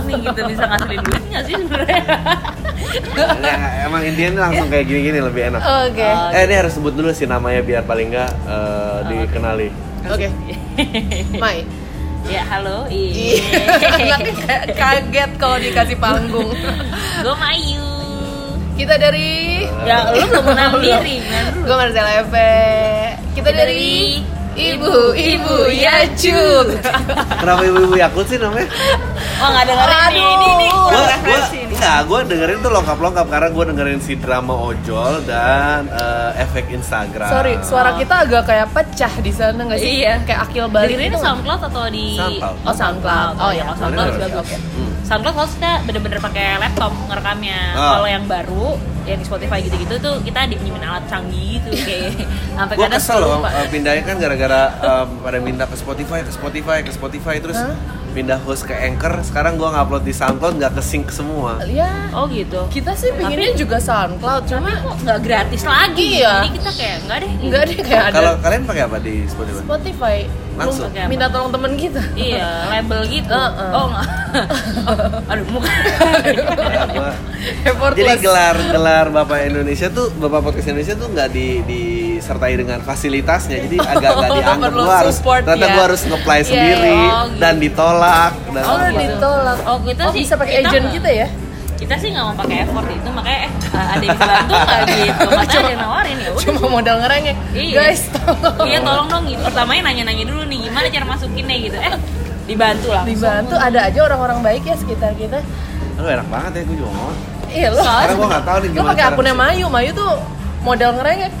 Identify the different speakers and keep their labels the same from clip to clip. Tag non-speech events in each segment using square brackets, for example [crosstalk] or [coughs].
Speaker 1: nih kita bisa ngasilin duit nggak sih sebenarnya?
Speaker 2: Enggak, Iya, emang Indian langsung kayak gini-gini lebih enak.
Speaker 3: Oke. Oh,
Speaker 1: Oh,
Speaker 2: Eh, ini harus sebut dulu sih namanya biar paling enggak eh, dikenali.
Speaker 3: Oke. [laughs] Mai.
Speaker 1: ya halo,
Speaker 3: Ih, nanti Iya. kayak kaget kalau dikasih panggung.
Speaker 1: gue Mayu.
Speaker 3: Kita dari
Speaker 1: Ya lu belum kenal diri kan?
Speaker 3: Gue Marcella Eve. Kita dari Ibu, Ibu ya, Yacuk.
Speaker 2: Kenapa ibu-ibu Yakult sih namanya?
Speaker 1: Wah nggak dengerin nih, ini ini
Speaker 3: Oh,
Speaker 1: kurang
Speaker 2: Gua- gua,
Speaker 1: referensi nih.
Speaker 2: enggak, gue dengerin tuh lengkap-lengkap karena gue dengerin si drama ojol dan eh, efek Instagram.
Speaker 3: Sorry, suara kita agak kayak pecah di sana nggak sih?
Speaker 1: Iya.
Speaker 3: Kayak akil balik.
Speaker 1: Dengerin
Speaker 3: gitu nggak?
Speaker 1: SoundCloud atau di
Speaker 2: SoundCloud.
Speaker 3: Oh SoundCloud. Oh ya,
Speaker 1: Kalau
Speaker 3: SoundCloud
Speaker 1: SoundCloud
Speaker 3: juga
Speaker 2: Bener.
Speaker 3: oke.
Speaker 2: Hmm.
Speaker 1: SoundCloud kalau kita bener-bener pakai laptop ngerekamnya.
Speaker 2: Ah.
Speaker 1: Kalau yang baru, yang di Spotify gitu-gitu tuh kita dipinjemin alat canggih
Speaker 3: [laughs]
Speaker 1: gitu kayak sampai
Speaker 2: Gue
Speaker 1: kadang
Speaker 2: kesel
Speaker 1: suka
Speaker 2: loh
Speaker 1: lupa.
Speaker 2: eh, pindahnya kan gara-gara eh, pada pindah ke Spotify, ke Spotify, ke Spotify terus
Speaker 3: Hah?
Speaker 2: pindah host ke Anchor. Sekarang gue ngupload di SoundCloud nggak kesync semua.
Speaker 3: Ya,
Speaker 1: Oh gitu.
Speaker 3: kita sih pinginnya juga SoundCloud, cuma
Speaker 1: Kok nggak gratis lagi?
Speaker 3: Iya.
Speaker 1: Jadi kita kayak nggak deh. gitu."
Speaker 3: nggak deh kayak Ya, ada
Speaker 2: Kalau kalian pakai apa di Spotify?
Speaker 3: Spotify.
Speaker 2: Langsung.
Speaker 3: Lu minta tolong temen kita.
Speaker 1: Iya, [laughs] label gitu.
Speaker 3: Heeh.
Speaker 1: Oh, nggak. [laughs] aduh, muka. [laughs]
Speaker 2: Ya, gua-
Speaker 3: [laughs] Effortless.
Speaker 2: Jadi gelar-gelar Bapak Indonesia tuh Bapak Podcast Indonesia tuh nggak di, disertai dengan fasilitasnya.
Speaker 3: [laughs]
Speaker 2: Jadi agak nggak
Speaker 3: Oh,
Speaker 2: dianggap
Speaker 3: perlu
Speaker 2: gua harus
Speaker 3: support
Speaker 2: ternyata
Speaker 3: ya.
Speaker 2: gua harus nge-apply
Speaker 3: Iya,
Speaker 2: sendiri
Speaker 1: iya. Oh, gitu.
Speaker 2: dan ditolak dan
Speaker 3: Oh,
Speaker 1: gitu.
Speaker 3: ditolak.
Speaker 1: Oh, kita
Speaker 3: Oh,
Speaker 1: sih
Speaker 3: bisa pakai agent
Speaker 1: nggak-
Speaker 3: kita ya?
Speaker 1: Kita sih nggak mau pakai effort itu, makanya eh, ada yang bisa bantu nggak
Speaker 3: [laughs]
Speaker 1: gitu. Makanya ada yang nawarin ya. udah.
Speaker 3: Cuma modal ngerengek.
Speaker 1: Iya.
Speaker 3: Guys, tolong.
Speaker 1: Iya tolong dong gitu. Pertamanya nanya-nanya dulu nih gimana cara masukinnya gitu. Eh dibantu lah.
Speaker 3: Dibantu ada aja orang-orang baik ya sekitar kita.
Speaker 2: Aduh enak banget ya gue juga mau.
Speaker 3: Iya lo.
Speaker 2: Karena gue nggak tahu nih
Speaker 3: Lo
Speaker 2: gimana.
Speaker 3: pakai
Speaker 2: cara
Speaker 3: akunnya
Speaker 2: masuk.
Speaker 3: Mayu, Mayu tuh modal ngerengek.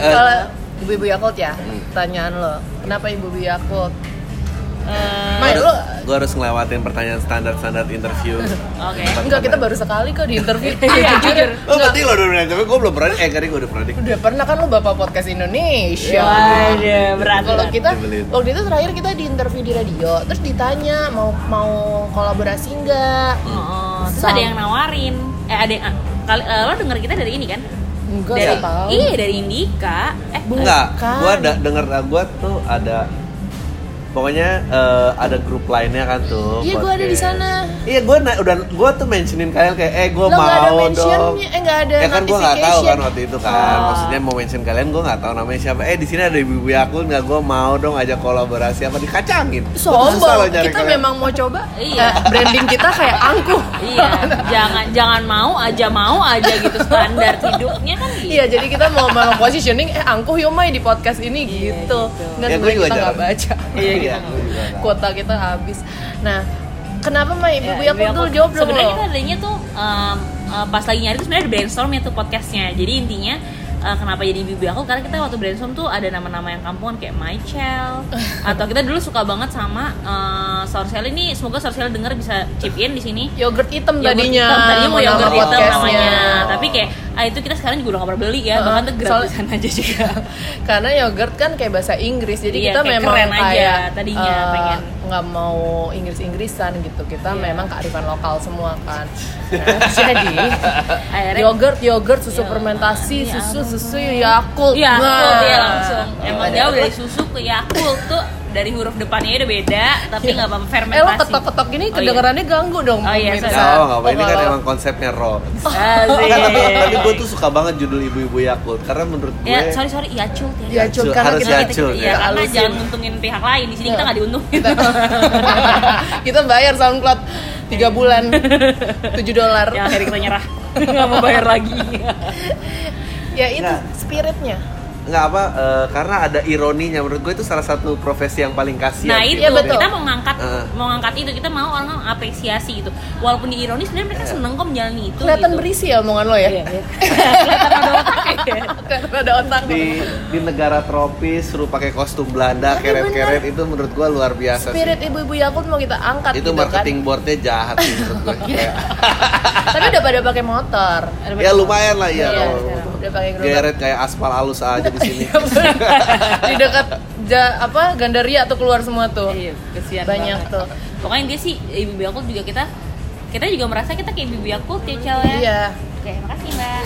Speaker 2: Eh,
Speaker 3: Kalau ibu-ibu Yakult ya,
Speaker 2: Hmm.
Speaker 3: pertanyaan lo, kenapa ibu-ibu ya, Yakult?
Speaker 1: Eh,
Speaker 3: Mai,
Speaker 2: gua
Speaker 3: lo
Speaker 2: harus- gua harus ngelewatin pertanyaan standar-standar
Speaker 3: [laughs]
Speaker 2: interview.
Speaker 1: Oke.
Speaker 2: Tempat
Speaker 3: Enggak, kita
Speaker 2: mana.
Speaker 3: baru sekali kok di
Speaker 1: [laughs]
Speaker 3: interview. Iya, jujur.
Speaker 2: Oh, berarti lo udah pernah tapi gue belum pernah. Eh, tadi gue udah pernah dik.
Speaker 3: Udah pernah kan lo bapak podcast Indonesia.
Speaker 1: Waduh, berat.
Speaker 3: Ya Kalau
Speaker 1: berat.
Speaker 3: kita
Speaker 2: Dibeliin.
Speaker 3: waktu itu terakhir kita di interview di radio, terus ditanya mau mau kolaborasi enggak?
Speaker 1: Oh, terus
Speaker 3: Sam-
Speaker 1: ada yang nawarin. Eh ada yang ah, kali eh, lo denger kita dari ini kan?
Speaker 3: Enggak
Speaker 1: dari
Speaker 3: nggak tahu.
Speaker 1: Iya, dari Indika. Eh
Speaker 2: Enggak,
Speaker 3: Bukan.
Speaker 2: gue ada denger gue tuh ada Pokoknya eh, ada grup lainnya kan tuh.
Speaker 3: Iya, gua ada di
Speaker 2: podcast.
Speaker 3: sana.
Speaker 2: Iya, gue udah gue tuh mentionin kalian kayak eh gue
Speaker 3: Lo nggak ada
Speaker 2: mau dong.
Speaker 3: mentionnya, eh nggak ada
Speaker 2: ya kan gue nggak tahu kan
Speaker 3: notification.
Speaker 2: waktu itu kan.
Speaker 1: Oh.
Speaker 2: Maksudnya mau mention kalian gue nggak tahu namanya siapa. Eh di sini ada ibu-ibu aku nggak gue mau dong ajak kolaborasi apa dikacangin. Gua susah loh
Speaker 3: Sombong,
Speaker 2: nyari
Speaker 3: kita
Speaker 2: kalian.
Speaker 3: memang mau coba
Speaker 1: Iya.
Speaker 3: eh, branding kita kayak angkuh
Speaker 1: Iya, jangan jangan mau aja mau aja gitu standar hidupnya kan gitu.
Speaker 3: Iya, jadi kita mau memang positioning eh angkuh yuk Mai di podcast ini gitu.
Speaker 1: gitu.
Speaker 3: Nggak
Speaker 2: Ya, gua
Speaker 3: sebenarnya
Speaker 2: juga
Speaker 3: kita nggak
Speaker 2: jarang.
Speaker 3: baca.
Speaker 2: Iya,
Speaker 3: Iya, kita
Speaker 2: gua juga nggak.
Speaker 3: Kuota kita habis. Nah, kenapa Mai ibu
Speaker 1: Ya,
Speaker 3: ya,
Speaker 1: Ibu
Speaker 3: aku dulu
Speaker 1: Yakult.
Speaker 3: jawab belum
Speaker 1: Sebenarnya kan
Speaker 3: lo?
Speaker 1: kita adanya tuh um, uh, pas lagi nyari tuh sebenarnya ada brainstorm ya tuh podcastnya. Jadi intinya uh, kenapa jadi ibu aku karena kita waktu brainstorm tuh ada nama-nama yang kampungan kayak
Speaker 3: [laughs]
Speaker 1: Michael atau kita dulu suka banget sama uh, Sorsel ini semoga Sorsel denger bisa chip in di sini.
Speaker 3: Yogurt hitam
Speaker 1: Yogurt
Speaker 3: tadinya.
Speaker 1: hitam, tadinya mau
Speaker 3: nama
Speaker 1: yogurt hitam
Speaker 3: podcastnya.
Speaker 1: namanya. Tapi kayak ah itu kita sekarang juga udah gak pernah beli ya,
Speaker 3: Heeh.
Speaker 1: bahkan tuh
Speaker 3: Soalnya- [laughs]
Speaker 1: gratisan aja juga.
Speaker 3: [laughs] Karena yogurt kan kayak bahasa Inggris, jadi
Speaker 1: Iya,
Speaker 3: kita
Speaker 1: kayak
Speaker 3: memang
Speaker 1: keren aja
Speaker 3: kayak
Speaker 1: tadinya,
Speaker 3: eh,
Speaker 1: pengen.
Speaker 3: nggak mau Inggris-Inggrisan gitu. Kita
Speaker 1: Iya.
Speaker 3: memang kearifan lokal semua
Speaker 1: [laughs]
Speaker 3: kan. Nah, jadi
Speaker 1: Akhirnya
Speaker 3: yogurt, yogurt, susu
Speaker 1: Iya.
Speaker 3: fermentasi,
Speaker 1: Iya.
Speaker 3: susu, susu Yakult.
Speaker 1: Iya,
Speaker 3: Nah.
Speaker 1: Yakult, ya langsung. Emang jauh
Speaker 3: Ada
Speaker 1: ya,
Speaker 3: apa? Eh,
Speaker 1: dari susu ke Yakult tuh dari huruf depannya udah beda, tapi nggak apa-apa
Speaker 3: Eh lo
Speaker 1: fermentasi.
Speaker 3: ketok-ketok gini
Speaker 1: Oh, iya.
Speaker 3: kedengerannya ganggu dong.
Speaker 1: Oh, iya,
Speaker 3: pemirsa.
Speaker 1: sorry.
Speaker 2: Nggak apa-apa, nggak apa-apa. Ini kan
Speaker 3: Kalau-
Speaker 2: emang konsepnya raw.
Speaker 1: [laughs]
Speaker 3: Oh,
Speaker 1: Asik.
Speaker 3: iya,
Speaker 2: Kan, tapi, tapi gue tuh suka banget judul ibu-ibu Yakult karena menurut gue
Speaker 1: Ya, sorry sorry, Yakult ya.
Speaker 3: Ya, Cul,
Speaker 2: Cul,
Speaker 3: karena
Speaker 2: harus
Speaker 3: kita,
Speaker 2: ya,
Speaker 3: kita-
Speaker 2: Cul,
Speaker 3: kita-
Speaker 1: Iya,
Speaker 2: ya.
Speaker 1: karena
Speaker 3: halusin. Iya.
Speaker 1: jangan nguntungin pihak lain. Di sini kita nggak diuntungin.
Speaker 3: [laughs] kita bayar SoundCloud 3 bulan 7 dolar.
Speaker 1: [laughs] ya, akhirnya kita
Speaker 3: [laughs]
Speaker 1: nyerah. Nggak mau bayar lagi.
Speaker 3: Ya itu
Speaker 2: Nah.
Speaker 3: spiritnya.
Speaker 2: nggak apa eh, karena ada ironinya menurut gue itu salah satu profesi yang paling kasihan.
Speaker 1: Nah itu
Speaker 2: gitu.
Speaker 3: Iya, betul.
Speaker 1: kita mau ngangkat,
Speaker 2: Heeh.
Speaker 1: mau ngangkat itu kita mau orang apresiasi gitu. Walaupun di ironis, sebenarnya mereka seneng kok menjalani itu.
Speaker 3: Kelihatan
Speaker 1: gitu.
Speaker 3: berisi ya omongan lo ya.
Speaker 1: Iya,
Speaker 3: [laughs]
Speaker 1: iya. Kelihatan ada ya. otaknya.
Speaker 3: Kelihatan ada otak.
Speaker 2: di di negara tropis suruh pakai kostum Belanda
Speaker 3: Tapi
Speaker 2: keret-keret itu menurut gua luar biasa
Speaker 3: Spirit
Speaker 2: sih.
Speaker 3: ibu-ibu Yakult mau kita angkat
Speaker 2: Itu
Speaker 3: gitu Iya,
Speaker 2: marketing boardnya jahat sih menurut
Speaker 3: [laughs]
Speaker 2: gua. Kayak,
Speaker 3: kan. [laughs] Tapi udah pada pakai motor.
Speaker 2: ya lumayan lah ya.
Speaker 3: Iya,
Speaker 2: kalau-
Speaker 3: sekarang. Udah pakai gerobak. Iya,
Speaker 2: Geret kayak aspal halus aja di
Speaker 3: [laughs]
Speaker 2: sini.
Speaker 3: di dekat ja- apa Gandaria tuh keluar semua tuh.
Speaker 1: Iya, kesian banget.
Speaker 3: Banyak tuh.
Speaker 1: Pokoknya dia sih ibu Yakult juga kita kita juga merasa kita kayak ibu Yakult ya, Cel ya.
Speaker 3: Iya.
Speaker 1: Oke, makasih, Mbak.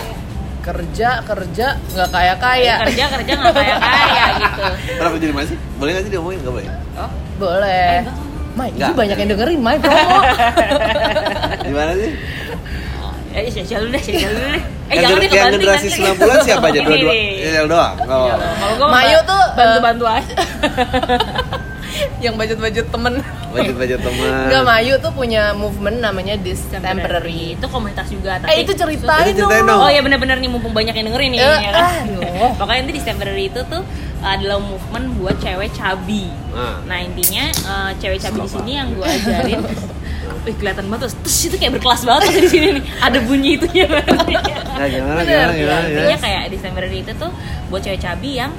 Speaker 3: Kerja kerja nggak kaya kaya.
Speaker 1: Kerja kerja
Speaker 3: [laughs]
Speaker 1: nggak kaya kaya gitu.
Speaker 2: Kenapa jadi masih? Boleh nggak sih diomongin? Nggak boleh.
Speaker 1: Oh,
Speaker 3: Boleh.
Speaker 1: enggak.
Speaker 3: Mai, itu
Speaker 2: Nggak.
Speaker 3: banyak yang dengerin, Mai
Speaker 1: [laughs]
Speaker 3: promo.
Speaker 2: Gimana sih?
Speaker 1: Eh, Syahsyah dulu deh, Syahsyah dulu deh. Eh,
Speaker 2: yang,
Speaker 1: jangan deh
Speaker 2: gener- yang
Speaker 1: kebanting
Speaker 2: generasi
Speaker 1: nanti.
Speaker 3: [laughs]
Speaker 2: 90-an siapa aja?
Speaker 1: Ini
Speaker 2: Dua-dua?
Speaker 1: nih.
Speaker 2: Yel doang? Oh.
Speaker 3: Iya,
Speaker 1: Kalau gua
Speaker 3: Mayu
Speaker 1: mba-
Speaker 3: tuh, eh,
Speaker 1: bantu-bantu aja.
Speaker 3: yang budget-budget temen.
Speaker 2: Budget-budget teman.
Speaker 3: Enggak, Mayu tuh punya movement namanya Distemporary.
Speaker 1: Itu komunitas juga.
Speaker 3: Eh, itu ceritain
Speaker 2: Itu ceritain dong.
Speaker 3: dong.
Speaker 1: Oh iya bener-bener nih mumpung banyak yang dengerin nih.
Speaker 3: Eh,
Speaker 1: ya
Speaker 2: ah,
Speaker 1: kan?
Speaker 3: aduh.
Speaker 1: Pokoknya nanti di Februari itu tuh adalah movement buat cewek cabi.
Speaker 2: Ah.
Speaker 1: Nah intinya eh, cewek cabi di
Speaker 2: Apa?
Speaker 1: sini yang gue
Speaker 2: [laughs]
Speaker 1: ajarin. Wih kelihatan banget terus, terus itu kayak berkelas banget tuh di sini nih. Ada bunyi itunya.
Speaker 2: [laughs] Nah, gimana,
Speaker 3: Bener,
Speaker 2: gimana, gimana,
Speaker 1: Intinya
Speaker 2: gimana?
Speaker 1: kayak di Februari itu tuh buat cewek cabi yang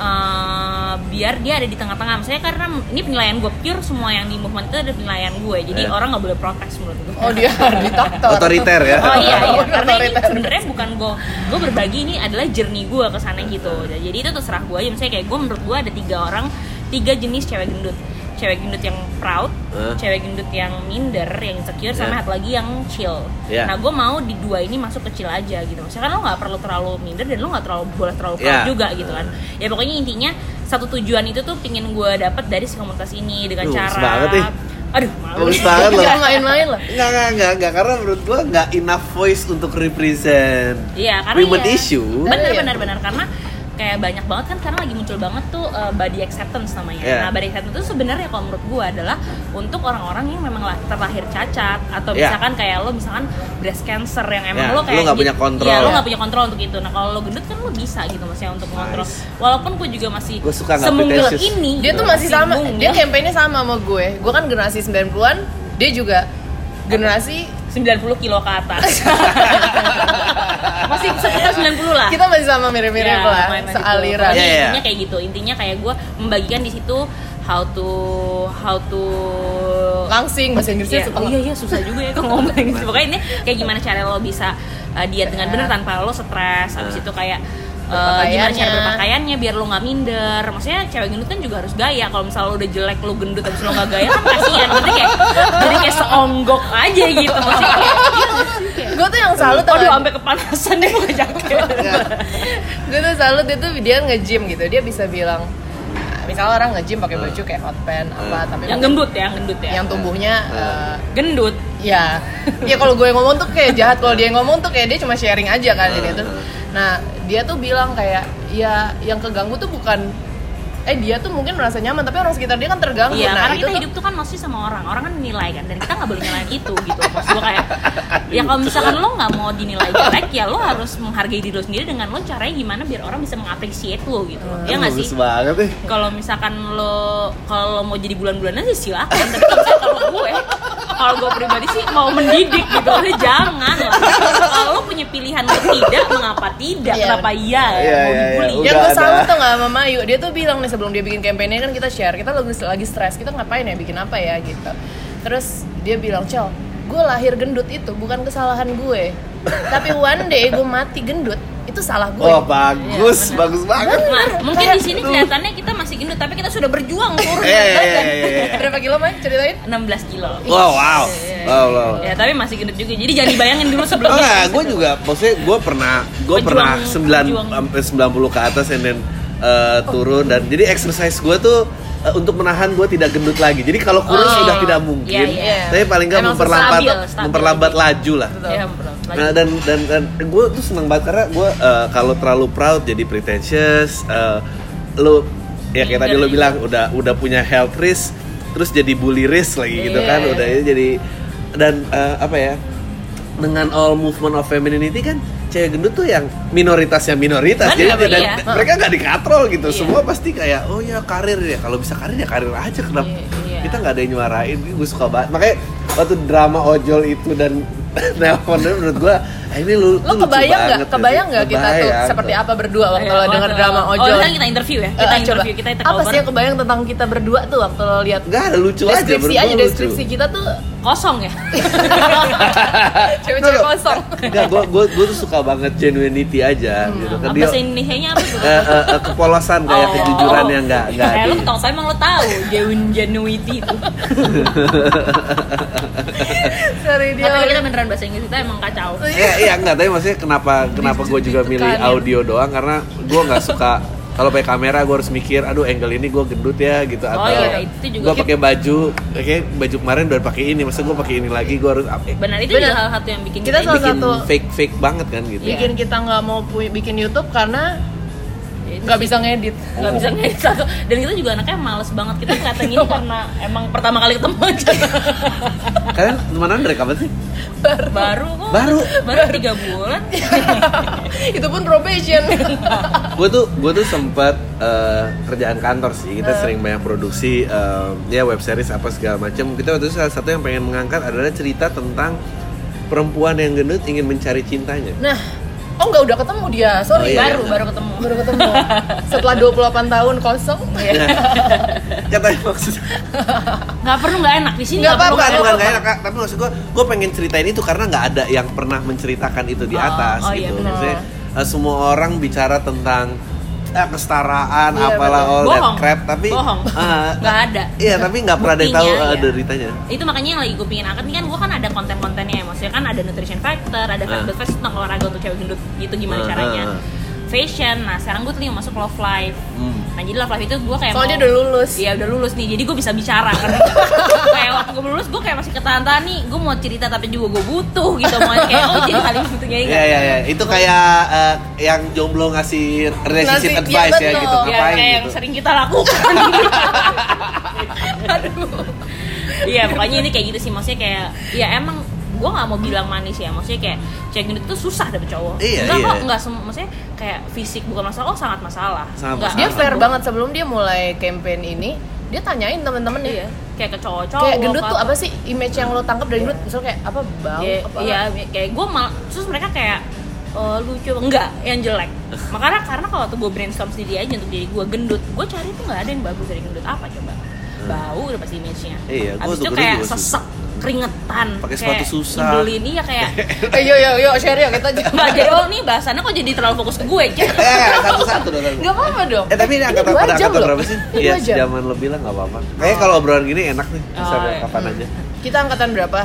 Speaker 1: eh, biar dia ada di tengah-tengah misalnya karena ini penilaian gue pure semua yang di movement itu ada penilaian gue jadi
Speaker 2: Eh.
Speaker 1: orang nggak boleh protes menurut gue
Speaker 3: Oh, dia [laughs] diktator.
Speaker 2: Otoriter ya?
Speaker 1: Oh iya,
Speaker 2: [laughs]
Speaker 1: iya.
Speaker 3: Orang
Speaker 1: karena ini
Speaker 3: otoriter.
Speaker 1: sebenarnya bukan gue gue berbagi ini adalah jernih gue kesana gitu. Jadi itu terserah gue aja. Misalnya kayak gue menurut gue ada tiga orang, tiga jenis cewek gendut. Cewek gendut yang proud,
Speaker 2: Hah?
Speaker 1: cewek gendut yang minder, yang insecure,
Speaker 2: Ya.
Speaker 1: sama satu lagi yang chill.
Speaker 2: Ya.
Speaker 1: Nah gue mau di dua ini masuk ke chill aja gitu. Misalkan lo nggak perlu terlalu minder dan lo nggak terlalu boleh terlalu proud
Speaker 2: Ya.
Speaker 1: juga gitu kan. Ya pokoknya intinya satu tujuan itu tuh pingin gue dapet dari si komunitas ini dengan
Speaker 2: Duh,
Speaker 1: cara.
Speaker 2: bagus banget nih.
Speaker 1: Aduh, malu. Iya,
Speaker 2: Bagus
Speaker 1: [laughs]
Speaker 2: banget loh.
Speaker 3: Jangan main-main lah.
Speaker 2: Enggak, enggak, enggak, enggak, karena menurut gua enggak enough voice untuk represent
Speaker 1: Iya, karena
Speaker 2: women
Speaker 1: iya.
Speaker 2: issue.
Speaker 1: Benar,
Speaker 3: Iya.
Speaker 1: benar, benar. Karena kayak banyak banget kan sekarang lagi muncul banget tuh uh, body acceptance namanya.
Speaker 2: Iya.
Speaker 1: Nah, body acceptance itu sebenarnya kalau menurut gua adalah untuk orang-orang yang memang lah- terlahir cacat atau
Speaker 2: Iya.
Speaker 1: misalkan kayak lo misalkan breast cancer yang
Speaker 2: Iya,
Speaker 1: emang lo
Speaker 2: lo
Speaker 1: kayak
Speaker 2: nggak punya
Speaker 1: Iya,
Speaker 2: kontrol. ya.
Speaker 1: lo nggak punya kontrol untuk itu. Nah, kalau lo gendut kan lo bisa gitu maksudnya untuk mengontrol.
Speaker 2: Nice.
Speaker 1: Walaupun gua juga masih
Speaker 2: Gua suka nggak
Speaker 1: semungil
Speaker 2: pretentious.
Speaker 1: ini. gitu. ya.
Speaker 3: Dia tuh masih sama,
Speaker 1: mungil.
Speaker 3: dia kampanye sama sama gue. Gue kan generasi 90-an, dia juga generasi
Speaker 1: 90 kilo ke
Speaker 3: [laughs]
Speaker 1: atas. masih sekitar 90 lah.
Speaker 3: kita masih sama mirip-mirip
Speaker 1: Ya,
Speaker 3: lah,
Speaker 1: main-main gitu.
Speaker 3: sealiran.
Speaker 1: Pokoknya
Speaker 2: Iya, iya.
Speaker 1: intinya kayak gitu intinya kayak gue membagikan di situ how to how to
Speaker 3: Langsing bahasa
Speaker 1: Ya,
Speaker 3: Inggrisnya suka.
Speaker 1: oh iya iya susah juga ya kalau
Speaker 3: [laughs]
Speaker 1: ngomong Inggris. Pokoknya ini kayak gimana cara lo bisa uh, diet dengan benar tanpa lo stres.
Speaker 2: Iya.
Speaker 1: Habis itu kayak uh, gimana cara
Speaker 3: Iya. Berpakaiannya.
Speaker 1: berpakaiannya biar lo nggak minder. Maksudnya cewek gendut kan juga harus gaya. Kalau misalnya lo udah jelek lo gendut habis lo nggak gaya kan kasihan. Nanti kayak jadi kayak seonggok aja gitu. Maksudnya kayak
Speaker 3: Gue tuh yang salut Iya.
Speaker 1: iya.
Speaker 3: tau
Speaker 1: aduh
Speaker 3: gak?
Speaker 1: sampai kepanasan deh pakai jaket.
Speaker 3: gue tuh salut dia tuh dia nge-gym gitu dia bisa bilang ah, misalnya orang nge-gym pakai baju kayak hot pants apa tapi
Speaker 1: yang gendut ya, yang gendut ya.
Speaker 3: yang tumbuhnya eh,
Speaker 1: gendut
Speaker 3: ya [laughs] ya kalau gue ngomong tuh kayak jahat kalau dia ngomong tuh kayak dia cuma sharing aja kan jadi terus nah dia tuh bilang kayak ya yang keganggu tuh bukan eh dia tuh mungkin merasa nyaman tapi orang sekitar dia kan terganggu
Speaker 1: Iya,
Speaker 3: nah
Speaker 1: karena
Speaker 3: itu
Speaker 1: kita
Speaker 3: tuh
Speaker 1: hidup tuh kan mesti sama orang, orang kan nilai kan, dan kita nggak boleh nilai itu gitu. Maksud gue kayak, ya kalau
Speaker 2: Gitu.
Speaker 1: misalkan lo nggak mau dinilai jelek, ya lo harus menghargai diri lo sendiri dengan lo caranya gimana biar orang bisa mengapresiasi lo gitu. Iya nggak sih?
Speaker 2: Bagus banget nih.
Speaker 1: Kalau misalkan lo kalau lo mau jadi bulan-bulanan sih silakan, tapi kalau misalkan kalau gue, kalau gue pribadi sih mau mendidik gitu, lo jangan lah. Kalau lo punya pilihan lo tidak, mengapa tidak?
Speaker 3: Iya.
Speaker 1: Kenapa iya?
Speaker 2: Iya,
Speaker 1: mau
Speaker 2: iya, iya.
Speaker 1: dibully?
Speaker 2: Udah
Speaker 3: yang gue
Speaker 2: ada.
Speaker 3: salut tuh gak sama Mayu dia tuh bilang nih sebelum dia bikin kampanye kan kita share kita lagi lagi stres kita ngapain ya bikin apa ya gitu terus dia bilang cel gue lahir gendut itu bukan kesalahan gue tapi one day gue mati gendut itu salah gue
Speaker 2: Oh, bagus,
Speaker 1: Iya, benar.
Speaker 2: bagus banget.
Speaker 1: Nah, mungkin di sini kelihatannya kita masih gendut, tapi kita sudah berjuang turun gitu kan.
Speaker 2: Iya, iya,
Speaker 1: badan.
Speaker 2: iya, iya, iya.
Speaker 3: berapa kilo May ceritain
Speaker 1: 16 kilo.
Speaker 2: Wow, wow. Wow, wow.
Speaker 1: Ya, tapi masih gendut juga. Jadi jangan dibayangin dulu
Speaker 2: Oh,
Speaker 1: sebelumnya.
Speaker 2: enggak, gue juga, maksudnya gue pernah, gue
Speaker 1: Iya. Pejuang-
Speaker 2: pernah 9,
Speaker 1: pejuang.
Speaker 2: sampai 90 ke atas and then uh, turun dan jadi exercise gue tuh uh, untuk menahan gue tidak gendut lagi. Jadi kalau kurus
Speaker 1: Oh.
Speaker 2: sudah tidak mungkin,
Speaker 1: Iya, iya.
Speaker 2: tapi paling nggak
Speaker 3: Emang
Speaker 2: memperlambat,
Speaker 1: stabil, stabil.
Speaker 2: memperlambat laju lah.
Speaker 1: Ya, bro. Lagi.
Speaker 2: Nah, dan dan, dan gue tuh seneng banget karena gue kalau terlalu proud jadi pretentious, eh, lo ya kayak tadi lo bilang udah udah punya health risk, terus jadi bully risk lagi gitu kan,
Speaker 3: Iya.
Speaker 2: udah ini jadi dan eh, apa ya dengan all movement of femininity kan cewek gendut tuh yang minoritasnya minoritas gitu
Speaker 1: Bener,
Speaker 2: jadi tidak-
Speaker 1: iya.
Speaker 3: Ah.
Speaker 2: mereka nggak dikatrol gitu
Speaker 1: Iya.
Speaker 2: semua pasti kayak oh ya karir ya kalau bisa karir ya karir aja kenapa
Speaker 1: Iya, iya.
Speaker 2: kita nggak ada yang nyuarain gue suka banget makanya waktu drama ojol itu dan [laughs] nelponnya menurut gua ah, ini lu ya."
Speaker 3: lo kebayang nggak kebayang nggak kita tuh seperti apa berdua waktu lo
Speaker 1: Iya,
Speaker 3: denger
Speaker 1: waktu-
Speaker 3: drama
Speaker 1: Oh,
Speaker 3: ojol
Speaker 1: kan kita interview ya. Kita
Speaker 3: Eh, coba.
Speaker 1: interview, kita take
Speaker 3: apa
Speaker 1: over.
Speaker 3: sih yang kebayang tentang kita berdua tuh waktu lo lihat
Speaker 2: nggak ada lucu aja
Speaker 3: deskripsi
Speaker 2: menurut
Speaker 3: aja
Speaker 2: gua
Speaker 3: deskripsi
Speaker 2: lucu.
Speaker 3: kita tuh
Speaker 1: Kosong ya.
Speaker 3: cewek-cewek kosong
Speaker 2: nggak gua gua gua tuh suka banget genuinity aja
Speaker 3: Hmm.
Speaker 2: gitu kan dia
Speaker 1: Bahasa Indonesianya apa tuh?
Speaker 2: eh, eh, eh, kepolosan kayak
Speaker 1: Oh.
Speaker 2: kejujuran yang nggak nggak
Speaker 1: Eh,
Speaker 2: di
Speaker 1: lu tau, saya emang lo tahu Jeun Januiti itu.
Speaker 3: sorry dia
Speaker 1: Tapi kita beneran bahasa Inggris kita emang kacau.
Speaker 2: Iya, iya enggak, tapi maksudnya kenapa kenapa gue juga milih
Speaker 3: kan, ya.
Speaker 2: audio doang karena gue nggak suka kalau pakai kamera gue harus mikir aduh angle ini gue gendut ya gitu
Speaker 1: Oh,
Speaker 2: atau
Speaker 1: iya, itu juga.
Speaker 2: gue pakai baju kayak baju kemarin udah pakai ini masa gue pakai ini lagi gue harus apa
Speaker 1: benar itu
Speaker 3: Benar.
Speaker 1: juga salah satu Iya. yang bikin
Speaker 3: Kita salah
Speaker 2: bikin
Speaker 3: satu-
Speaker 2: fake fake banget kan gitu
Speaker 3: bikin kita nggak mau pu- bikin YouTube karena nggak
Speaker 1: nggak
Speaker 3: bisa [laughs] ngedit
Speaker 1: nggak bisa ngedit satu dan kita juga anaknya males banget kita kelihatan
Speaker 3: [laughs]
Speaker 1: ini karena emang pertama kali ketemu aja
Speaker 2: kalian temenan dari kapan sih
Speaker 1: baru kok
Speaker 2: Baru.
Speaker 1: baru tiga bulan
Speaker 3: Iya, itu pun
Speaker 1: [laughs]
Speaker 3: probation
Speaker 2: gue tuh gue tuh sempet eh, kerjaan kantor sih
Speaker 1: Eh.
Speaker 2: kita sering banyak produksi eh, ya web series apa segala macam kita waktu itu salah satu yang pengen mengangkat adalah cerita tentang perempuan yang gendut ingin mencari cintanya
Speaker 3: nah oh nggak udah ketemu dia
Speaker 2: Oh,
Speaker 3: sorry
Speaker 2: iya.
Speaker 3: baru
Speaker 1: baru baru ketemu
Speaker 3: baru ketemu setelah 28 tahun kosong
Speaker 1: Iya.
Speaker 2: [laughs] katanya maksudnya
Speaker 1: nggak perlu nggak enak di sini
Speaker 3: Nggak
Speaker 1: perlu
Speaker 3: apa-apa,
Speaker 2: bukan
Speaker 1: nggak
Speaker 2: bukan
Speaker 1: enak.
Speaker 2: nggak enak Kak. tapi maksud gue gue pengen ceritain itu karena nggak ada yang pernah menceritakan itu di
Speaker 1: Oh,
Speaker 2: atas
Speaker 1: oh iya,
Speaker 2: gitu
Speaker 1: benar.
Speaker 2: Maksudnya, eh, semua orang bicara tentang eh, kesetaraan
Speaker 3: Iya,
Speaker 2: apalah
Speaker 3: betul.
Speaker 2: all that
Speaker 1: Bohong.
Speaker 2: crap tapi
Speaker 1: Bohong.
Speaker 2: [laughs] eh,
Speaker 1: nggak ada
Speaker 2: iya tapi nggak pernah ada yang tahu
Speaker 1: Buktinya,
Speaker 2: eh,
Speaker 1: iya.
Speaker 2: deritanya
Speaker 1: itu makanya yang lagi gue pingin angkat nih kan gue kan ada konten-kontennya ya maksudnya kan ada nutrition factor ada
Speaker 2: Ah.
Speaker 1: fast fast tentang olahraga untuk cewek gendut gitu gimana
Speaker 2: Ah,
Speaker 1: caranya
Speaker 2: ah, ah.
Speaker 1: fashion nah sekarang gue tuh yang masuk love life
Speaker 2: Hmm.
Speaker 1: nah jadi love life itu gue kayak
Speaker 3: [laughs] soalnya
Speaker 1: mau-
Speaker 3: udah lulus
Speaker 1: Iya udah lulus nih, jadi gue bisa bicara
Speaker 3: [laughs]
Speaker 1: kan. kayak waktu gue lulus, gue kayak masih ketahan-tahan nih. Gue mau cerita tapi juga gue butuh gitu. Mau kayak oh jadi saling butuhnya ya.
Speaker 2: Iya iya iya, itu kayak eh, yang jomblo ngasih relationship
Speaker 3: Ngasih- iya,
Speaker 2: advice ya,
Speaker 3: betul.
Speaker 2: gitu
Speaker 1: Ya,
Speaker 2: ngapain
Speaker 1: kayak yang
Speaker 2: gitu.
Speaker 1: sering kita lakukan. [laughs] Aduh. Iya, pokoknya ini kayak gitu sih. Maksudnya kayak, ya emang gue nggak mau bilang manis ya. Maksudnya kayak cewek gendut tuh susah dapet cowok.
Speaker 2: Iya,
Speaker 1: enggak
Speaker 2: iya.
Speaker 1: kok, enggak semua. Maksudnya kayak fisik bukan masalah. Oh sangat masalah. Iya,
Speaker 2: Sangat
Speaker 1: Enggak.
Speaker 3: dia
Speaker 2: masalah.
Speaker 3: fair banget sebelum dia mulai campaign ini dia tanyain temen-temen
Speaker 1: Iya.
Speaker 3: ya
Speaker 1: Kayak ke cowok-cowok.
Speaker 3: kayak gendut tuh
Speaker 1: apa-
Speaker 3: apa sih image yang lo tangkap dari gendut misalnya kayak apa bau
Speaker 1: Iya,
Speaker 3: apa [laughs]
Speaker 1: iya, kayak gue mal terus mereka kayak "Oh, lucu enggak yang
Speaker 2: [laughs]
Speaker 1: jelek makanya karena kalau tuh gue brainstorm sendiri aja untuk diri gue gendut gue cari tuh nggak ada yang bagus dari gendut apa coba bau udah pasti image-nya
Speaker 2: Hmm. Iya, gua
Speaker 1: abis itu
Speaker 2: tuh gendut
Speaker 1: kayak
Speaker 2: juga susah.
Speaker 1: sesek keringetan
Speaker 2: Pakai
Speaker 1: kayak
Speaker 2: sepatu susah.
Speaker 1: nyebelin iya
Speaker 2: [laughs]
Speaker 1: kayak
Speaker 3: ayo Eh, yo yo share yuk kita
Speaker 1: nggak jadi oh nih bahasannya kok jadi terlalu fokus ke gue
Speaker 2: [laughs]
Speaker 1: Cek.
Speaker 2: Eh satu-satu dong. satu.
Speaker 3: Gak apa-apa dong.
Speaker 2: Eh tapi ini angkatan
Speaker 3: dua
Speaker 2: pada
Speaker 3: jam
Speaker 2: angkatan
Speaker 3: loh.
Speaker 2: berapa sih?
Speaker 3: Ini
Speaker 2: Iya
Speaker 3: dua jam.
Speaker 2: sejaman lebih lah nggak apa-apa. Kayaknya kalau obrolan gini enak nih bisa
Speaker 1: Oh, iya.
Speaker 2: kapan aja.
Speaker 3: Kita angkatan berapa?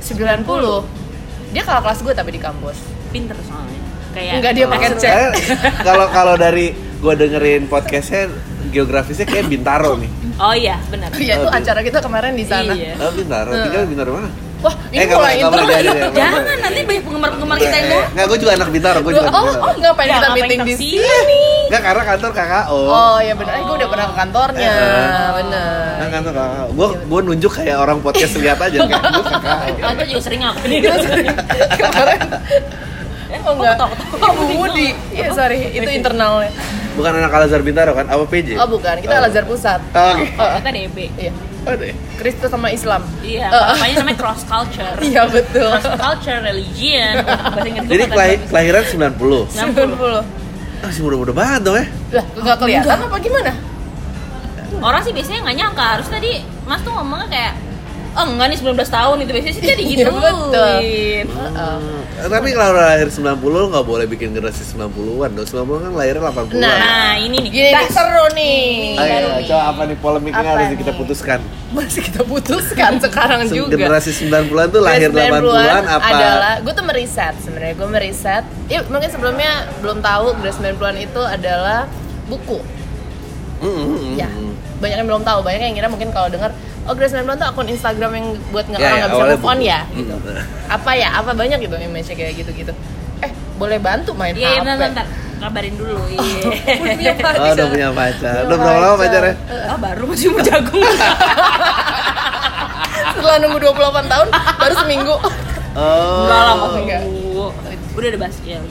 Speaker 3: 90. Dia kalau kelas gue tapi di kampus.
Speaker 1: pinter soalnya kayak
Speaker 3: Enggak dia pakai
Speaker 1: maksud-
Speaker 3: cek.
Speaker 2: Karena Kalau kalau dari gua dengerin podcastnya geografisnya kayak Bintaro nih.
Speaker 1: oh iya benar
Speaker 3: [laughs] Iya itu
Speaker 2: Aduh.
Speaker 3: acara kita kemarin di sana.
Speaker 1: Iya.
Speaker 2: Oh, Bintaro, tinggal di Bintaro mana?
Speaker 3: Wah, ini
Speaker 2: Eh, nggak
Speaker 3: mulai
Speaker 2: boleh, nggak
Speaker 3: intro.
Speaker 2: boleh, jadi deh.
Speaker 1: jangan nanti banyak penggemar penggemar kita yang
Speaker 2: Eh, Nggak, gua juga anak Bintaro, gua juga. anak
Speaker 3: Oh,
Speaker 2: Bintaro.
Speaker 3: oh ngapain
Speaker 1: Ya,
Speaker 3: kita
Speaker 1: ngapain
Speaker 3: meeting di
Speaker 1: ke
Speaker 3: sini?
Speaker 1: sini?
Speaker 2: Nggak karena kantor KKO.
Speaker 3: Oh ya benar, eh, gue udah pernah ke kantornya,
Speaker 2: Eh. [laughs]
Speaker 3: bener.
Speaker 2: Kan kantor KKO.
Speaker 3: Iya,
Speaker 2: Gua gua nunjuk kayak orang podcast lihat aja kayak gua KKO.
Speaker 1: Oh, itu juga sering ngakuin
Speaker 3: Iya.
Speaker 1: itu.
Speaker 3: kemarin,
Speaker 2: Eh,
Speaker 3: oh enggak, [laughs]
Speaker 1: ketawa-ketawa?
Speaker 3: oh, Budi, ya sorry, itu internalnya.
Speaker 2: Bukan anak Alazar Bintaro kan? Apa PJ?
Speaker 3: Oh bukan,
Speaker 2: Oh.
Speaker 3: kita Lazar Pusat.
Speaker 2: Oke.
Speaker 1: Ternyata DB.
Speaker 3: Iya,
Speaker 2: Oh, deh.
Speaker 3: Kristus sama Islam.
Speaker 1: Iya,
Speaker 3: Eh,
Speaker 1: makanya namanya cross culture.
Speaker 3: Iya betul.
Speaker 1: Cross culture, religion. Bahasa Inggris gitu.
Speaker 2: Jadi
Speaker 1: gua
Speaker 2: kelahi-
Speaker 1: kata-
Speaker 2: kelahiran 90.
Speaker 3: 90.
Speaker 2: Ah, sih muda-muda banget dong ya.
Speaker 3: Lah, enggak kelihatan apa gimana?
Speaker 1: Orang sih biasanya nggak nyangka harus tadi Mas tuh ngomongnya kayak Oh enggak nih 19 tahun itu biasanya sih jadi gitu.
Speaker 3: [laughs] Iya, betul.
Speaker 2: Eh, Tapi kalau lahir 90 nggak boleh bikin generasi 90-an dong. 90 kan lahirnya 80-an.
Speaker 1: Nah, ini nih.
Speaker 3: Gini nih, seru nih.
Speaker 2: Ayo, coba apa nih polemiknya
Speaker 3: Apa
Speaker 2: harus
Speaker 3: nih?
Speaker 2: kita putuskan.
Speaker 3: Masih kita putuskan sekarang
Speaker 2: Se-
Speaker 3: juga.
Speaker 2: Generasi 90-an tuh lahir
Speaker 3: 90-an
Speaker 2: 80-an apa?
Speaker 3: adalah gue tuh meriset sebenarnya gue meriset ya mungkin sebelumnya belum tahu generasi 90-an itu adalah buku
Speaker 2: Mm, mm, mm,
Speaker 3: ya
Speaker 2: mm.
Speaker 3: banyak yang belum tahu banyak yang ngira mungkin kalau dengar oh generasi 90-an tuh akun Instagram yang buat nggak
Speaker 2: Ya,
Speaker 3: orang
Speaker 2: ya,
Speaker 3: nggak
Speaker 2: awalnya
Speaker 3: bisa move on
Speaker 2: buku.
Speaker 3: ya [laughs]
Speaker 2: Mm.
Speaker 3: gitu apa ya apa banyak gitu image kayak gitu gitu eh boleh bantu main
Speaker 1: Iya, iya,
Speaker 3: HP
Speaker 1: bentar, bentar. Kabarin dulu. Iya.
Speaker 3: Oh, [laughs] Punya Eh, pacar.
Speaker 2: Oh, udah punya pacar. ya?
Speaker 3: Punya
Speaker 2: Udah berapa lama pacarnya?
Speaker 1: Ah, baru masih mau jagung.
Speaker 3: setelah nunggu
Speaker 1: [laughs]
Speaker 3: 28 tahun baru seminggu
Speaker 2: Oh.
Speaker 1: Enggak lah, Mas.
Speaker 3: Enggak.
Speaker 1: Udah ada basket.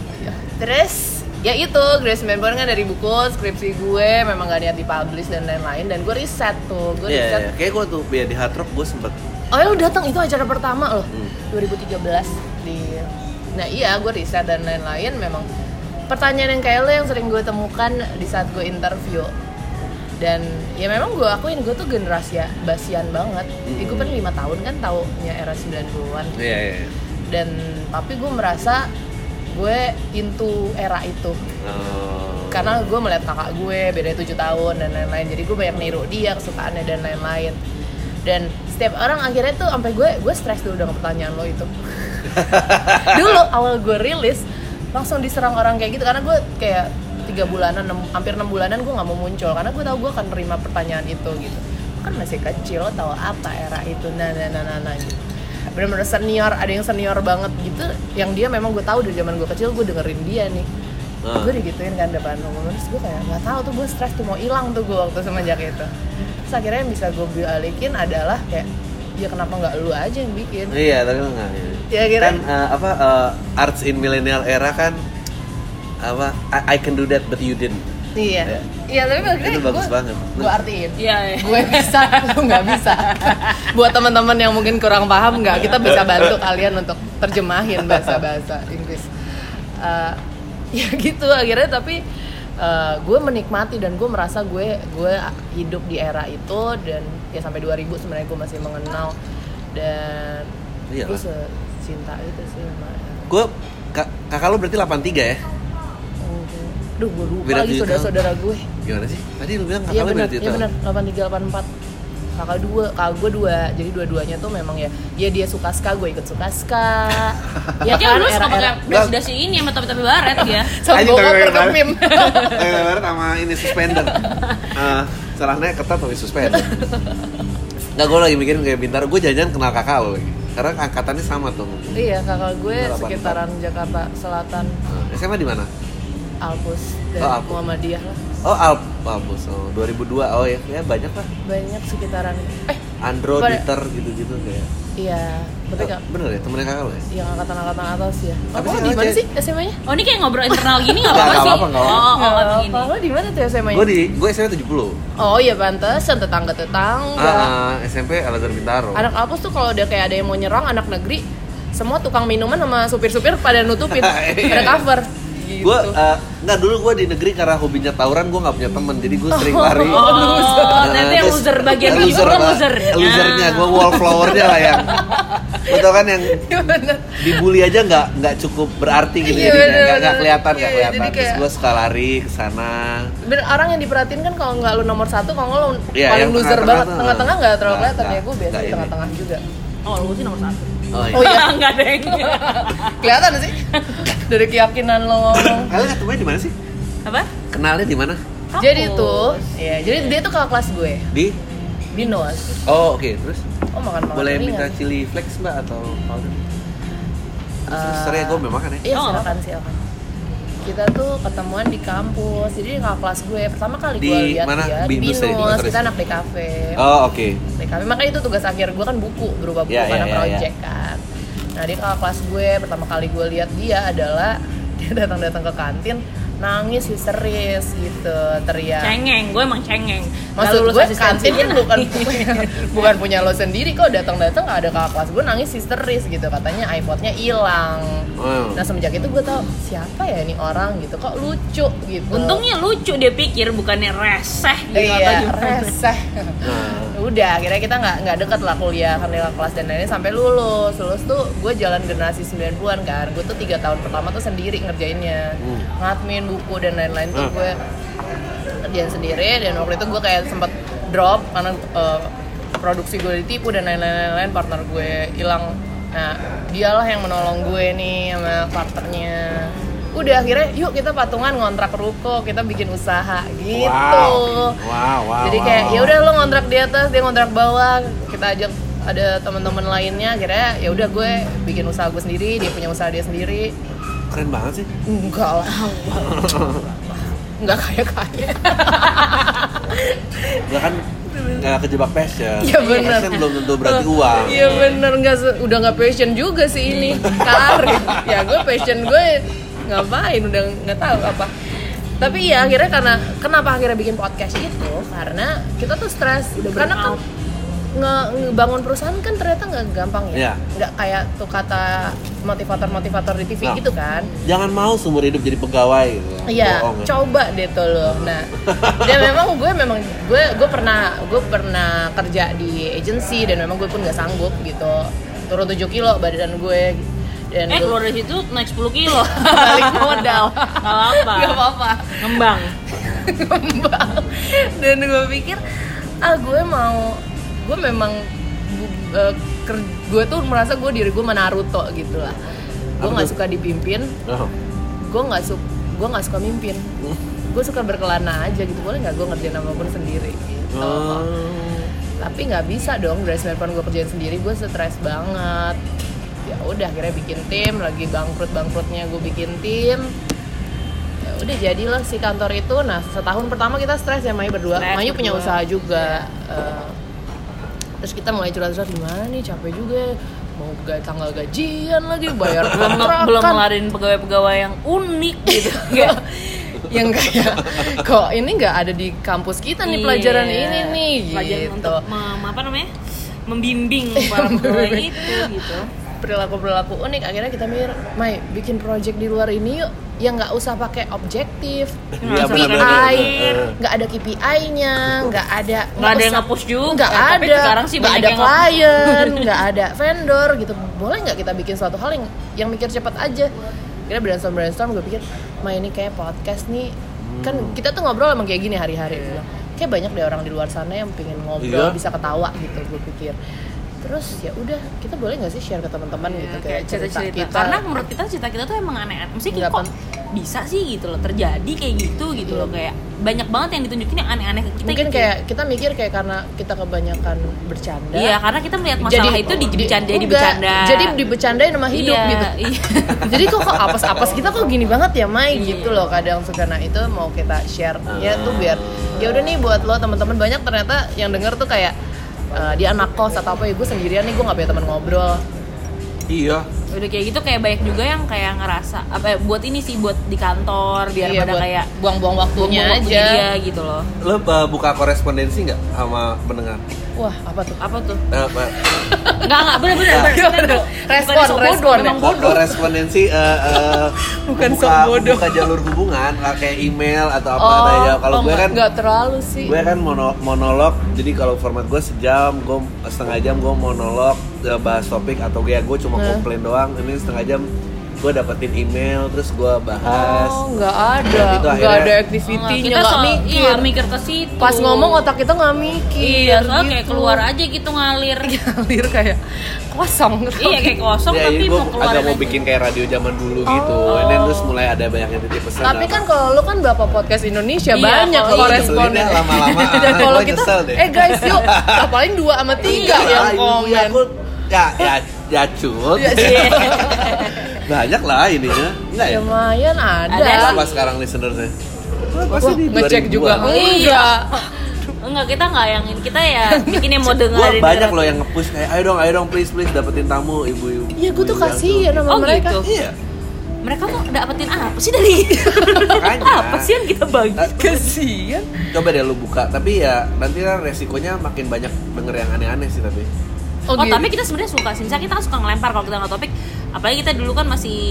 Speaker 3: terus ya itu Grace Manborn kan dari buku skripsi gue memang gak niat dipublish dan lain-lain dan gue riset tuh gue
Speaker 2: Iya,
Speaker 3: riset
Speaker 2: iya. kayak gue tuh ya, di Hard Rock gue sempet
Speaker 3: oh ya lu datang itu acara pertama loh
Speaker 2: Hmm.
Speaker 3: 2013 di nah iya gue riset dan lain-lain memang pertanyaan yang kayak lo yang sering gue temukan di saat gue interview dan ya memang gue akuin gue tuh generasi ya basian banget
Speaker 2: Hmm.
Speaker 3: Ih, gue kan lima tahun kan taunya era 90-an
Speaker 2: Iya, iya iya.
Speaker 3: dan tapi gue merasa gue into era itu
Speaker 2: Oh.
Speaker 3: karena gue melihat kakak gue beda 7 tahun dan lain-lain jadi gue banyak niru dia kesukaannya dan lain-lain dan setiap orang akhirnya tuh sampai gue gue stres dulu dengan pertanyaan lo itu dulu awal gue rilis langsung diserang orang kayak gitu karena gue kayak tiga bulanan enam- hampir enam bulanan gue nggak mau muncul karena gue tahu gue akan nerima pertanyaan itu gitu "Lo kan masih kecil lo tahu apa era itu nah nah nah nah, nah gitu bener-bener senior ada yang senior banget gitu yang dia memang gue tahu dari zaman gue kecil gue dengerin dia nih
Speaker 2: Ah.
Speaker 3: gue digituin kan depan umum terus gue kayak nggak tahu tuh gue stres tuh mau hilang tuh gue waktu semenjak itu terus akhirnya yang bisa gue balikin adalah kayak ya kenapa nggak lu aja yang bikin
Speaker 2: Iya, tapi lo nggak.
Speaker 3: Ya, kira-
Speaker 2: Kan eh, apa eh, arts in millennial era kan apa I, I can do that but you didn't.
Speaker 3: iya iya tapi akhirnya
Speaker 2: Itu bagus
Speaker 3: gue-
Speaker 2: banget.
Speaker 3: gue artiin
Speaker 1: Iya.
Speaker 3: gue bisa lu nggak bisa buat teman-teman yang mungkin kurang paham nggak kita bisa bantu kalian untuk terjemahin bahasa bahasa Inggris Eh, ya gitu akhirnya tapi eh, gue menikmati dan gue merasa gue gue hidup di era itu dan ya sampai 2000 sebenarnya gue masih mengenal dan gue
Speaker 2: Iyalah.
Speaker 3: secinta itu sih sama era.
Speaker 2: Gue ka- kakak lo berarti 83 ya?
Speaker 3: Duh, gue lupa
Speaker 2: Beda
Speaker 3: lagi
Speaker 2: tujuh tahun.
Speaker 3: saudara-saudara gue
Speaker 2: Gimana sih? Tadi lu bilang kakak
Speaker 3: Iya
Speaker 2: lo
Speaker 3: benar,
Speaker 2: berarti
Speaker 3: iya benar. 83 84. Kakak dua, kakak gue dua. Jadi dua-duanya tuh memang ya, ya dia suka ska, gue ikut suka
Speaker 1: [laughs]
Speaker 3: ska.
Speaker 1: Ya kan dulu suka
Speaker 3: Iya, era-era.
Speaker 1: pakai dasi-dasi ini sama topi-topi baret ya.
Speaker 3: Sama
Speaker 2: Anjing,
Speaker 3: gue
Speaker 2: tapi
Speaker 3: ngoper
Speaker 2: benar.
Speaker 3: kemim.
Speaker 2: Lebar sama ini suspender. Eh, celahnya ketat tapi suspender. Enggak, gue lagi mikirin kayak Bintaro, gue jajan kenal kakak lo lagi. Karena angkatannya sama tuh.
Speaker 3: Iya, kakak gue
Speaker 2: Benar, 84.
Speaker 3: sekitaran Jakarta Selatan,
Speaker 2: Eh, SMA di mana?
Speaker 3: Alpus dan
Speaker 2: Oh, Alpus.
Speaker 3: Muhammadiyah lah.
Speaker 2: Oh, Alp, Alpus. Oh, 2002. Oh ya, ya banyak lah.
Speaker 3: Banyak sekitaran. Eh,
Speaker 2: Andro,
Speaker 3: Pada-
Speaker 2: Dieter gitu-gitu kayak.
Speaker 3: iya, berarti nggak?
Speaker 2: Oh, bener ya, temennya kakak lo ya?
Speaker 3: yang angkatan-angkatan atas ya.
Speaker 2: Apa
Speaker 3: Apa
Speaker 2: sih
Speaker 3: di mana
Speaker 2: namanya?
Speaker 3: sih SMA-nya?
Speaker 1: Oh ini kayak ngobrol internal gini nggak
Speaker 2: Nggak,
Speaker 1: apa-apa
Speaker 2: nggak
Speaker 1: sih?
Speaker 2: apa-apa, nggak apa-apa.
Speaker 1: Oh, oh, oh, begini.
Speaker 3: Lo di mana tuh SMA-nya?
Speaker 2: Gue di, gue SMA 70.
Speaker 3: Oh iya pantesan tetangga-tetangga.
Speaker 2: Ah, ah, SMP Alazar Bintaro.
Speaker 3: anak kampus tuh kalau udah kayak ada yang mau nyerang anak negeri semua tukang minuman sama supir-supir pada
Speaker 2: [laughs]
Speaker 3: nutupin
Speaker 2: Iya.
Speaker 3: pada cover gitu. [laughs]
Speaker 2: Gue nggak eh, dulu gue di negeri karena hobinya tawuran gue nggak punya temen jadi gue sering lari.
Speaker 1: Oh, loser.
Speaker 2: Nah,
Speaker 1: Ternyata yang
Speaker 2: terus-
Speaker 1: loser bagian
Speaker 2: Nah,
Speaker 1: hidup, lo
Speaker 2: Pak.
Speaker 1: losernya.
Speaker 2: Losernya gue wallflowernya lah yang. Betul kan yang
Speaker 3: Bener.
Speaker 2: dibully aja nggak nggak cukup berarti gitu
Speaker 3: Iya,
Speaker 2: jadinya.
Speaker 3: bener,
Speaker 2: nggak nggak
Speaker 3: bener.
Speaker 2: kelihatan
Speaker 3: Iya,
Speaker 2: nggak
Speaker 3: iya,
Speaker 2: kelihatan.
Speaker 3: jadi
Speaker 2: Terus
Speaker 3: kayak-
Speaker 2: gue suka lari ke sana.
Speaker 3: Bener, orang yang diperhatiin kan kalau nggak lu nomor satu kalau nggak lu
Speaker 2: Iya,
Speaker 3: paling
Speaker 2: yang
Speaker 3: loser
Speaker 2: tengah-tengah
Speaker 3: banget
Speaker 2: tuh.
Speaker 3: tengah-tengah nggak terlalu
Speaker 2: Nggak,
Speaker 3: kelihatan ya
Speaker 2: nggak.
Speaker 3: gue biasa
Speaker 2: Nggak
Speaker 3: di
Speaker 2: ini.
Speaker 3: tengah-tengah juga
Speaker 1: Oh, lu sih nomor satu.
Speaker 2: Oh, iya.
Speaker 3: Oh,
Speaker 1: [laughs]
Speaker 3: iya.
Speaker 1: Enggak ada yang
Speaker 3: kelihatan
Speaker 2: [laughs]
Speaker 3: sih dari keyakinan lo ngomong
Speaker 2: Kalian ketemunya di mana sih?
Speaker 1: apa?
Speaker 2: Kenalnya di mana?
Speaker 3: jadi
Speaker 1: Kampus.
Speaker 3: tuh ya jadi dia tuh kakak kelas gue
Speaker 2: Di?
Speaker 3: di Noas
Speaker 2: Oh oke terus
Speaker 3: oh makan makan
Speaker 2: boleh minta chili flakes mbak atau powder? Terus terus, sorry gue belum makan ya.
Speaker 3: Iya
Speaker 1: Oh, nggak
Speaker 3: silakan silakan. Kita tuh ketemuan di kampus, jadi di kakak kelas gue pertama kali
Speaker 2: Di
Speaker 3: gue lihat
Speaker 2: mana? Binus ya,
Speaker 3: dia
Speaker 2: di Binus
Speaker 3: Binus,
Speaker 2: Teresa.
Speaker 3: kita anak DKV.
Speaker 2: Oh oke.
Speaker 3: DKV makanya itu tugas akhir gue kan buku berupa buku
Speaker 2: Ya, ya,
Speaker 3: karena
Speaker 2: ya, ya.
Speaker 3: project kan. Nah di kakak kelas gue pertama kali gue lihat dia adalah [laughs] dia datang datang ke kantin nangis histeris gitu teriak.
Speaker 1: Cengeng, gue emang cengeng. Nggak
Speaker 3: Maksud
Speaker 1: lulus
Speaker 3: gue
Speaker 1: asistensi.
Speaker 3: kantin kan
Speaker 2: [laughs]
Speaker 3: bukan bukan punya lo sendiri kok datang-datang nggak ada kakak kelas gue nangis histeris gitu katanya iPodnya hilang.
Speaker 2: Oh.
Speaker 3: Nah semenjak itu gue tau siapa ya ini orang gitu kok lucu gitu.
Speaker 1: [laughs] Untungnya lucu dia pikir bukannya reseh gitu [laughs]
Speaker 3: iya
Speaker 1: atau gimana.
Speaker 3: reseh.
Speaker 2: Nah,
Speaker 3: Udah akhirnya kita nggak nggak deket lah kuliah karena nggak kelas dan lain-lain sampai lulus lulus tuh gue jalan generasi 90-an kan gue tuh tiga tahun pertama tuh sendiri ngerjainnya
Speaker 2: Hmm.
Speaker 3: ngadmin buku dan lain-lain tuh
Speaker 2: Hmm.
Speaker 3: gue kerjaan sendiri dan waktu itu gue kayak sempet drop karena eh, produksi gue ditipu dan lain-lain partner gue hilang nah dialah yang menolong gue nih sama partnernya udah akhirnya yuk kita patungan ngontrak ruko kita bikin usaha gitu
Speaker 2: Wow. Wow, wow,
Speaker 3: jadi
Speaker 2: wow,
Speaker 3: kayak
Speaker 2: wow.
Speaker 3: ya udah lo ngontrak di atas dia ngontrak bawah kita ajak ada teman-teman lainnya akhirnya ya udah gue bikin usaha gue sendiri dia punya usaha dia sendiri
Speaker 2: keren banget sih. [laughs]
Speaker 3: enggak lah enggak kaya kaya [laughs]
Speaker 2: Gak kan nggak kejebak passion.
Speaker 3: Iya, bener.
Speaker 2: Passion belum tentu berarti uang.
Speaker 3: Iya bener nggak se- udah nggak passion juga sih ini karir. ya gue passion gue ngapain udah nggak tahu apa. Tapi ya akhirnya karena kenapa akhirnya bikin podcast itu karena kita tuh stres. karena kan
Speaker 1: burnout.
Speaker 3: nge- ngebangun perusahaan kan ternyata nggak gampang
Speaker 2: Iya.
Speaker 3: ya. Nggak kayak tuh kata motivator-motivator di TV
Speaker 2: Nah.
Speaker 3: gitu kan.
Speaker 2: Jangan mau seumur hidup jadi pegawai. gitu.
Speaker 3: Iya,
Speaker 2: Bohong, ya.
Speaker 3: coba deh tuh lo. Nah, dan memang gue memang gue gue pernah gue pernah kerja di agency dan memang gue pun nggak sanggup gitu turun 7 kilo badan gue dan
Speaker 1: Eh
Speaker 3: gue
Speaker 1: keluar dari situ naik 10
Speaker 3: [laughs]
Speaker 1: kilo.
Speaker 3: balik modal.
Speaker 1: Gak apa.
Speaker 3: Gak apa-apa.
Speaker 1: Ngembang.
Speaker 3: Kembang. dan gue pikir ah gue mau gue memang bu- eh, ker- gue tuh merasa gue diri gue menaruto gitu lah. Gue
Speaker 2: Apa
Speaker 3: nggak
Speaker 2: tuh?
Speaker 3: suka dipimpin,
Speaker 2: Oh.
Speaker 3: gue nggak suka gue nggak suka mimpin gue suka berkelana aja gitu boleh nggak gue ngerjain apapun sendiri gitu
Speaker 2: Oh.
Speaker 3: tapi nggak bisa dong dari smartphone gue kerjain sendiri gue stres banget ya udah akhirnya bikin tim lagi bangkrut bangkrutnya gue bikin tim ya udah jadilah si kantor itu nah setahun pertama kita stres ya Mayu berdua
Speaker 1: Stres
Speaker 3: Mayu punya
Speaker 1: berdua. Iya.
Speaker 3: usaha juga Eh, terus kita mulai curhat-curhat gimana nih capek juga mau ga- tanggal gajian lagi bayar
Speaker 1: belum nge-
Speaker 3: kontrakan."
Speaker 1: belum ngelarin pegawai-pegawai yang unik gitu
Speaker 3: Nggak. Iya. yang kayak kok ini nggak ada di kampus [laughs] kita nih pelajaran
Speaker 1: Iya.
Speaker 3: ini nih
Speaker 1: pelajaran
Speaker 3: gitu
Speaker 1: untuk mem- apa namanya membimbing para pegawai itu gitu
Speaker 3: perilaku perilaku unik akhirnya kita mikir Mai bikin project di luar ini yuk yang nggak usah pakai objektif
Speaker 2: Iya,
Speaker 1: Langsung
Speaker 2: benar-benar.
Speaker 1: KPI.
Speaker 2: Heeh.
Speaker 3: nggak ada KPI-nya nggak ada
Speaker 1: Nggak ada yang
Speaker 3: usah-
Speaker 1: nge-push juga,
Speaker 3: nggak
Speaker 1: tapi
Speaker 3: ada
Speaker 1: sekarang sih
Speaker 3: nggak
Speaker 1: banyak
Speaker 3: ada
Speaker 1: yang nge-
Speaker 3: klien nggak ada vendor gitu boleh nggak kita bikin suatu hal yang yang mikir cepat aja kira brainstorm brainstorm gue pikir ma ini kayak podcast nih kan kita tuh ngobrol emang kayak gini hari-hari Gue bilang, kayak banyak deh orang di luar sana yang pengen
Speaker 2: Iya.
Speaker 3: ngobrol bisa ketawa gitu gue pikir terus ya udah kita boleh nggak sih share ke teman-teman gitu
Speaker 1: Iya,
Speaker 3: kayak cerita, kita
Speaker 1: karena menurut kita cerita kita tuh emang aneh-aneh mesti
Speaker 3: Nggak
Speaker 1: kok
Speaker 3: pen-
Speaker 1: bisa sih gitu loh terjadi kayak gitu gitu
Speaker 3: Iya.
Speaker 1: loh kayak banyak banget yang ditunjukin yang aneh-aneh ke kita
Speaker 3: mungkin
Speaker 1: gitu.
Speaker 3: kayak kita mikir kayak karena kita kebanyakan bercanda
Speaker 1: iya karena kita melihat masalah itu di bercanda di
Speaker 3: enggak,
Speaker 1: bercanda
Speaker 3: jadi dibecandain sama hidup
Speaker 1: iya,
Speaker 3: gitu
Speaker 1: iya. [laughs]
Speaker 3: jadi kok kok apes-apes kita kok gini banget ya Mai gitu loh kadang suka nah itu mau kita share ya
Speaker 1: Ah.
Speaker 3: tuh biar ya udah nih buat lo teman-teman banyak ternyata yang denger tuh kayak eh, dia anak kos atau apa ya gue sendirian nih gue nggak punya teman ngobrol
Speaker 2: Iya.
Speaker 1: udah kayak gitu kayak banyak juga yang kayak ngerasa apa eh, buat ini sih buat di kantor biar
Speaker 3: Iya,
Speaker 1: pada
Speaker 3: buat
Speaker 1: kayak
Speaker 3: buang-buang waktunya
Speaker 1: buang-buang waktu
Speaker 3: aja
Speaker 1: dia gitu loh
Speaker 2: Lo uh, buka korespondensi nggak sama pendengar?
Speaker 3: wah apa tuh
Speaker 1: apa tuh
Speaker 2: Eh, Pak,
Speaker 1: Enggak, enggak, bener,
Speaker 3: [laughs]
Speaker 1: bener, bener. Bener.
Speaker 3: Respon, respon,
Speaker 1: Bukan sok bodoh,
Speaker 3: respon.
Speaker 1: memang
Speaker 2: Ko- korespondensi eh, eh,
Speaker 3: Bukan
Speaker 2: buka,
Speaker 3: sok bodoh.
Speaker 2: buka jalur hubungan nggak kayak email atau apa
Speaker 3: oh,
Speaker 2: ya kalau
Speaker 3: oh,
Speaker 2: gue
Speaker 3: nggak-
Speaker 2: kan
Speaker 3: nggak terlalu sih
Speaker 2: gue kan mono- monolog jadi kalau format gue sejam gue setengah jam gue monolog eh, bahas topik atau ya gue cuma
Speaker 3: Hah?
Speaker 2: komplain doang ini setengah jam gue dapetin email terus gue bahas
Speaker 3: oh nggak ada
Speaker 2: Itu
Speaker 3: nggak
Speaker 2: akhirnya-
Speaker 3: ada
Speaker 1: Enggak,
Speaker 3: activity-nya
Speaker 1: kita
Speaker 3: nggak
Speaker 1: soal
Speaker 3: mikir
Speaker 1: iya, mikir ke situ.
Speaker 3: pas ngomong otak kita nggak mikir
Speaker 1: Iya, soalnya kayak
Speaker 3: gitu. Iya,
Speaker 1: keluar aja gitu ngalir.
Speaker 3: [laughs] ngalir kayak kosong
Speaker 1: iya, kayak
Speaker 3: gitu.
Speaker 1: kosong
Speaker 2: Ya,
Speaker 1: tapi
Speaker 2: jadi
Speaker 1: mau
Speaker 2: gue
Speaker 1: keluar.
Speaker 2: agak mau bikin kayak radio zaman dulu gitu and then terus mulai ada banyak yang titip pesan
Speaker 3: Oh. Tapi
Speaker 2: apa.
Speaker 3: kan kalau lu kan bapak podcast Indonesia
Speaker 1: Iya,
Speaker 3: banyak
Speaker 1: kalau
Speaker 3: koresponden.
Speaker 2: itu lama-lama,
Speaker 3: [laughs] Dan
Speaker 2: ah,
Speaker 3: kalau
Speaker 2: gua
Speaker 3: kita,
Speaker 2: nyesel deh.
Speaker 3: eh guys yuk, paling dua sama
Speaker 2: Iya,
Speaker 3: tiga yang
Speaker 2: iya,
Speaker 3: komen.
Speaker 2: aku ya ya ya cut
Speaker 3: Ya,
Speaker 2: [laughs] banyak lah ininya enggak ya
Speaker 3: Lumayan
Speaker 1: Iya. Ada
Speaker 3: ada.
Speaker 2: Berapa sekarang listenersnya?
Speaker 3: Wah, ngecek juga.
Speaker 1: Oh, iya.
Speaker 3: Enggak.
Speaker 1: Enggak, kita enggak yang ini. Kita ya bikin
Speaker 2: [laughs]
Speaker 1: yang mau
Speaker 2: Gue
Speaker 1: dengerin.
Speaker 2: banyak loh yang nge-push kayak ayo dong, ayo dong please please dapetin tamu ibu-ibu.
Speaker 3: Iya, gue tuh
Speaker 2: Ibu-ibu
Speaker 3: kasihan
Speaker 2: yang
Speaker 3: sama
Speaker 1: Oh,
Speaker 3: mereka.
Speaker 1: gitu.
Speaker 2: tuh. Iya.
Speaker 1: Mereka tuh dapetin apa sih dari
Speaker 2: Makanya.
Speaker 1: [laughs] apa sih yang kita bagi?
Speaker 2: Eh,
Speaker 3: Kasihan.
Speaker 2: Coba deh lu buka, tapi ya nanti kan resikonya makin banyak denger yang aneh-aneh sih tapi.
Speaker 1: Oh,
Speaker 3: gitu.
Speaker 1: tapi kita sebenarnya suka sih. Misalnya kita kan suka ngelempar kalau kita nggak topik. Apalagi kita dulu kan masih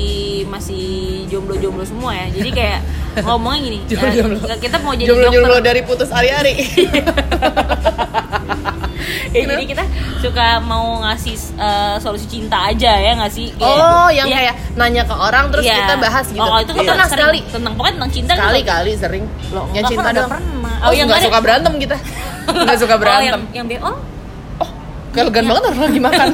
Speaker 1: masih jomblo-jomblo semua ya. Jadi
Speaker 2: [laughs]
Speaker 1: kayak ngomongnya gini. eh,
Speaker 3: Jomblo-jomblo.
Speaker 1: kita mau jadi
Speaker 3: jomblo-jomblo
Speaker 1: dokter.
Speaker 3: dari putus hari-hari.
Speaker 1: Ya, jadi kita suka mau ngasih eh, solusi cinta aja ya nggak sih? Kayak-
Speaker 3: Oh, yang
Speaker 1: [laughs] Iya.
Speaker 3: kayak nanya ke orang terus
Speaker 1: Iya.
Speaker 3: kita bahas gitu.
Speaker 1: Oh, kalau itu kita
Speaker 3: pernah
Speaker 1: sering.
Speaker 3: sekali.
Speaker 1: Tentang pokoknya tentang cinta gitu.
Speaker 3: Sekali-kali sering.
Speaker 1: Loh,
Speaker 3: yang
Speaker 1: enggak,
Speaker 3: cinta
Speaker 1: kan udah
Speaker 3: dong.
Speaker 1: pernah.
Speaker 3: Oh,
Speaker 1: Oh,
Speaker 3: yang
Speaker 1: yang
Speaker 3: nggak
Speaker 1: ada-
Speaker 3: suka berantem kita.
Speaker 1: [laughs]
Speaker 3: Nggak suka
Speaker 1: Oh,
Speaker 3: berantem.
Speaker 1: yang, Iya. yang dia, oh
Speaker 3: Galagan banget orang lagi makan.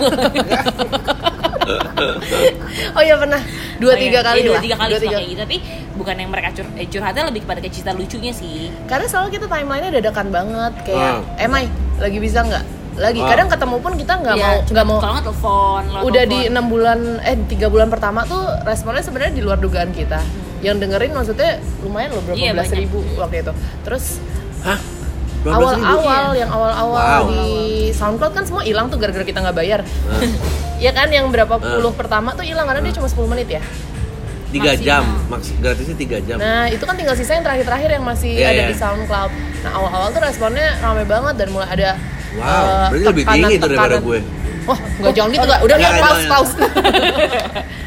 Speaker 1: [laughs]
Speaker 3: oh iya pernah dua
Speaker 1: oh,
Speaker 3: tiga
Speaker 1: iya.
Speaker 3: kali
Speaker 1: Iya, dua
Speaker 3: lah.
Speaker 1: tiga kali
Speaker 3: Dua,
Speaker 1: suka
Speaker 3: tiga.
Speaker 1: kayak gitu. Tapi bukan yang mereka cur eh, curhatnya lebih kepada kayak cerita lucunya sih.
Speaker 3: Karena selalu kita timelinenya dadakan banget kayak
Speaker 2: Ah.
Speaker 3: eh Mai lagi bisa nggak? Lagi
Speaker 2: Ah.
Speaker 3: kadang ketemu pun kita nggak
Speaker 1: Iya,
Speaker 3: mau nggak mau.
Speaker 1: Kalau nggak telepon. kalau
Speaker 3: Udah
Speaker 1: telepon.
Speaker 3: di enam bulan eh tiga bulan pertama tuh responnya sebenarnya di luar dugaan kita. Yang dengerin maksudnya lumayan loh berapa
Speaker 1: Iya,
Speaker 3: belas
Speaker 1: banyak.
Speaker 3: ribu waktu itu. Terus
Speaker 2: Hah? 12.000?
Speaker 3: awal-awal
Speaker 1: Iya.
Speaker 3: yang awal-awal
Speaker 2: Wow. Nah.
Speaker 3: di SoundCloud kan semua hilang tuh gara-gara kita nggak bayar. [laughs] Iya kan yang berapa puluh pertama tuh hilang karena dia cuma 10 menit ya.
Speaker 2: tiga
Speaker 1: Maksimal.
Speaker 2: jam, maks gratisnya tiga jam.
Speaker 3: Nah, itu kan tinggal sisa yang terakhir-terakhir yang masih
Speaker 2: Iya,
Speaker 3: ada
Speaker 2: iya.
Speaker 3: di SoundCloud. Nah, awal-awal tuh responnya ramai banget dan mulai ada
Speaker 2: Wow,
Speaker 3: eh,
Speaker 2: berarti lebih tinggi tuh daripada
Speaker 3: tekanan.
Speaker 2: gue. Iya,
Speaker 3: Wah, nggak jangan gitu nggak. Udah
Speaker 2: Nggak,
Speaker 3: nggak
Speaker 2: nggak,
Speaker 3: pause,
Speaker 2: nggak.
Speaker 3: pause.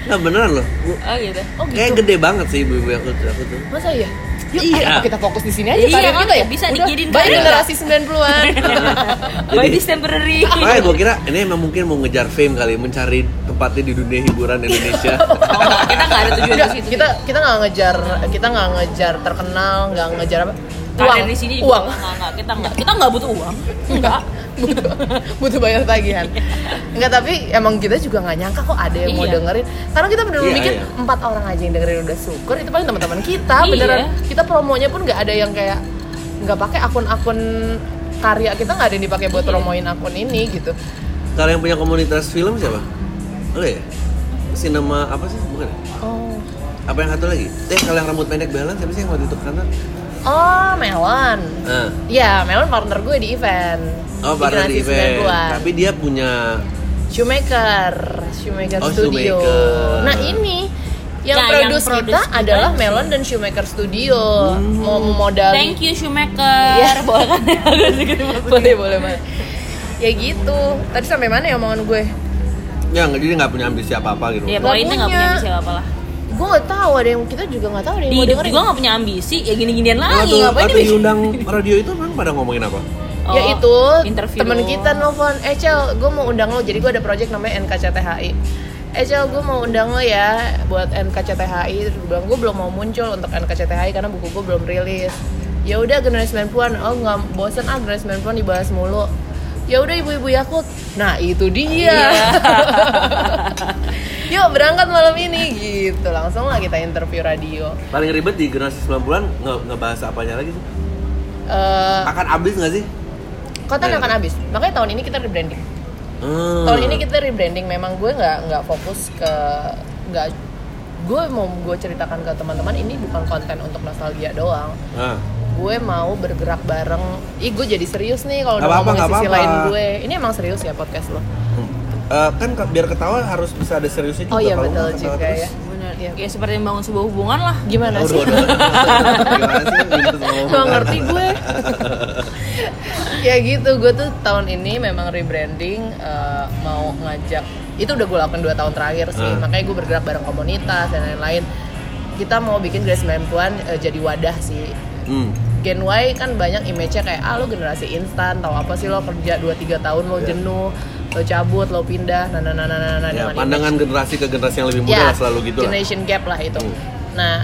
Speaker 2: Nah beneran loh, Gua-
Speaker 1: Oh gitu.
Speaker 3: Oh, gitu.
Speaker 2: kayak gede banget sih ibu-ibu aku, aku tuh.
Speaker 3: Masa iya? Yuk,
Speaker 2: Iya.
Speaker 3: ayo kita fokus di sini aja
Speaker 1: Iya,
Speaker 3: karir
Speaker 1: kan,
Speaker 3: kita ya.
Speaker 1: bisa
Speaker 3: Udah,
Speaker 1: dijadiin
Speaker 3: Bye
Speaker 1: karir.
Speaker 3: generasi
Speaker 1: [laughs]
Speaker 3: Nah, 90-an.
Speaker 1: By
Speaker 2: Jadi-
Speaker 1: this Oh, temporary.
Speaker 2: [laughs] Makanya gue kira ini emang mungkin mau ngejar fame kali, mencari tempatnya di dunia hiburan Indonesia.
Speaker 3: [laughs]
Speaker 1: Oh, nggak, kita nggak ada tujuan
Speaker 3: Nggak,
Speaker 1: ke situ.
Speaker 3: kita kita nggak ngejar kita nggak ngejar terkenal, nggak ngejar apa.
Speaker 1: karir
Speaker 3: Uang.
Speaker 1: di sini
Speaker 3: Uang.
Speaker 1: juga nggak nggak kita nggak kita nggak butuh uang enggak
Speaker 3: [laughs] butuh butuh bayar tagihan nggak tapi emang kita juga nggak nyangka kok ada yang mau
Speaker 1: Iya.
Speaker 3: dengerin karena kita bener-bener
Speaker 2: Iya,
Speaker 3: mikir
Speaker 2: iya.
Speaker 3: empat orang aja yang dengerin udah syukur itu paling teman-teman kita
Speaker 1: Iya.
Speaker 3: beneran kita promonya pun nggak ada yang kayak nggak pakai akun-akun karya kita nggak ada yang dipakai buat
Speaker 1: Iya.
Speaker 3: promoin akun ini gitu
Speaker 2: Kalau yang punya komunitas film siapa? Lo ya? Sinema apa sih? Bukan ya?
Speaker 3: oh
Speaker 2: Apa yang satu lagi? Eh, kalau yang rambut pendek belang siapa sih yang waktu itu ke kantor?
Speaker 3: oh melon
Speaker 2: Nah,
Speaker 3: ya melon partner gue di event
Speaker 2: oh, partner di event. Tapi dia punya
Speaker 3: Shoemaker, Shoemaker
Speaker 2: Oh,
Speaker 3: Studio.
Speaker 2: Shoemaker.
Speaker 3: Nah ini
Speaker 1: Ya,
Speaker 3: yang
Speaker 1: yang
Speaker 3: produce
Speaker 1: produce
Speaker 3: kita
Speaker 1: kita
Speaker 3: adalah
Speaker 1: sih.
Speaker 3: Melon dan Shoemaker Studio. Mau
Speaker 2: Hmm.
Speaker 3: memodali.
Speaker 1: thank you shoemaker [laughs]
Speaker 3: Iya.
Speaker 1: boleh kan Agak sedikit dimasukin.
Speaker 3: [laughs] Boleh boleh boleh. Ya gitu. Tadi sampai mana ya omongan gue?
Speaker 2: ya nggak jadi nggak punya ambisi apa apa gitu.
Speaker 1: ya
Speaker 3: Nggak
Speaker 1: poinnya nggak punya
Speaker 3: punya.
Speaker 1: ambisi apa lah
Speaker 3: Gue gak tahu ada yang kita juga gak tahu ada
Speaker 1: di
Speaker 3: yang mau
Speaker 1: hidup
Speaker 3: dengerin.
Speaker 1: juga nggak punya ambisi ya gini-ginian
Speaker 3: ah,
Speaker 1: lagi
Speaker 3: iya,
Speaker 2: Waktu,
Speaker 1: ngapain
Speaker 2: waktu
Speaker 1: nih
Speaker 2: diundang radio itu memang pada ngomongin apa?
Speaker 1: Oh,
Speaker 3: ya itu
Speaker 1: interview
Speaker 3: teman kita nelfon eh Cel gue mau undang lo jadi gue ada project namanya NKCTHI eh Cel gue mau undang lo ya buat NKCTHI terus gue bilang gue belum mau muncul untuk NKCTHI karena buku gue belum rilis ya udah generasi 90-an oh nggak bosen ah generasi 90-an dibahas mulu ya udah ibu-ibu Yakut nah itu
Speaker 1: Iya.
Speaker 3: dia [laughs] yuk berangkat malam ini gitu langsung lah kita interview radio
Speaker 2: Paling ribet di generasi 90-an nge- ngebahas apanya lagi sih?
Speaker 3: Eh,
Speaker 2: Akan habis nggak sih?
Speaker 3: konten akan habis makanya tahun ini kita rebranding
Speaker 2: Hmm.
Speaker 3: tahun ini kita rebranding memang gue nggak nggak fokus ke nggak gue mau gue ceritakan ke teman-teman ini bukan konten untuk nostalgia doang
Speaker 2: Ah.
Speaker 3: gue mau bergerak bareng ih gue jadi serius nih kalau
Speaker 2: Nggak
Speaker 3: udah
Speaker 2: apa-apa,
Speaker 3: ngomongin
Speaker 2: nggak
Speaker 3: sisi
Speaker 2: apa-apa.
Speaker 3: lain gue ini emang serius ya podcast lo
Speaker 2: Hmm. Eh, kan ke- biar ketawa harus bisa ada seriusnya juga
Speaker 3: oh iya
Speaker 2: kalau
Speaker 3: betul
Speaker 2: nggak ketawa
Speaker 3: juga
Speaker 2: terus.
Speaker 3: ya
Speaker 1: bener
Speaker 3: Iya.
Speaker 1: ya seperti membangun sebuah hubungan lah
Speaker 3: gimana
Speaker 2: Aduh,
Speaker 3: sih [laughs]
Speaker 2: aduh, aduh. Gimana sih? Gitu ngomong.
Speaker 3: Gak ngerti gue [laughs] Ya gitu, gue tuh tahun ini memang rebranding eh, Mau ngajak Itu udah gue lakukan 2 tahun terakhir sih
Speaker 2: Hmm.
Speaker 3: Makanya gue bergerak bareng komunitas dan lain-lain Kita mau bikin Grace 90-an eh, jadi wadah sih
Speaker 2: Hmm.
Speaker 3: Gen Y kan banyak image-nya kayak ah lo generasi instan, tahu apa sih lo kerja 2 3 tahun lo
Speaker 2: Iya.
Speaker 3: jenuh, lo cabut, lo pindah, nah nah nah nah nah nah
Speaker 2: Ya,
Speaker 3: dengan image
Speaker 2: pandangan generasi ke generasi yang lebih
Speaker 3: Ya,
Speaker 2: muda lah selalu gitu lah.
Speaker 3: generation gap lah itu
Speaker 2: Hmm.
Speaker 3: nah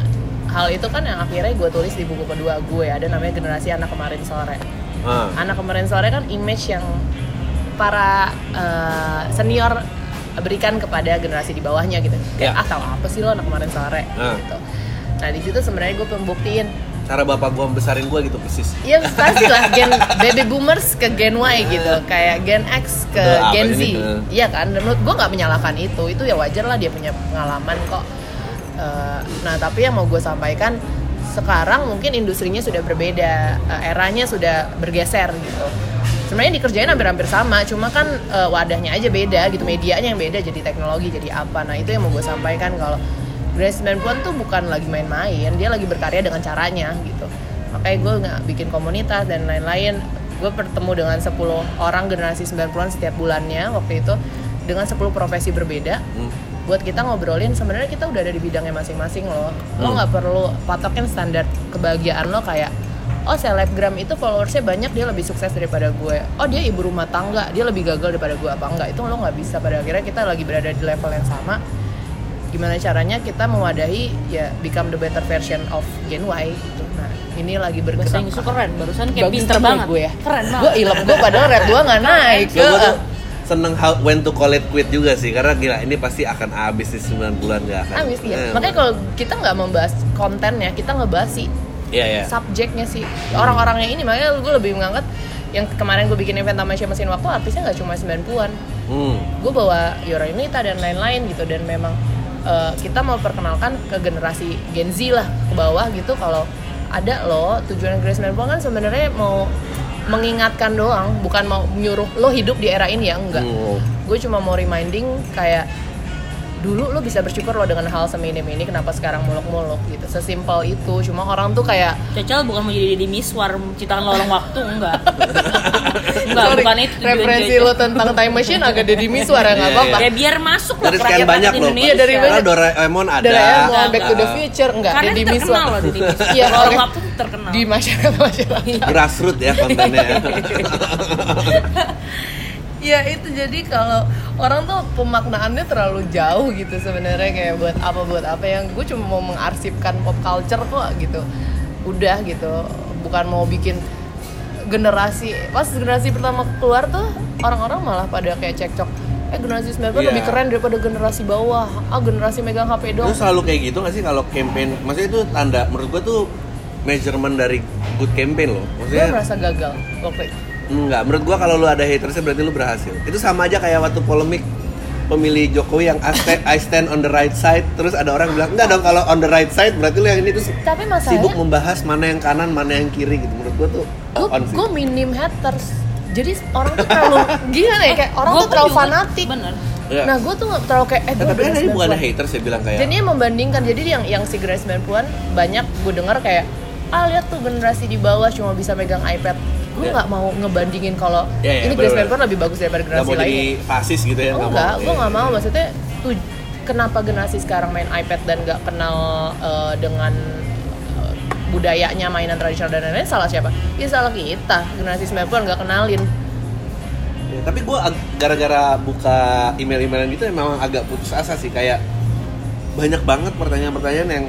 Speaker 3: hal itu kan yang akhirnya gue tulis di buku kedua gue ada namanya generasi anak kemarin sore
Speaker 2: Ah.
Speaker 3: anak kemarin sore kan image yang para eh, senior berikan kepada generasi di bawahnya gitu
Speaker 2: Ya.
Speaker 3: kayak ah tahu apa sih lo anak kemarin sore
Speaker 2: Ah.
Speaker 3: gitu nah di situ sebenarnya gue pembuktiin
Speaker 2: Cara bapak gua besarin gua gitu persis.
Speaker 3: ya pasti lah gen baby boomers ke gen Y gitu kayak gen X
Speaker 2: Udah,
Speaker 3: ke
Speaker 2: Iya. apa
Speaker 3: gen Z
Speaker 2: ini, udah.
Speaker 3: iya kan dan menurut gue nggak menyalahkan itu itu ya wajar lah dia punya pengalaman kok Eh, nah tapi yang mau gue sampaikan sekarang mungkin industrinya sudah berbeda eh, eranya sudah bergeser gitu sebenarnya dikerjain hampir-hampir sama cuma kan eh, wadahnya aja beda gitu medianya yang beda jadi teknologi jadi apa nah itu yang mau gue sampaikan kalau Grace 90 tuh bukan lagi main-main dia lagi berkarya dengan caranya gitu makanya gue nggak bikin komunitas dan lain-lain gue bertemu dengan 10 orang generasi 90-an setiap bulannya waktu itu dengan 10 profesi berbeda
Speaker 2: Hmm.
Speaker 3: buat kita ngobrolin sebenarnya kita udah ada di bidangnya masing-masing loh lo
Speaker 2: Hmm.
Speaker 3: nggak perlu patokin standar kebahagiaan lo kayak oh selebgram itu followersnya banyak dia lebih sukses daripada gue oh dia ibu rumah tangga dia lebih gagal daripada gue apa enggak itu lo nggak bisa pada akhirnya kita lagi berada di level yang sama gimana caranya kita mewadahi ya become the better version of Gen Y gitu. Nah, ini lagi bergerak.
Speaker 1: bahasa Inggris tuh keren barusan kayak
Speaker 3: Bagus
Speaker 1: pinter
Speaker 3: juga
Speaker 1: banget
Speaker 3: gue ya.
Speaker 1: keren
Speaker 3: Gue
Speaker 1: banget
Speaker 3: ilep gue padahal red gue nggak naik. ah.
Speaker 2: Ya, gua tuh seneng how, when to call it quit juga sih karena gila ini pasti akan habis di 9 bulan gak akan
Speaker 3: Abis
Speaker 2: Eh,
Speaker 3: ya. Makanya kalau kita nggak membahas kontennya, kita ngebahas sih
Speaker 2: iya iya
Speaker 3: subjeknya sih orang-orangnya ini makanya gue lebih mengangkat yang kemarin gue bikin event tamasya mesin waktu artisnya nggak cuma 90-an
Speaker 2: hmm.
Speaker 3: gue bawa Yora Yunita dan lain-lain gitu dan memang eh, kita mau perkenalkan ke generasi Gen Z lah ke bawah gitu kalau ada loh tujuan Grace Melbourne kan sebenarnya mau mengingatkan doang bukan mau nyuruh lo hidup di era ini ya enggak
Speaker 2: Hmm.
Speaker 3: gue cuma mau reminding kayak dulu lo bisa bersyukur lo dengan hal seminim ini kenapa sekarang muluk-muluk gitu sesimpel itu cuma orang tuh kayak
Speaker 1: Cacal bukan mau jadi Deddy Miswar menciptakan lorong waktu
Speaker 3: [laughs]
Speaker 1: enggak enggak
Speaker 3: sorry,
Speaker 1: bukan itu tujuan
Speaker 3: referensi
Speaker 1: Cacal.
Speaker 3: lo tentang time machine agak Deddy Miswar ya nggak
Speaker 2: Iya,
Speaker 3: apa-apa
Speaker 1: ya biar masuk loh
Speaker 2: dari sekian
Speaker 1: rakyat-rakyat
Speaker 2: banyak loh
Speaker 1: Indonesia
Speaker 3: Iya, dari
Speaker 2: karena
Speaker 3: banyak.
Speaker 2: Doraemon ada
Speaker 3: Doraemon, ya, Back to the
Speaker 2: uh,
Speaker 3: Future enggak
Speaker 1: karena
Speaker 3: Deddy
Speaker 1: terkenal
Speaker 3: Miswar
Speaker 1: loh Deddy Miswar
Speaker 3: Iya,
Speaker 1: lorong
Speaker 3: makanya-
Speaker 1: waktu tuh terkenal
Speaker 3: di masyarakat masyarakat
Speaker 2: grassroots ya kontennya
Speaker 3: [laughs] ya itu jadi kalau orang tuh pemaknaannya terlalu jauh gitu sebenarnya kayak buat ya. apa buat apa yang gue cuma mau mengarsipkan pop culture kok gitu udah gitu bukan mau bikin generasi pas generasi pertama keluar tuh orang-orang malah pada kayak cekcok eh generasi 90
Speaker 2: Iya.
Speaker 3: lebih keren daripada generasi bawah ah generasi megang HP dong
Speaker 2: Itu selalu kayak gitu nggak sih kalau campaign? Maksudnya itu tanda menurut gua tuh measurement dari good campaign loh.
Speaker 3: gue
Speaker 2: Maksudnya
Speaker 3: merasa gagal waktu itu
Speaker 2: enggak. Menurut gua kalau lu ada hatersnya berarti lu berhasil. Itu sama aja kayak waktu polemik pemilih Jokowi yang I stand, I stand on the right side terus ada orang bilang enggak dong kalau on the right side berarti lu yang ini terus
Speaker 3: tapi
Speaker 2: sibuk
Speaker 3: masalahnya
Speaker 2: membahas mana yang kanan mana yang kiri gitu menurut gua tuh on sih.
Speaker 3: gue minim haters jadi orang tuh
Speaker 2: [laughs]
Speaker 3: terlalu gimana ya kayak orang
Speaker 1: Gua
Speaker 3: tuh
Speaker 1: pun
Speaker 3: terlalu
Speaker 1: juga.
Speaker 3: fanatik
Speaker 1: Bener.
Speaker 2: Iya.
Speaker 3: nah gue tuh nggak terlalu kayak eh
Speaker 2: Eh,
Speaker 3: gue
Speaker 2: tapi kan ini bukan haters ya bilang kayak
Speaker 3: Jadinya membandingkan, jadi yang yang si generasi 90-an banyak gue dengar kayak ah lihat tuh generasi di bawah cuma bisa megang iPad. Gue
Speaker 2: Ya.
Speaker 3: nggak mau ngebandingin kalau
Speaker 2: Ya, ya,
Speaker 3: ini generasi
Speaker 2: bener-bener.
Speaker 3: 90-an lebih bagus daripada
Speaker 2: nggak
Speaker 3: generasi
Speaker 2: mau jadi
Speaker 3: lain.
Speaker 2: fasis gitu ya nggak
Speaker 3: enggak, gue
Speaker 2: Iya.
Speaker 3: nggak mau maksudnya tuh kenapa generasi sekarang main iPad dan nggak kenal eh, dengan eh, budayanya mainan tradisional dan lain-lain salah siapa? Ya salah kita, generasi 90-an nggak kenalin.
Speaker 2: Ya, tapi gue gara-gara buka email-emailan gitu memang agak putus asa sih kayak banyak banget pertanyaan-pertanyaan yang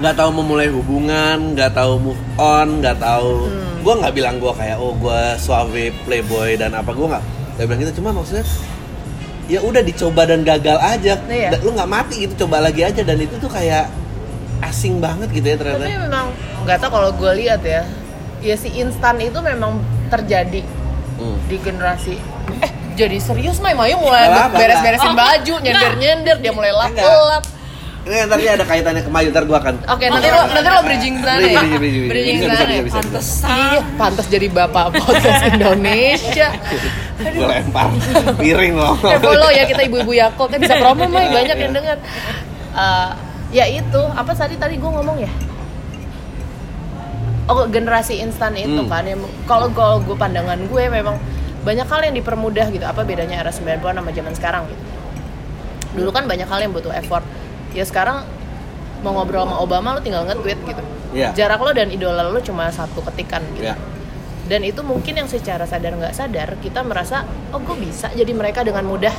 Speaker 2: nggak tahu memulai hubungan, nggak tahu move on, nggak tahu.
Speaker 3: Hmm.
Speaker 2: Gue nggak bilang gue kayak oh gue suave playboy dan apa gue nggak. Gak bilang gitu cuma maksudnya ya udah dicoba dan gagal aja.
Speaker 3: Iya.
Speaker 2: Dan Lu nggak mati gitu coba lagi aja dan itu tuh kayak asing banget gitu ya ternyata.
Speaker 3: Tapi memang nggak tau kalau gue lihat ya, ya si instan itu memang terjadi
Speaker 2: Hmm.
Speaker 3: di generasi eh jadi serius Mai Mayu mulai
Speaker 2: Nggak apa-apa.
Speaker 3: beres-beresin
Speaker 1: Oh,
Speaker 3: baju nyender-nyender dia mulai
Speaker 2: Enggak.
Speaker 3: lap-lap
Speaker 2: Ini nanti ada kaitannya ke Mayu, ntar gue akan
Speaker 3: oke nanti lo nanti lo bridging ke sana ya
Speaker 2: Bridging, bridging, bridging.
Speaker 3: bridging ke
Speaker 2: Iya, Bisa, bisa,
Speaker 3: sana ya?
Speaker 2: bisa, bisa.
Speaker 1: Pantesan.
Speaker 3: iya pantas jadi bapak [laughs] podcast Indonesia
Speaker 2: gue lempar piring loh
Speaker 3: eh follow ya kita ibu-ibu Yakult kan bisa promo
Speaker 2: Iya,
Speaker 3: Mai banyak yang dengar Eh, ya itu apa tadi tadi gue ngomong ya Oh generasi instan itu
Speaker 2: Hmm.
Speaker 3: kan yang kalau kalau gue pandangan gue memang banyak hal yang dipermudah gitu. Apa bedanya era 90-an sama zaman sekarang gitu. Dulu kan banyak hal yang butuh effort. Ya sekarang mau ngobrol sama Obama lu tinggal nge-tweet gitu.
Speaker 2: Iya.
Speaker 3: Jarak lo dan idola lo cuma satu ketikan gitu.
Speaker 2: ya
Speaker 3: Dan itu mungkin yang secara sadar nggak sadar kita merasa oh gue bisa jadi mereka dengan mudah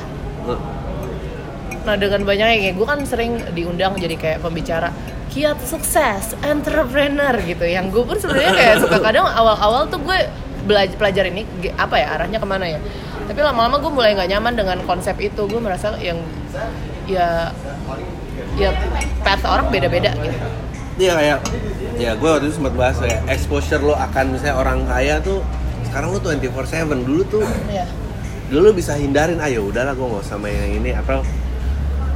Speaker 3: Nah dengan banyaknya kayak gue kan sering diundang jadi kayak pembicara kiat sukses entrepreneur gitu. Yang gue pun sebenarnya kayak suka kadang awal-awal tuh gue belajar pelajar ini ge- apa ya arahnya kemana ya. Tapi lama-lama gue mulai nggak nyaman dengan konsep itu. Gue merasa yang ya ya path orang beda-beda gitu.
Speaker 2: dia kayak ya gue waktu itu sempat bahas kayak exposure lo akan misalnya orang kaya tuh sekarang lo 24/7 dulu tuh
Speaker 3: Iya.
Speaker 2: dulu bisa hindarin ayo udahlah gue nggak usah main yang ini atau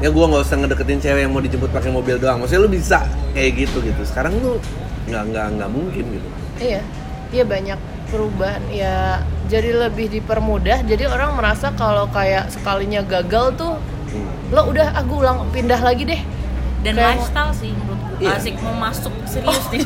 Speaker 2: ya gue nggak usah ngedeketin cewek yang mau dijemput pakai mobil doang maksudnya lo bisa kayak gitu gitu sekarang tuh nggak nggak nggak mungkin gitu
Speaker 3: Iya. Iya banyak perubahan ya jadi lebih dipermudah jadi orang merasa kalau kayak sekalinya gagal tuh
Speaker 2: Hmm.
Speaker 3: lo udah aku ulang pindah lagi deh
Speaker 1: Dan
Speaker 3: Kayak-
Speaker 1: lifestyle sih menurut gue.
Speaker 2: Iya.
Speaker 1: Asik mau masuk serius
Speaker 3: [laughs]
Speaker 1: nih.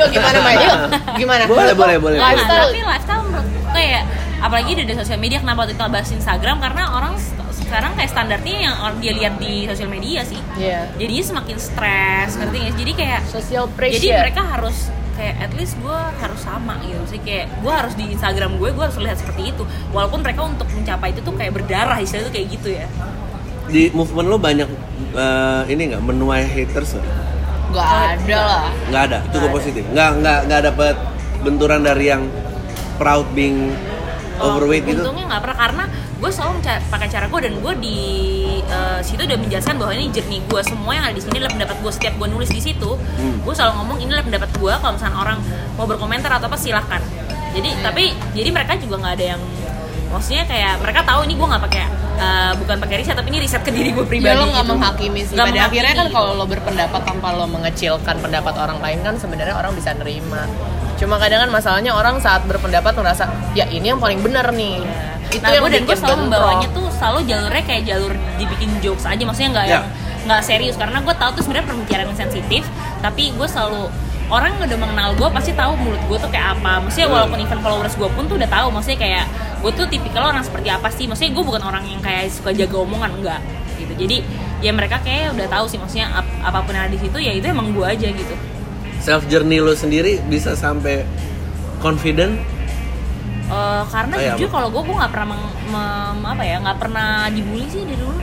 Speaker 3: Yuk gimana Mai? Yuk gimana?
Speaker 2: Boleh, boleh, boleh.
Speaker 3: Lifestyle.
Speaker 1: tapi lifestyle menurut gue kayak apalagi di di sosial media kenapa waktu itu kita bahas Instagram karena orang st- sekarang kayak standarnya yang orang dia lihat di sosial media sih.
Speaker 3: Iya.
Speaker 1: Jadi semakin stres, ngerti nggak sih? Jadi kayak
Speaker 3: Social pressure.
Speaker 1: jadi mereka harus kayak at least gue harus sama gitu sih kayak gue harus di Instagram gue gue harus lihat seperti itu walaupun mereka untuk mencapai itu tuh kayak berdarah istilahnya tuh kayak gitu ya
Speaker 2: di movement lo banyak eh, ini nggak menuai haters nggak?
Speaker 3: nggak ada lah.
Speaker 2: nggak ada cukup
Speaker 3: ada.
Speaker 2: positif nggak nggak nggak dapet benturan dari yang proud being
Speaker 3: Oh,
Speaker 2: overweight gitu
Speaker 1: untungnya nggak pernah karena gue selalu menca- pakai cara gue dan gue di eh, situ udah menjelaskan bahwa ini jernih gue semua yang ada di sini adalah pendapat gue setiap gue nulis di situ
Speaker 2: Hmm.
Speaker 1: gue selalu ngomong ini adalah pendapat gue kalau misalnya orang mau berkomentar atau apa silahkan jadi
Speaker 2: Hmm.
Speaker 1: tapi jadi mereka juga nggak ada yang maksudnya kayak mereka tahu ini gue nggak pakai eh, bukan pakai riset tapi ini riset ke diri gue pribadi
Speaker 3: Ya lo nggak
Speaker 1: gitu.
Speaker 3: menghakimi sih.
Speaker 1: Nggak
Speaker 3: Pada
Speaker 1: menghakimi.
Speaker 3: akhirnya kan kalau lo berpendapat tanpa lo mengecilkan pendapat orang lain kan sebenarnya orang bisa nerima. Cuma kadang kan masalahnya orang saat berpendapat merasa ya ini yang paling benar nih. Itu
Speaker 1: nah,
Speaker 3: yang
Speaker 1: gue dan gue
Speaker 3: bikin
Speaker 1: selalu
Speaker 3: bentrok.
Speaker 1: membawanya tuh selalu jalurnya kayak jalur dibikin jokes aja maksudnya nggak
Speaker 2: Ya.
Speaker 1: yang
Speaker 3: Iya.
Speaker 1: nggak serius karena gue tahu tuh sebenarnya pembicaraan yang sensitif tapi gue selalu orang yang udah mengenal gue pasti tahu mulut gue tuh kayak apa maksudnya
Speaker 3: Hmm.
Speaker 1: walaupun even followers gue pun tuh udah tahu maksudnya kayak gue tuh tipikal orang seperti apa sih maksudnya gue bukan orang yang kayak suka jaga omongan enggak gitu jadi ya mereka kayak udah tahu sih maksudnya ap- apapun yang ada di situ ya itu emang gue aja gitu
Speaker 2: self journey lo sendiri bisa sampai confident
Speaker 1: Eh, karena
Speaker 2: Kayak
Speaker 1: jujur
Speaker 2: apa?
Speaker 1: kalau gue gue nggak
Speaker 2: [laughs]
Speaker 1: pernah meng- mem- apa ya nggak pernah dibully sih dari dulu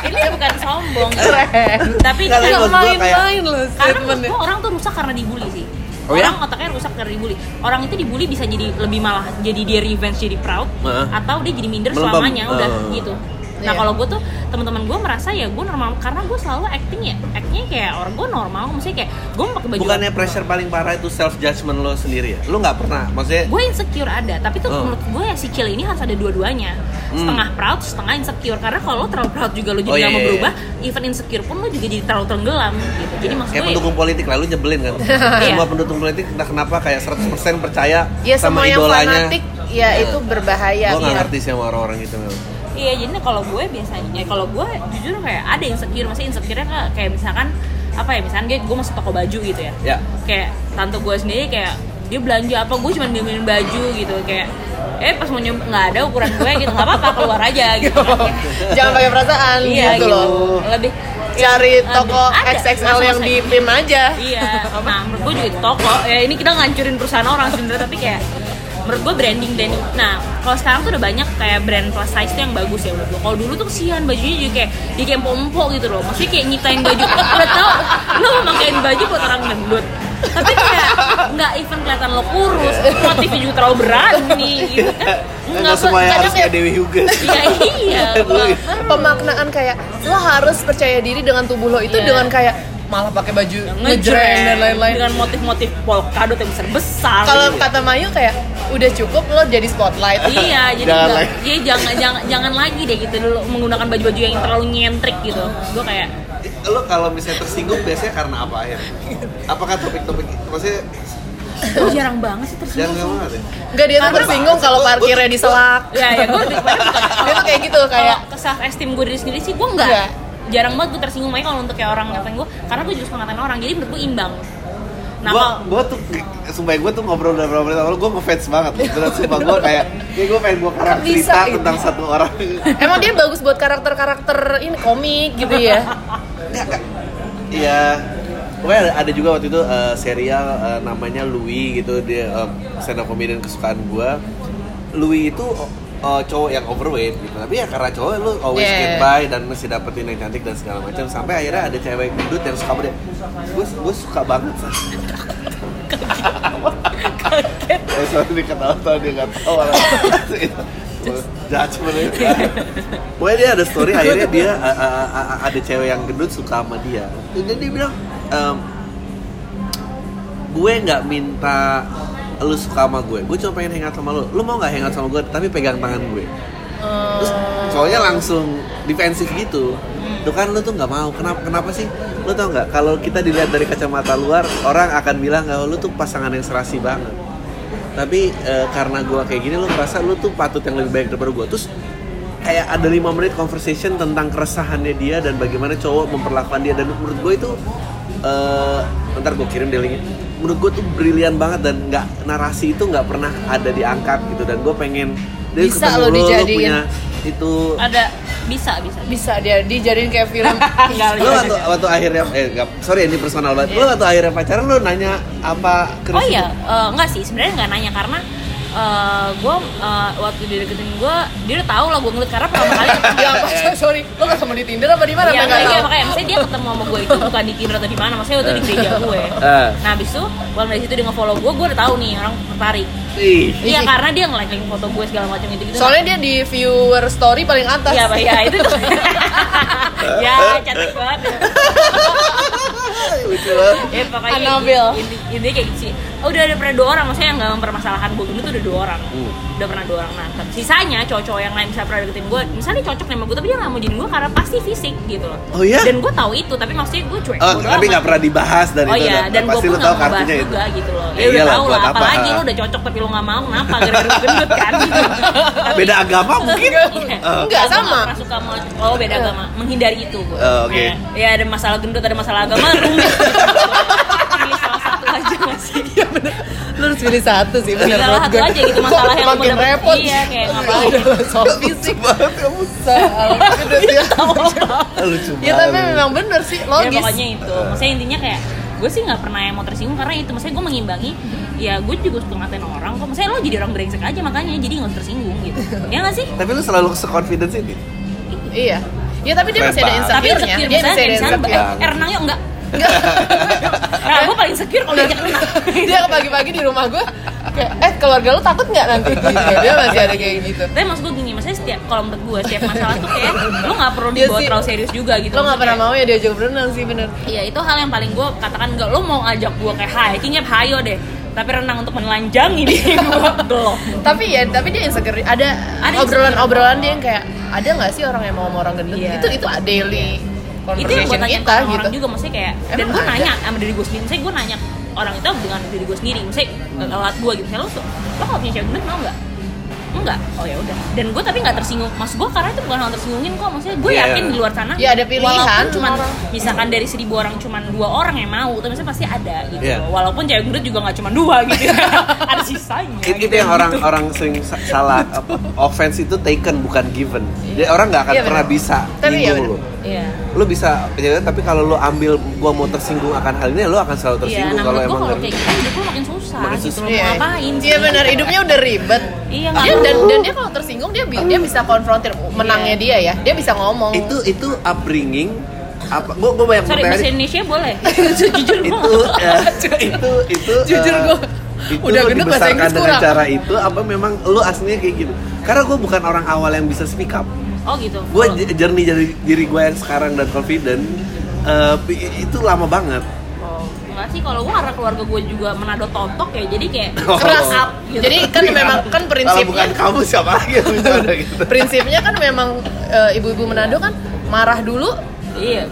Speaker 1: ini bukan sombong gitu.
Speaker 3: [laughs] Keren.
Speaker 1: tapi kita-
Speaker 2: Kalau Iya. maksud
Speaker 3: Nggak
Speaker 2: gua kayak-
Speaker 3: main-main loh
Speaker 1: karena menurut
Speaker 3: statementnya.
Speaker 1: gua orang tuh rusak karena dibully sih
Speaker 2: Oh ya?
Speaker 1: orang otaknya rusak karena dibully orang itu dibully bisa jadi lebih malah jadi dia revenge jadi proud
Speaker 2: Heeh.
Speaker 1: atau dia jadi minder
Speaker 2: Melempem.
Speaker 1: selamanya udah
Speaker 2: Heeh.
Speaker 1: gitu nah
Speaker 3: Iya.
Speaker 1: kalau gue tuh teman-teman gue merasa ya gue normal karena gue selalu acting ya actingnya kayak orang gue normal maksudnya kayak gue pakai baju
Speaker 2: Bukannya pressure paling parah itu self judgment lo sendiri ya? Lo nggak pernah, maksudnya
Speaker 1: gue insecure ada tapi tuh
Speaker 2: Oh. Hmm.
Speaker 1: menurut gue ya si Cil ini harus ada dua-duanya setengah proud setengah insecure karena kalau lo terlalu proud juga lo jadi
Speaker 2: Oh,
Speaker 1: nggak
Speaker 2: iya,
Speaker 1: mau
Speaker 2: iya,
Speaker 1: berubah even insecure pun lo juga jadi terlalu tenggelam gitu jadi maksud
Speaker 2: kayak
Speaker 1: gue
Speaker 2: pendukung politik lalu nyebelin
Speaker 3: [laughs]
Speaker 2: kan.
Speaker 3: Iya.
Speaker 2: Semua pendukung politik entah kenapa kayak 100% percaya
Speaker 3: ya
Speaker 2: sama
Speaker 3: semua yang
Speaker 2: idolanya.
Speaker 3: fanatik ya itu berbahaya
Speaker 2: Gue nggak
Speaker 3: Iya.
Speaker 2: ngerti sih sama orang-orang gitu. Mel.
Speaker 1: Iya, jadi kalau gue biasanya, kalau gue jujur kayak ada insecure, masih insecure-nya kayak, kayak misalkan apa ya, misalkan gue, gue masuk toko baju gitu ya.
Speaker 2: Ya.
Speaker 1: Kayak tante gue sendiri kayak dia belanja apa, gue cuma beliin baju gitu kayak eh pas mau nyoba nggak ada ukuran gue gitu nggak apa-apa keluar aja gitu
Speaker 2: [laughs]
Speaker 1: kan.
Speaker 3: jangan pakai perasaan
Speaker 1: iya
Speaker 3: gitu
Speaker 1: gitu
Speaker 3: loh
Speaker 1: lebih
Speaker 3: cari
Speaker 1: Ada-
Speaker 3: toko
Speaker 1: ada,
Speaker 3: XXL
Speaker 1: langsung
Speaker 3: yang
Speaker 1: saya-
Speaker 3: di PIM aja
Speaker 1: iya nah menurut gue juga di toko ya ini kita ngancurin perusahaan orang sebenarnya tapi kayak menurut gue branding branding nah kalau sekarang tuh udah banyak kayak brand plus size tuh yang bagus ya menurut gue kalau dulu tuh kesian bajunya juga kayak jadi kayak pompo gitu loh maksudnya kayak nyitain baju Eh, udah tau lo mau makain baju buat orang gendut tapi kayak nggak even kelihatan lo kurus motifnya juga terlalu berani gitu kan
Speaker 2: Nggak semuanya
Speaker 3: kadang
Speaker 2: harus kayak
Speaker 3: ya-
Speaker 2: Dewi Hugo.
Speaker 1: iya
Speaker 2: [laughs]
Speaker 1: iya
Speaker 2: Dulu.
Speaker 3: Nah, pemaknaan kayak lo harus percaya diri dengan tubuh lo itu
Speaker 1: Iya.
Speaker 3: dengan kayak malah pakai baju ngejreng
Speaker 1: ngejreng
Speaker 3: dan lain-lain
Speaker 1: dengan motif-motif polkadot yang gitu. besar besar
Speaker 3: kalau kata Mayu kayak udah cukup lo jadi spotlight
Speaker 1: iya jadi
Speaker 2: Jangan
Speaker 1: nggak-
Speaker 2: lagi.
Speaker 1: iya, jangan jangan jangan lagi deh gitu dulu menggunakan baju-baju yang terlalu nyentrik gitu gue kayak
Speaker 2: Lo kalau misalnya tersinggung biasanya karena apa akhirnya? Apakah topik-topik maksudnya
Speaker 1: gue jarang banget sih
Speaker 2: jangan
Speaker 1: tersinggung
Speaker 2: ngomong deh.
Speaker 3: Enggak dia tuh tersinggung kalau parkirnya diselak
Speaker 1: ya ya gue lebih kepada
Speaker 3: dia tuh kayak gitu
Speaker 1: kayak
Speaker 3: kayak
Speaker 1: ke self esteem gue diri sendiri sih gue nggak
Speaker 3: Iya.
Speaker 1: jarang banget gue tersinggung makanya kalau untuk kayak orang ngatain gue karena gue juga suka ngatain orang jadi menurut gue imbang nah
Speaker 2: gua,
Speaker 1: kalau
Speaker 2: gua tuh sumpah gua tuh ngobrol udah berapa menit sama lu gua ngefans banget beneran sumpah gua kayak kayak gua pengen gua karang
Speaker 3: Kan bisa
Speaker 2: cerita
Speaker 3: itu.
Speaker 2: tentang satu orang
Speaker 1: Oh.
Speaker 3: emang dia bagus buat karakter-karakter ini komik gitu ya
Speaker 2: iya pokoknya ada, ada juga waktu itu eh, serial eh, namanya Louis gitu dia eh, stand up comedian kesukaan gua Louis itu eh, cowok yang overweight gitu tapi ya karena cowok lu always
Speaker 3: Yeah.
Speaker 2: get by dan mesti dapetin yang cantik dan segala macam sampai akhirnya ada cewek gendut yang suka sama dia gue gue suka banget [laughs]
Speaker 1: kaget
Speaker 2: Eh, sorry nih ketawa-tawa dia nggak tahu orang Itu, judgement ya. Pokoknya dia ada story akhirnya dia a- a- a- ada cewek yang gendut suka sama dia. Dan dia bilang ehm, gue nggak minta lu suka sama gue, gue cuma pengen hangout sama lu. Lu mau nggak hangout sama gue tapi pegang tangan gue. Terus cowoknya langsung defensif gitu.
Speaker 3: Hmm.
Speaker 2: Tuh kan lu tuh nggak mau. Kenapa kenapa sih? Lu tau nggak kalau kita dilihat dari kacamata luar, orang akan bilang kalau lu tuh pasangan yang serasi banget. Tapi eh, karena gua kayak gini lu merasa lu tuh patut yang lebih baik daripada gua. Terus kayak ada lima menit conversation tentang keresahannya dia dan bagaimana cowok memperlakukan dia dan menurut gue itu eh ntar gue kirim deh linknya menurut gue tuh brilian banget dan nggak narasi itu nggak pernah ada diangkat gitu dan gue pengen dia
Speaker 3: Bisa
Speaker 2: ketemu
Speaker 3: lo
Speaker 2: lu, lu
Speaker 3: dijadiin.
Speaker 2: punya itu
Speaker 1: ada bisa bisa
Speaker 3: bisa dia dijadiin kayak film
Speaker 1: [laughs] Nggak,
Speaker 2: lu waktu, waktu akhirnya eh nggak- sorry ini personal banget lu waktu akhirnya pacaran lu nanya apa ke
Speaker 1: Oh iya, eh, enggak sih. Sebenarnya enggak nanya karena gue waktu dia deketin gue, dia udah tahu lah gue ngelit karena pertama kali ketemu.
Speaker 3: ya apa sorry lo ketemu di Tinder apa di mana
Speaker 1: Iya,
Speaker 3: Sampai nggak
Speaker 1: makanya,
Speaker 3: tahu.
Speaker 1: makanya maksudnya dia ketemu sama gue itu bukan di Tinder atau di mana, maksudnya waktu di
Speaker 2: [laughs]
Speaker 1: gereja gue.
Speaker 2: Eh.
Speaker 1: Nah, abis itu, kalau dari situ dia nge-follow gue, gue udah tahu nih orang tertarik.
Speaker 2: Ih,
Speaker 1: Iya,
Speaker 3: Ih.
Speaker 1: karena dia nge-like foto gue segala macam gitu-gitu.
Speaker 3: soalnya dia di viewer story paling atas
Speaker 1: Iya, Pak, iya itu.
Speaker 2: [laughs]
Speaker 1: ya, cantik banget.
Speaker 2: lucu banget
Speaker 1: Ya, pokoknya
Speaker 3: Anabel.
Speaker 1: ini, ini kayak gitu sih. Udah ada pernah dua orang, maksudnya yang nggak mempermasalahkan gue gendut tuh udah dua orang.
Speaker 2: Hmm.
Speaker 1: Udah pernah dua orang nangkep. Sisanya cowok-cowok yang lain misalnya pernah deketin gue, misalnya cocok nih sama gue tapi dia nggak mau jadi gue karena pasti fisik gitu loh.
Speaker 2: Oh iya?
Speaker 1: Dan gue tahu itu, tapi maksudnya gue cuek.
Speaker 2: Oh,
Speaker 1: Bodo
Speaker 2: tapi
Speaker 1: amat.
Speaker 2: nggak pernah dibahas dan
Speaker 1: Oh
Speaker 2: itu
Speaker 1: iya,
Speaker 2: udah-
Speaker 1: dan gue
Speaker 2: pasti
Speaker 1: pun
Speaker 2: lu
Speaker 1: nggak
Speaker 2: tahu
Speaker 1: mau bahas
Speaker 2: kartunya itu.
Speaker 1: juga gitu loh
Speaker 2: Ya
Speaker 1: Ya udah
Speaker 2: iyalah,
Speaker 1: tau lah,
Speaker 2: buat apa,
Speaker 1: apalagi
Speaker 2: ah.
Speaker 1: lu udah cocok tapi lu nggak mau, kenapa? Gara-gara lu gendut
Speaker 2: [laughs]
Speaker 1: kan Tapi-
Speaker 2: Beda agama mungkin.
Speaker 1: Iya.
Speaker 2: Eh.
Speaker 3: Enggak,
Speaker 1: Agama,
Speaker 3: sama. Iya.
Speaker 1: pernah suka sama oh beda agama menghindari itu gue
Speaker 2: Eh, oke.
Speaker 1: Nah, ya ada masalah gendut ada masalah
Speaker 2: [laughs]
Speaker 1: agama rumit pilih salah satu aja nggak sih
Speaker 3: lo harus pilih satu sih bener
Speaker 1: Pilih
Speaker 3: menurut
Speaker 1: satu
Speaker 3: gue.
Speaker 1: aja gitu, masalah yang
Speaker 3: makin
Speaker 1: lu dapet.
Speaker 3: repot
Speaker 1: Iya, kayak ngapain.
Speaker 3: ngapain soal fisik ya
Speaker 2: banget kamu
Speaker 3: soal
Speaker 2: Eh, lucu banget
Speaker 3: ya tapi memang bener sih
Speaker 1: Iya, ya
Speaker 3: logis
Speaker 1: pokoknya itu maksudnya intinya kayak gue sih nggak pernah yang mau tersinggung karena itu maksudnya gue mengimbangi ya gue juga suka ngatain orang kok maksudnya lo jadi orang brengsek
Speaker 2: [laughs]
Speaker 1: aja makanya jadi nggak usah tersinggung gitu ya nggak sih
Speaker 2: tapi lu selalu seconfidence ini
Speaker 3: iya Ya tapi dia
Speaker 2: Keren
Speaker 3: masih ada
Speaker 2: banget.
Speaker 1: Tapi
Speaker 3: insecure-nya.
Speaker 1: insecure
Speaker 3: Dia
Speaker 1: misalnya
Speaker 3: masih
Speaker 1: kayak
Speaker 3: ada
Speaker 1: misalnya eh,
Speaker 3: insecure.
Speaker 1: eh, renang yuk
Speaker 3: [laughs]
Speaker 1: enggak nah, gue paling insecure kalau diajak renang
Speaker 3: Dia ke pagi-pagi di rumah gue kayak eh keluarga lu takut nggak nanti gitu. Dia masih ada kayak gitu.
Speaker 1: tapi maksud gue gini, maksudnya setiap kalau menurut gue setiap masalah tuh kayak lo nggak perlu
Speaker 3: Iya
Speaker 1: dibawa
Speaker 3: sih.
Speaker 1: terlalu serius juga gitu.
Speaker 3: Lo nggak pernah
Speaker 1: Maksudnya,
Speaker 3: mau ya diajak berenang sih bener.
Speaker 1: Iya itu hal yang paling gue katakan enggak lo mau ajak gue kayak hiking ya hayo deh. Tapi renang untuk [laughs] menelanjangi diri gue belum.
Speaker 3: tapi ya tapi dia insecure ada
Speaker 1: Ada
Speaker 3: obrolan obrolan dia yang kayak ada nggak sih orang yang mau sama orang gendut
Speaker 1: Iya.
Speaker 3: itu itu daily
Speaker 1: Itu yang gue
Speaker 3: conversation
Speaker 1: tanya
Speaker 3: kita
Speaker 1: ke
Speaker 3: gitu
Speaker 1: orang juga, maksudnya kayak dan
Speaker 3: Emang
Speaker 1: gue
Speaker 3: ada?
Speaker 1: nanya sama diri gue sendiri, misalnya gue nanya orang itu dengan diri gue sendiri, misalnya lewat gue gitu, misalnya lo, tuh, lo kalau punya cewek bener mau nggak? Enggak, oh ya udah. Dan gue tapi nggak tersinggung, maksud gue karena itu bukan hal tersinggungin kok, maksudnya gue
Speaker 2: Iya.
Speaker 1: yakin di luar sana.
Speaker 3: Ya, ada pilihan
Speaker 1: Walaupun cuman
Speaker 3: orang.
Speaker 1: misalkan dari seribu orang cuman dua orang yang mau, tapi misalnya pasti ada gitu.
Speaker 2: Iya.
Speaker 1: Walaupun cewek gendut juga nggak cuma dua gitu, ada sisanya.
Speaker 2: It- itu
Speaker 1: gitu.
Speaker 2: yang orang orang sering sa- salah apa, offense itu taken bukan given jadi orang nggak akan
Speaker 3: Iya,
Speaker 2: pernah
Speaker 3: bener.
Speaker 2: bisa
Speaker 3: Tapi iya,
Speaker 2: nyinggung lu
Speaker 3: bener.
Speaker 1: Iya.
Speaker 2: lu bisa kejadian tapi kalau lu ambil gua mau tersinggung akan hal ini lu akan selalu
Speaker 1: Iya,
Speaker 2: tersinggung
Speaker 1: nah
Speaker 2: kalau
Speaker 1: menurut gue
Speaker 2: emang
Speaker 1: kalau
Speaker 2: ngerti
Speaker 1: kayak gitu, hidup lo makin susah,
Speaker 2: Makin
Speaker 1: gitu.
Speaker 2: susah.
Speaker 1: Lo mau ngapain?
Speaker 3: iya
Speaker 1: sih?
Speaker 3: benar hidupnya udah ribet
Speaker 1: Iya, nggak
Speaker 3: dia, dan
Speaker 1: mau.
Speaker 3: dan dia kalau tersinggung dia bi- dia bisa konfrontir menangnya
Speaker 1: Iya.
Speaker 3: dia ya dia bisa ngomong
Speaker 2: itu itu upbringing apa gua gua banyak
Speaker 1: Sorry, bahasa
Speaker 2: pertanyaan
Speaker 1: Indonesia
Speaker 2: [laughs]
Speaker 1: boleh. Jujur gue
Speaker 2: itu eh, [laughs] itu itu
Speaker 3: [laughs] Jujur
Speaker 2: eh,
Speaker 3: gua
Speaker 2: itu
Speaker 3: udah
Speaker 2: lu
Speaker 3: gendut bahasa
Speaker 2: dibesarkan
Speaker 3: Inggris
Speaker 2: dengan
Speaker 3: kurang.
Speaker 2: cara itu apa memang lu aslinya kayak gitu karena gua bukan orang awal yang bisa speak up
Speaker 1: Oh gitu.
Speaker 2: gue
Speaker 1: Oh.
Speaker 2: jernih dari diri gue yang sekarang dan confident eh, itu lama banget
Speaker 1: Oh, enggak sih kalau gue karena keluarga gue juga Manado tontok ya jadi kayak
Speaker 2: [laughs] Oh.
Speaker 1: keras up gitu.
Speaker 3: jadi kan memang kan
Speaker 2: Iya. kalau bukan
Speaker 3: prinsipnya
Speaker 2: kamu siapa lagi yang bicara
Speaker 3: [laughs]
Speaker 2: gitu
Speaker 3: prinsipnya kan memang eh, ibu-ibu Manado kan marah dulu
Speaker 1: iya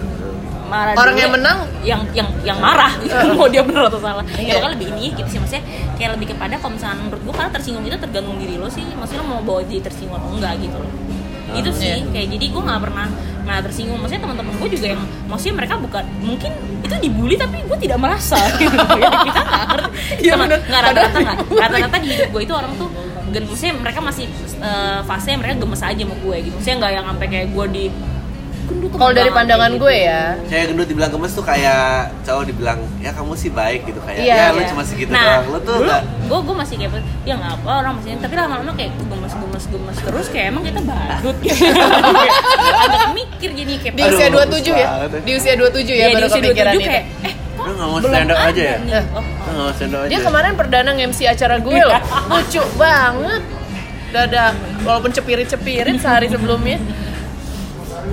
Speaker 1: marah
Speaker 3: Orang
Speaker 1: dulu
Speaker 3: yang menang?
Speaker 1: yang yang yang
Speaker 3: [laughs]
Speaker 1: marah gitu mau dia benar atau salah ya
Speaker 3: Iya.
Speaker 1: kan lebih ini gitu sih maksudnya kayak lebih kepada kalau misalnya menurut gue karena tersinggung itu tergantung diri lo sih maksudnya lo mau bawa diri tersinggung atau enggak gitu loh itu
Speaker 3: Hmm,
Speaker 1: sih
Speaker 3: iya.
Speaker 1: kayak jadi gue nggak pernah nggak tersinggung maksudnya teman-teman gue juga yang maksudnya mereka bukan mungkin itu dibully tapi gue tidak merasa [laughs] gitu. kita nggak ngerti
Speaker 3: Iya,
Speaker 1: Sama-
Speaker 3: bener.
Speaker 1: nggak rata-rata nggak rata-rata di hidup gue itu orang tuh gen maksudnya mereka masih eh, fase mereka gemes aja sama gue gitu maksudnya nggak yang sampai kayak gue di "Gendut
Speaker 3: kalau dari
Speaker 1: Kan banget,"
Speaker 3: pandangan
Speaker 1: kayak
Speaker 3: gue
Speaker 1: gitu.
Speaker 3: ya
Speaker 2: kayak gendut dibilang gemes tuh kayak cowok dibilang ya kamu sih baik gitu kayak
Speaker 3: Iya,
Speaker 2: ya lu
Speaker 3: iya.
Speaker 2: cuma segitu
Speaker 1: nah
Speaker 2: doang lu tuh
Speaker 1: dulu
Speaker 2: nggak
Speaker 1: gue gue masih kayak ya nggak apa orang masih tapi lama-lama kayak gemes gemes gemes terus kayak emang kita
Speaker 3: [laughs]
Speaker 1: badut gitu agak mikir jadi kayak
Speaker 3: di
Speaker 2: Aduh,
Speaker 3: usia
Speaker 2: bagus
Speaker 3: 27 ya
Speaker 2: banget ya.
Speaker 3: di usia 27
Speaker 1: Iya,
Speaker 3: ya baru
Speaker 1: di usia
Speaker 3: kepikiran
Speaker 1: 27
Speaker 3: itu Eh,
Speaker 1: kayak eh kok
Speaker 2: lu nggak mau
Speaker 1: belum
Speaker 2: stand up
Speaker 1: ada
Speaker 2: aja ya
Speaker 1: nih? Oh,
Speaker 2: lu nggak mau stand up aja
Speaker 3: Dia kemarin perdana nge-MC acara gue loh. Lucu banget. Dada walaupun cepirit-cepirit sehari sebelumnya.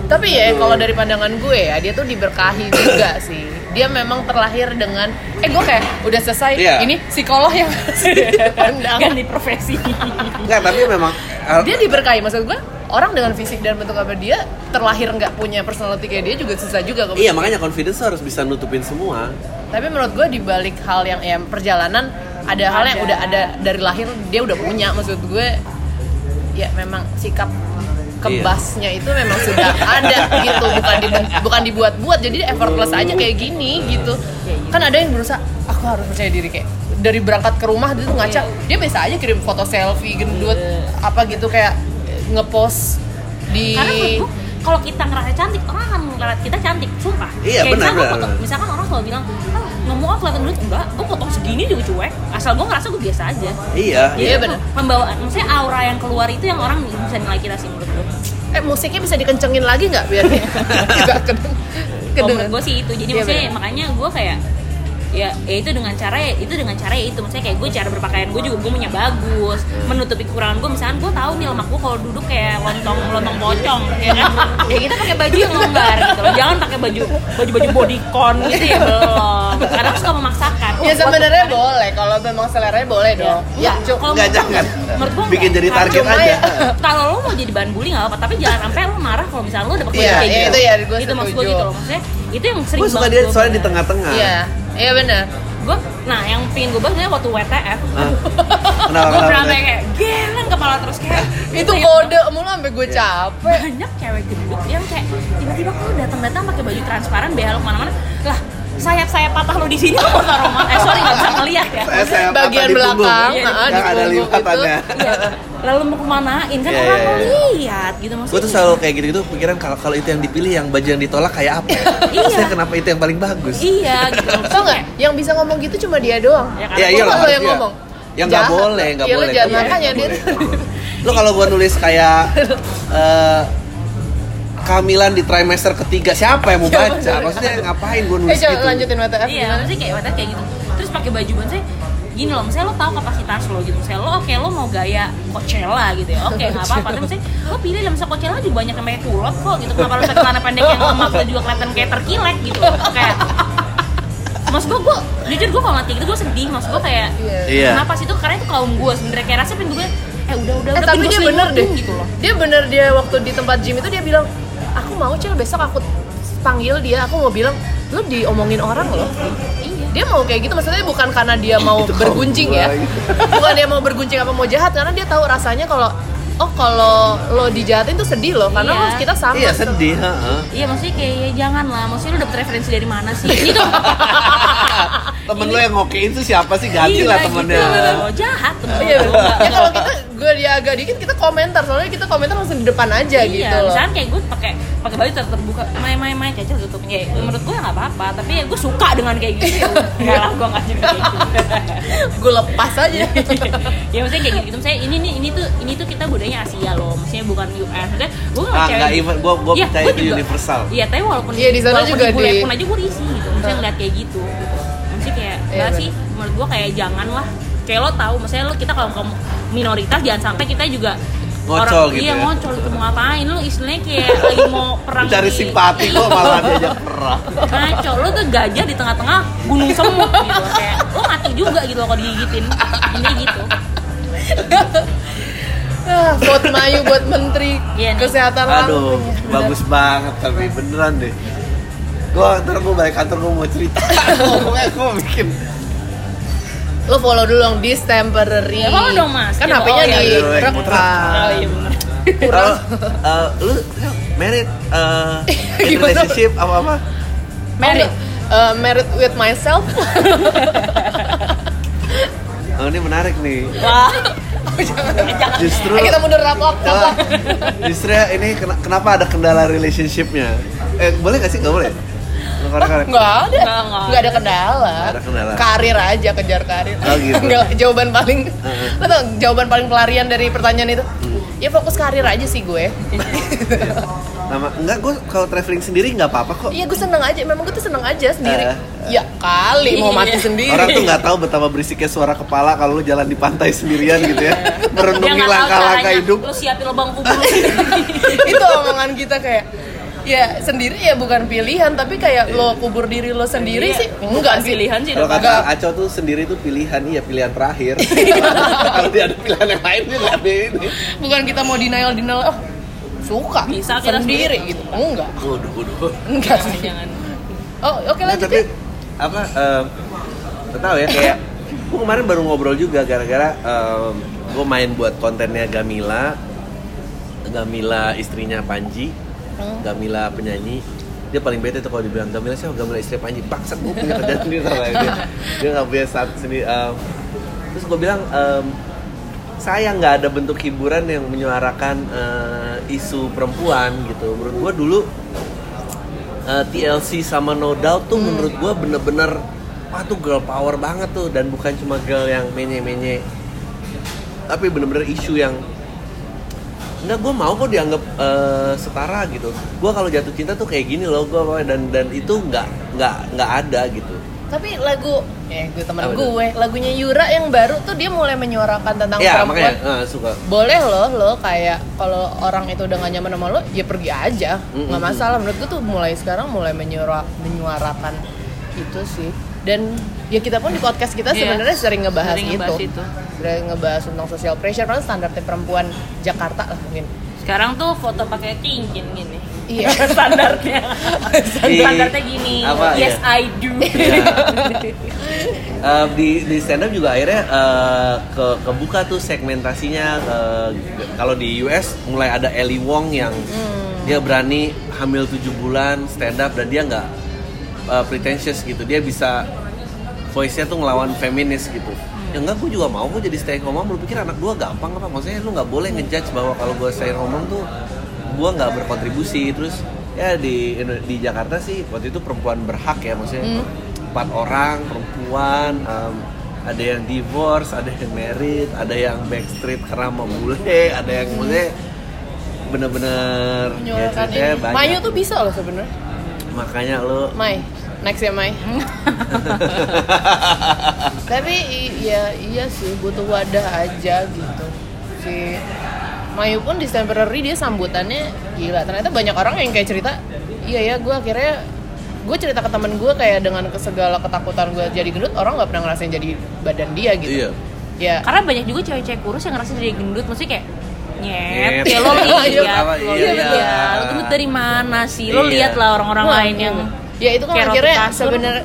Speaker 3: Tapi ya kalau dari pandangan gue ya, dia tuh diberkahi
Speaker 2: [coughs]
Speaker 3: juga sih. Dia memang terlahir dengan eh gue kayak udah selesai
Speaker 2: Iya.
Speaker 3: ini psikolog yang
Speaker 2: [laughs]
Speaker 3: pandang.
Speaker 1: ganti
Speaker 3: [laughs]
Speaker 1: profesi
Speaker 2: Nggak, tapi memang
Speaker 3: Dia diberkahi maksud gue orang dengan fisik dan bentuk apa dia terlahir nggak punya personality kayak dia juga susah juga
Speaker 2: iya makanya confidence tuh harus bisa nutupin semua
Speaker 3: Tapi menurut gue di balik hal yang ya, perjalanan ada hal yang
Speaker 1: Ada.
Speaker 3: udah ada dari lahir dia udah punya maksud gue ya memang sikap kebasnya
Speaker 1: Iya.
Speaker 3: itu memang sudah ada gitu bukan diben- bukan dibuat-buat jadi effortless aja kayak gini gitu kan ada yang berusaha aku harus percaya diri kayak dari berangkat ke rumah dia tuh ngaca
Speaker 1: Iya.
Speaker 3: dia biasa aja kirim foto selfie gendut apa gitu kayak ngepost di
Speaker 1: karena menurut gue kalau kita ngerasa cantik orang akan ngerasa kita cantik sumpah
Speaker 2: Iya,
Speaker 1: Kayak misalkan
Speaker 2: benar,
Speaker 1: gua
Speaker 2: benar,
Speaker 1: foto-
Speaker 2: benar.
Speaker 1: misalkan orang selalu bilang ah ngomong aku kelihatan gendut enggak gue potong segini juga cuek asal gue ngerasa gue biasa aja
Speaker 2: iya
Speaker 3: Iya,
Speaker 2: iya
Speaker 3: benar.
Speaker 1: pembawaan maksudnya aura yang keluar itu yang orang bisa nilai kita sih menurut gue
Speaker 3: eh musiknya bisa dikencengin lagi nggak
Speaker 1: [laughs]
Speaker 3: biar dia [laughs] nggak
Speaker 1: Oh, Kalau
Speaker 3: kedeng- kedengeran.
Speaker 1: menurut gue sih itu jadi
Speaker 3: Iya,
Speaker 1: maksudnya
Speaker 3: benar.
Speaker 1: makanya gue kayak ya, ya itu dengan cara ya itu dengan cara ya itu maksudnya kayak gue cara berpakaian gue juga gue punya bagus menutupi kekurangan gue misalkan gue tahu nih lemak gue kalau duduk kayak lontong lontong pocong ya
Speaker 2: [laughs]
Speaker 1: kan ya kita pakai baju yang longgar gitu loh jangan pakai baju baju baju bodycon gitu ya belum kadang suka memaksakan
Speaker 3: Ya sebenarnya boleh, kalau memang seleranya boleh dong.
Speaker 1: Ya,
Speaker 3: Cuk.
Speaker 1: kalau
Speaker 2: Iya,
Speaker 1: menurut gua
Speaker 2: Nggak, jangan.
Speaker 1: nggak. Menurut gua
Speaker 2: Bikin
Speaker 1: nggak.
Speaker 2: jadi
Speaker 1: Karena
Speaker 2: target
Speaker 1: cuma
Speaker 2: aja.
Speaker 1: ya, Kalau lo mau jadi bahan bully nggak apa, tapi jangan sampai lo marah kalau misalnya lo dapet
Speaker 3: Iya,
Speaker 1: kayak
Speaker 3: iya,
Speaker 1: gitu.
Speaker 3: itu ya, gua
Speaker 1: itu maksud gue
Speaker 3: setuju.
Speaker 1: gitu loh, maksudnya itu yang [laughs] sering
Speaker 2: gue suka
Speaker 1: banget
Speaker 2: dia
Speaker 1: gua
Speaker 2: soalnya di
Speaker 1: bahas.
Speaker 2: tengah-tengah
Speaker 3: Iya, iya benar.
Speaker 1: Gua, nah yang pengen gue bahas sebenarnya waktu WTF, [laughs]
Speaker 2: Hah? kenapa
Speaker 1: gue
Speaker 2: kenapa
Speaker 1: pernah sampai kayak geleng kepala terus
Speaker 2: [laughs]
Speaker 1: kayak
Speaker 3: Itu
Speaker 1: kayak
Speaker 3: kode mulu sampai
Speaker 1: Iya.
Speaker 3: gue capek.
Speaker 1: banyak cewek gendut yang kayak tiba-tiba kalau datang-datang pakai baju transparan behel kemana-mana lah sayap-sayap patah lo di sini lo mau taruh mana? eh sorry nggak bisa ngeliat ya
Speaker 2: Saya- saya patah
Speaker 3: Bagian
Speaker 2: di punggung.
Speaker 3: belakang,
Speaker 1: nah,
Speaker 2: Yang
Speaker 3: ah, di
Speaker 2: ada
Speaker 3: punggung
Speaker 2: lipatannya
Speaker 1: Iya. lalu mau kemanain kan
Speaker 2: Iya,
Speaker 1: orang
Speaker 2: iya, iya.
Speaker 1: ngeliat gitu maksudnya
Speaker 2: gue tuh selalu kayak gitu-gitu pikiran kalau kalau itu yang dipilih yang baju yang ditolak kayak apa
Speaker 1: Iya.
Speaker 2: Maksudnya kenapa itu yang paling bagus
Speaker 1: iya gitu
Speaker 3: Tau nggak? Yang bisa ngomong gitu cuma dia doang.
Speaker 1: Ya,
Speaker 2: Iya,
Speaker 1: Kok
Speaker 2: iya lah,
Speaker 3: Kok nggak lo yang
Speaker 2: harusnya.
Speaker 3: ngomong?
Speaker 2: Yang nggak
Speaker 3: Jahat.
Speaker 2: boleh, nggak
Speaker 3: Iya, lo
Speaker 2: boleh.
Speaker 3: jangan
Speaker 2: nggak
Speaker 3: makanya
Speaker 2: boleh,
Speaker 3: dia.
Speaker 2: nggak boleh. Lo kalau gua nulis kayak eh kehamilan di trimester ketiga siapa yang mau
Speaker 3: Siapa
Speaker 2: baca
Speaker 3: yang mau
Speaker 2: maksudnya ngapain gue nulis
Speaker 3: [laughs] Eh coba
Speaker 2: gitu
Speaker 3: lanjutin WTF
Speaker 1: iya
Speaker 3: gimana?
Speaker 1: maksudnya kayak watak kayak gitu terus pakai baju ban saya gini loh misalnya lo tahu kapasitas lo gitu misalnya lo oke lo mau gaya Coachella gitu ya oke nggak apa-apa tapi misalnya lo pilih lah misalnya Coachella juga banyak yang pakai kulot kok gitu kenapa lo pakai celana pendek yang lemak lo juga kelihatan kayak terkilek gitu kayak Maksud gue, gue jujur gue kalau mati gitu gue sedih Maksud gue kayak,
Speaker 3: Iya.
Speaker 2: Iya.
Speaker 1: kenapa sih itu? Karena itu kaum gue sebenernya Kayak rasanya pengen gue, eh udah udah
Speaker 3: Eh
Speaker 1: udah
Speaker 3: tapi
Speaker 1: pengen
Speaker 3: dia
Speaker 1: gue
Speaker 3: bener deh
Speaker 1: selingkuhin gitu loh
Speaker 3: Dia bener dia waktu di tempat gym itu dia bilang Aku mau cel besok aku panggil dia Aku mau bilang lu diomongin orang loh
Speaker 1: Iya
Speaker 3: dia mau kayak gitu maksudnya bukan karena dia mau
Speaker 2: Itu gitu. kaum
Speaker 3: berguncing ya
Speaker 2: gua lagi.
Speaker 3: [laughs] bukan dia mau berguncing apa mau jahat karena dia tahu rasanya kalau oh kalau lo dijahatin tuh sedih loh karena
Speaker 1: Iya.
Speaker 3: lo- kita sama
Speaker 2: iya sedih
Speaker 1: [laughs]
Speaker 2: heeh.
Speaker 1: Iya maksudnya kayak ya jangan lah, maksudnya lu dapet referensi dari mana
Speaker 2: [laughs]
Speaker 1: sih? Ini dong.
Speaker 2: temen lo yang ngokein tuh siapa sih ganti
Speaker 1: Iya,
Speaker 2: lah
Speaker 1: gitu.
Speaker 2: temennya
Speaker 1: Oh, jahat temen
Speaker 3: Iya,
Speaker 1: lu. Enggak.
Speaker 3: ya kalau kita gue dia agak dikit kita komentar soalnya kita komentar langsung di depan aja
Speaker 1: iya,
Speaker 3: gitu loh
Speaker 1: misalnya kayak gue pakai pakai baju ter- terbuka, main main main cacat gitu. Kayak menurut gue nggak apa-apa, tapi ya gue suka dengan kayak
Speaker 2: Iya.
Speaker 1: gitu. Enggak lah, gue nggak suka kayak gitu.
Speaker 3: gue lepas aja
Speaker 1: ya maksudnya kayak gitu, misalnya ini nih ini tuh ini tuh kita budayanya Asia loh, maksudnya bukan US. Maksudnya gue nggak
Speaker 2: Ah,
Speaker 1: percaya-
Speaker 2: nggak even- gua- gua
Speaker 1: Iya,
Speaker 2: percaya
Speaker 1: gua
Speaker 2: itu
Speaker 1: juga.
Speaker 2: universal.
Speaker 1: Iya, tapi walaupun
Speaker 3: Iya, di sana
Speaker 1: walaupun
Speaker 3: juga
Speaker 1: bule
Speaker 3: di-
Speaker 1: pun aja gue diisi gitu. Maksudnya ngeliat kayak gitu. gitu. Maksudnya kayak
Speaker 3: Iya,
Speaker 1: nggak sih menurut gue kayak jangan lah. Kayak lo tahu, maksudnya lo kita kalau kaum minoritas jangan sampai kita juga
Speaker 2: Ngocol gitu
Speaker 1: Iya,
Speaker 2: ya.
Speaker 1: ngocol gitu mau ngapain lo istilahnya kayak lagi
Speaker 2: [laughs]
Speaker 1: mau perang
Speaker 2: cari
Speaker 1: di-
Speaker 2: simpati kok malah diajak perang
Speaker 1: Ngaco, lo tuh gajah di tengah-tengah gunung semut gitu kayak lo mati juga gitu loh kalau digigitin. Ini gitu.
Speaker 3: ah, vote Mayu buat menteri
Speaker 1: Iya nih.
Speaker 3: kesehatan
Speaker 2: aduh
Speaker 3: langsung. Bener.
Speaker 2: bagus banget tapi beneran deh gua ntar gua balik kantor gua mau cerita [laughs] pokoknya gua bikin
Speaker 3: lo follow dulu dong this temporary
Speaker 1: Ya, follow dong, Mas.
Speaker 3: kan
Speaker 1: Gitu.
Speaker 3: HP-nya
Speaker 1: Oh, iya,
Speaker 2: iya,
Speaker 3: di
Speaker 2: iya.
Speaker 1: Oh
Speaker 3: rekam
Speaker 1: iya bener.
Speaker 2: kalau eh, lu merit eh, in
Speaker 3: [laughs] Gimana?
Speaker 2: relationship apa apa
Speaker 1: Merit.
Speaker 3: Uh, married with
Speaker 1: [laughs]
Speaker 3: myself
Speaker 2: oh, ini menarik nih
Speaker 1: Wah. Oh,
Speaker 2: justru
Speaker 3: Eh,
Speaker 2: [laughs]
Speaker 3: kita mundur raplap
Speaker 2: Coba.
Speaker 3: raplap
Speaker 2: justru ya ini kena- kenapa ada kendala relationshipnya eh boleh gak sih nggak boleh Lu korek-korek.
Speaker 3: nggak ada
Speaker 1: Nggak, nggak.
Speaker 3: nggak ada kendala
Speaker 2: Nggak ada kendala.
Speaker 3: karir aja kejar karir
Speaker 2: Oh, gitu.
Speaker 3: [laughs] Nggak, jawaban paling
Speaker 2: [laughs] Heeh. Hmm.
Speaker 3: lo tau jawaban paling pelarian dari pertanyaan itu ya fokus karir aja sih gue
Speaker 2: Nama enggak gue kalau traveling sendiri nggak apa-apa kok.
Speaker 3: iya gue seneng aja memang gue tuh seneng aja sendiri
Speaker 2: Oh. Eh.
Speaker 3: ya kali mau mati
Speaker 1: Iya.
Speaker 3: sendiri
Speaker 2: Orang tuh nggak tahu betapa berisiknya suara kepala kalau lu jalan di pantai sendirian gitu
Speaker 3: [laughs]
Speaker 2: ya.
Speaker 1: Dia
Speaker 2: Merenungi
Speaker 1: nggak tahu
Speaker 2: langkah-langkah
Speaker 1: caranya.
Speaker 2: hidup.
Speaker 1: Lo siapin lubang
Speaker 2: [laughs]
Speaker 1: kubur. lo.
Speaker 3: [laughs] itu omongan kita kayak ya sendiri ya bukan pilihan tapi kayak lo kubur diri lo sendiri
Speaker 1: Iya.
Speaker 3: sih
Speaker 1: Bukan
Speaker 3: enggak sih
Speaker 1: pilihan sih.
Speaker 2: Kalau
Speaker 1: Dok.
Speaker 2: kata Aco tuh sendiri tuh pilihan iya pilihan
Speaker 3: [laughs]
Speaker 2: terakhir. kalau dia ada pilihan yang lain dia nggak ada ini.
Speaker 3: bukan kita mau denial denial oh suka
Speaker 1: Bisa kita
Speaker 3: sendiri Iya.
Speaker 1: sendiri.
Speaker 3: gitu enggak
Speaker 2: Waduh, waduh.
Speaker 3: enggak
Speaker 1: Jangan,
Speaker 3: sih
Speaker 1: jangan.
Speaker 3: oh oke
Speaker 2: Nah,
Speaker 3: lanjut
Speaker 2: tapi
Speaker 3: ya
Speaker 2: apa? em, Nggak tahu ya kayak. Gue kemarin baru ngobrol juga gara-gara gue main buat kontennya Gamila. Gamila istrinya Panji.
Speaker 3: Hmm.
Speaker 2: Gamila penyanyi dia paling bete tuh kalau dibilang Gamila siapa Gamila istri Panji paksa gue punya kerjaan sendiri tau gak dia dia nggak punya saat sendiri Em, terus gue bilang em, sayang nggak ada bentuk hiburan yang menyuarakan eh, isu perempuan gitu menurut gue dulu eh, TLC sama No Doubt
Speaker 3: Hmm.
Speaker 2: tuh menurut gue bener-bener wah tuh girl power banget tuh dan bukan cuma girl yang menye-menye tapi bener-bener isu yang Enggak, gue mau kok dianggap eh, setara gitu. Gue kalau jatuh cinta tuh kayak gini loh, gue dan dan itu nggak nggak nggak ada gitu.
Speaker 3: tapi lagu eh gue temen
Speaker 2: Apa tuh?
Speaker 3: gue lagunya Yura yang baru tuh dia mulai menyuarakan tentang
Speaker 2: ya
Speaker 3: perempuan
Speaker 2: makanya eh, suka.
Speaker 3: boleh loh lo kayak kalau orang itu udah gak nyaman sama lo ya pergi aja
Speaker 2: Mm,
Speaker 3: nggak
Speaker 2: mm,
Speaker 3: masalah menurut gue tuh mulai sekarang mulai menyuara menyuarakan itu sih dan ya kita pun di podcast kita
Speaker 1: Iya.
Speaker 3: sebenarnya sering ngebahas
Speaker 1: Sering
Speaker 3: itu,
Speaker 1: ngebahas itu.
Speaker 3: sering ngebahas tentang social pressure karena standarnya perempuan Jakarta lah mungkin
Speaker 1: Sekarang tuh foto pakai cincin gini. [laughs]
Speaker 3: Iya.
Speaker 1: Standarnya.
Speaker 2: Di-
Speaker 1: Standarnya gini.
Speaker 2: apa,
Speaker 1: yes
Speaker 2: iya.
Speaker 1: I
Speaker 2: [laughs]
Speaker 1: do.
Speaker 2: Ya. Eh, di di stand up juga akhirnya eh, ke kebuka tuh segmentasinya. eh, kalau di US mulai ada Ellie Wong yang dia berani hamil 7 bulan stand up dan dia nggak eh, pretentious gitu. Dia bisa voice-nya tuh ngelawan feminis gitu. Ya enggak, gue juga mau gue jadi stay at home mom. Lu pikir anak gua gampang apa? Maksudnya lu nggak boleh ngejudge bahwa kalau gue stay at home mom tuh gua nggak berkontribusi. Terus ya di di Jakarta sih waktu itu perempuan berhak ya maksudnya
Speaker 3: Hmm.
Speaker 2: empat orang perempuan. em, ada yang divorce, ada yang married, ada yang backstreet karena mau bule, ada yang maksudnya bener-bener ya
Speaker 3: [laughs] Hmm.
Speaker 1: Iya,
Speaker 3: menyuarakan
Speaker 2: ceritanya
Speaker 3: ini.
Speaker 2: banyak
Speaker 3: Mayu tuh bisa loh sebenarnya.
Speaker 2: makanya lo
Speaker 3: Mai, next
Speaker 2: [laughs]
Speaker 3: ya Mai. Tapi i- ya iya sih butuh wadah aja gitu. Si Mayu pun di temporary dia sambutannya gila. Ternyata banyak orang yang kayak cerita, iya ya gue akhirnya gue cerita ke temen gue kayak dengan ke- segala ketakutan gue jadi gendut orang nggak pernah ngerasain jadi badan dia gitu.
Speaker 2: Iya.
Speaker 3: Ya
Speaker 1: karena banyak juga cewek-cewek kurus yang ngerasa jadi gendut maksudnya kayak nyet,
Speaker 2: Nyet.
Speaker 1: ya lo
Speaker 2: [laughs] Iya,
Speaker 1: lihat lo
Speaker 2: iya,
Speaker 1: lihat
Speaker 2: iya.
Speaker 1: lo gendut dari mana sih lo
Speaker 2: Iya.
Speaker 1: lihat lah orang-orang
Speaker 3: Wah,
Speaker 1: lain yang
Speaker 3: ya itu kan
Speaker 1: kayak roti
Speaker 3: akhirnya
Speaker 1: kasur.
Speaker 3: [laughs] sebenarnya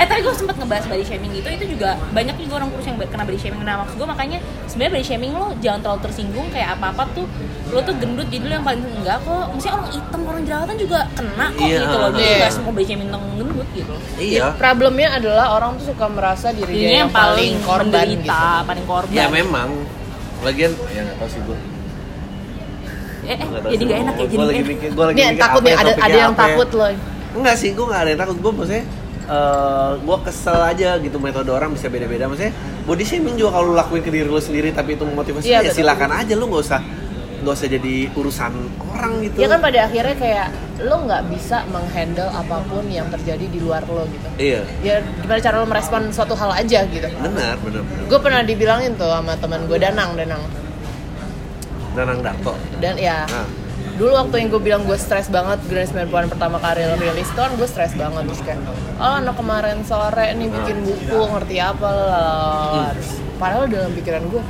Speaker 1: eh tadi gue sempat ngebahas body shaming gitu itu juga banyak juga orang kurus yang kena body shaming nah maksud gue makanya sebenarnya body shaming lo jangan terlalu tersinggung kayak apa apa tuh lo tuh gendut jadi lo yang paling enggak kok misalnya orang hitam orang jerawatan juga kena kok
Speaker 2: Iya.
Speaker 1: gitu loh jadi
Speaker 3: Iya.
Speaker 1: nggak semua body shaming tentang gendut gitu
Speaker 2: iya
Speaker 3: problemnya adalah orang tuh suka merasa dirinya
Speaker 1: dirinya
Speaker 3: Iya, yang, paling korban
Speaker 1: menderita,
Speaker 3: gitu.
Speaker 1: paling korban
Speaker 2: ya memang lagian ya nggak tahu sih gue
Speaker 1: eh, eh jadi nggak enak ya jadi
Speaker 2: gue
Speaker 1: nggak
Speaker 2: lagi
Speaker 1: enak
Speaker 2: mikir gue lagi
Speaker 3: Nih
Speaker 2: mikir
Speaker 3: takut
Speaker 2: apa
Speaker 3: nih
Speaker 2: ya,
Speaker 3: ada ada
Speaker 2: topiknya
Speaker 3: yang
Speaker 2: apa ya.
Speaker 3: takut loh. Iya
Speaker 2: Enggak sih, gue nggak ada yang takut. Gue maksudnya gue kesel aja gitu metode orang bisa beda-beda. Maksudnya body shaming juga kalau lu lakuin ke diri lu sendiri tapi itu memotivasi
Speaker 3: Iya,
Speaker 2: ya
Speaker 3: betul.
Speaker 2: silakan aja lu nggak usah nggak usah jadi urusan orang gitu.
Speaker 3: Ya kan pada akhirnya kayak lo nggak bisa menghandle apapun yang terjadi di luar lo gitu.
Speaker 2: Iya,
Speaker 3: Ya gimana cara lo merespon suatu hal aja gitu.
Speaker 2: benar, benar, benar.
Speaker 3: Gue pernah dibilangin tuh sama teman gue Danang, Danang.
Speaker 2: Danang Darto.
Speaker 3: Dan ya
Speaker 2: Nah,
Speaker 3: dulu waktu yang gue bilang gue stres banget Grand 90-an pertama kali rilis tuh kan gue stres banget terus kayak oh anak kemarin sore nih bikin buku ngerti apa lah Terus, padahal dalam pikiran gue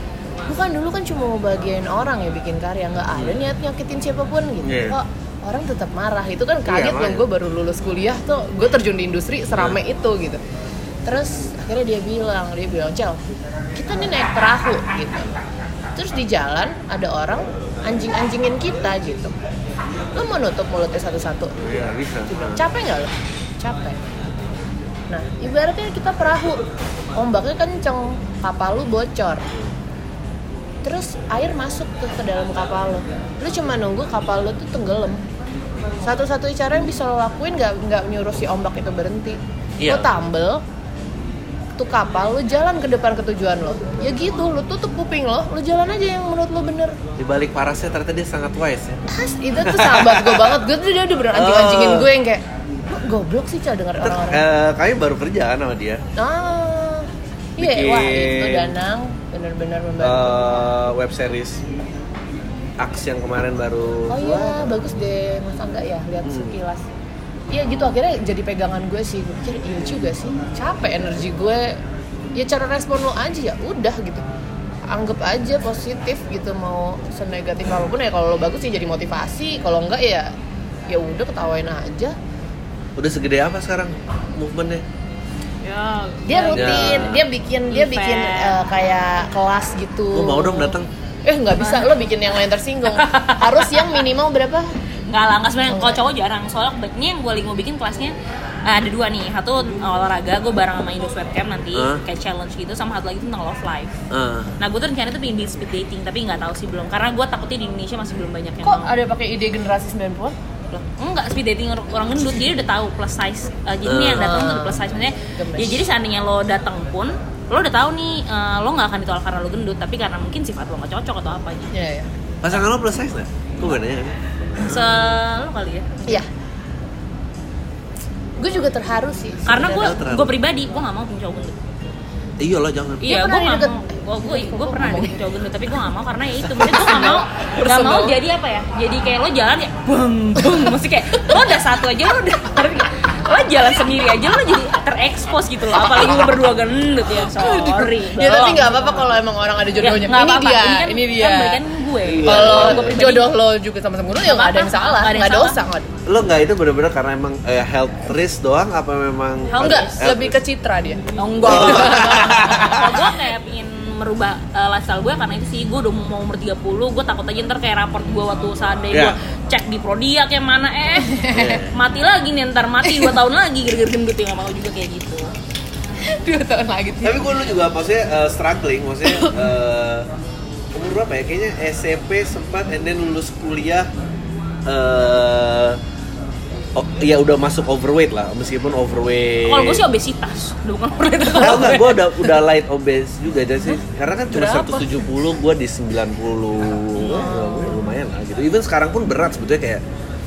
Speaker 3: bukan dulu kan cuma mau bagian orang ya bikin karya nggak ada niat nyakitin siapapun gitu
Speaker 2: Iya.
Speaker 3: kok orang tetap marah itu kan kaget
Speaker 2: Iya,
Speaker 3: loh
Speaker 2: makanya. Iya.
Speaker 3: gue baru lulus kuliah tuh gue terjun di industri serame itu gitu terus akhirnya dia bilang dia bilang cel kita nih naik perahu gitu terus di jalan ada orang anjing-anjingin kita gitu lo mau nutup mulutnya satu-satu
Speaker 2: iya bisa.
Speaker 3: capek nggak lo capek nah ibaratnya kita perahu ombaknya kenceng kapal lu bocor terus air masuk ke, ke dalam kapal lo lu cuma nunggu kapal lo tuh tenggelam satu-satunya cara yang bisa lo lakuin nggak nggak nyuruh si ombak itu berhenti
Speaker 2: Iya.
Speaker 3: lo tambel tuh kapal lo jalan ke depan ke tujuan lo ya gitu lo tutup kuping lo lo jalan aja yang menurut lo bener
Speaker 2: Di balik parasnya ternyata dia sangat wise ya.
Speaker 3: As, itu tuh sahabat gue banget gue tuh dia udah bener anjing-anjingin gue yang kayak "Lu goblok sih cara denger
Speaker 2: Oh. Terus,
Speaker 3: orang-orang
Speaker 2: eh, kami baru kerja kan sama dia.
Speaker 3: ah iya wah itu
Speaker 2: bikin-
Speaker 3: danang bener-bener membantu
Speaker 2: Eh, web series Aks yang kemarin baru
Speaker 3: oh iya bagus deh masa enggak ya lihat
Speaker 2: Hmm.
Speaker 3: sekilas Iya gitu akhirnya jadi pegangan gue sih gue pikir iya juga sih capek energi gue ya cara respon lo aja ya udah gitu anggap aja positif gitu mau senegatif apapun ya kalau lo bagus sih jadi motivasi kalau enggak ya ya udah ketawain aja
Speaker 2: udah segede apa sekarang movementnya?
Speaker 1: ya
Speaker 3: dia rutin
Speaker 2: Ya.
Speaker 3: dia bikin dia
Speaker 1: Event.
Speaker 3: bikin eh, kayak kelas gitu
Speaker 2: Gue mau dong datang.
Speaker 3: eh nggak bisa lo bikin yang lain
Speaker 2: [laughs]
Speaker 3: tersinggung harus yang minimal berapa
Speaker 1: nggak lah nggak sebenarnya kalau cowok jarang soalnya kebanyakan yang gue mau bikin kelasnya eh, ada dua nih satu olahraga gue bareng sama Indo Sweatcam nanti
Speaker 2: Hah?
Speaker 1: kayak challenge gitu sama satu lagi tentang love life
Speaker 2: Ah.
Speaker 1: nah gue tuh rencana tuh pengen bikin speed dating tapi nggak tahu sih belum karena gue takutnya di Indonesia masih belum banyak yang
Speaker 3: kok
Speaker 1: mau.
Speaker 3: ada pakai ide generasi 90-an
Speaker 1: Loh, enggak speed dating orang orang gendut dia udah tahu plus size Eh, jadi nih yang datang tuh udah plus size maksudnya
Speaker 3: Gemes.
Speaker 1: ya jadi seandainya lo datang pun lo udah tahu nih eh, lo nggak akan ditolak karena lo gendut tapi karena mungkin sifat lo nggak cocok atau apa gitu
Speaker 3: ya ya
Speaker 2: Pasangan lo plus size nggak? Gue gak nanya kan?
Speaker 1: selalu kali ya
Speaker 3: iya gue juga terharu sih
Speaker 1: karena gue
Speaker 2: Sebenarnya terlalu.
Speaker 1: gue pribadi gue nggak mau punya cowok gendut
Speaker 2: Iya lo jangan.
Speaker 1: iya
Speaker 3: pernah
Speaker 1: gue nggak
Speaker 3: deket-
Speaker 1: mau gue gue gue pernah ada cowok gendut tapi gue nggak mau karena ya itu mungkin gue nggak
Speaker 3: [laughs]
Speaker 1: mau nggak mau
Speaker 3: Personal.
Speaker 1: jadi apa ya jadi kayak lo jalan ya beng beng mesti kayak lo udah satu aja lo udah ngerti nggak? lo jalan sendiri aja lo jadi terekspos gitu loh apalagi lo berdua gendut
Speaker 3: [laughs]
Speaker 1: ya sorry
Speaker 3: ya tapi
Speaker 1: belum.
Speaker 3: nggak apa-apa kalau emang orang ada
Speaker 1: nggak
Speaker 3: jodohnya ini,
Speaker 1: apa-apa.
Speaker 3: dia,
Speaker 1: kan,
Speaker 3: ini dia
Speaker 1: kan balikan gue
Speaker 3: kalau
Speaker 1: Gue pribadi.
Speaker 3: jodoh lo juga sama-sama gue ya nggak ada yang
Speaker 1: Nggak apa-apa,
Speaker 3: salah
Speaker 1: nggak ada yang
Speaker 3: nggak
Speaker 1: salah.
Speaker 3: dosa nggak
Speaker 2: Lo nggak itu bener-bener karena emang eh, health risk doang apa memang?
Speaker 1: Health
Speaker 3: enggak
Speaker 1: risk.
Speaker 2: health
Speaker 3: lebih ke
Speaker 2: risk?
Speaker 3: citra dia
Speaker 1: Oh, enggak.
Speaker 2: [laughs]
Speaker 1: Kalau gue kayak pingin merubah eh, lifestyle gue karena itu sih gue udah mau umur 30 gue takut aja ntar kayak raport gue waktu seandainya
Speaker 2: Iya.
Speaker 1: gue cek di Prodia kayak mana eh
Speaker 2: Iya.
Speaker 1: mati lagi nih ntar mati 2 tahun lagi gara-gara gendut ya nggak mau juga kayak gitu
Speaker 2: Iya.
Speaker 3: dua tahun lagi
Speaker 2: Tapi gue dulu juga maksudnya eh, struggling, maksudnya eh, umur berapa ya? Kayaknya SMP sempat, and then lulus kuliah. eh oh, ya udah masuk overweight lah meskipun overweight
Speaker 1: Kalau gue sih obesitas, udah bukan overweight.
Speaker 2: Tahu nggak gue udah udah light obese juga jadi sih karena kan cuma
Speaker 3: Berapa?
Speaker 2: 170 gue di 90 Wah, gue lumayan lah gitu even sekarang pun berat sebetulnya kayak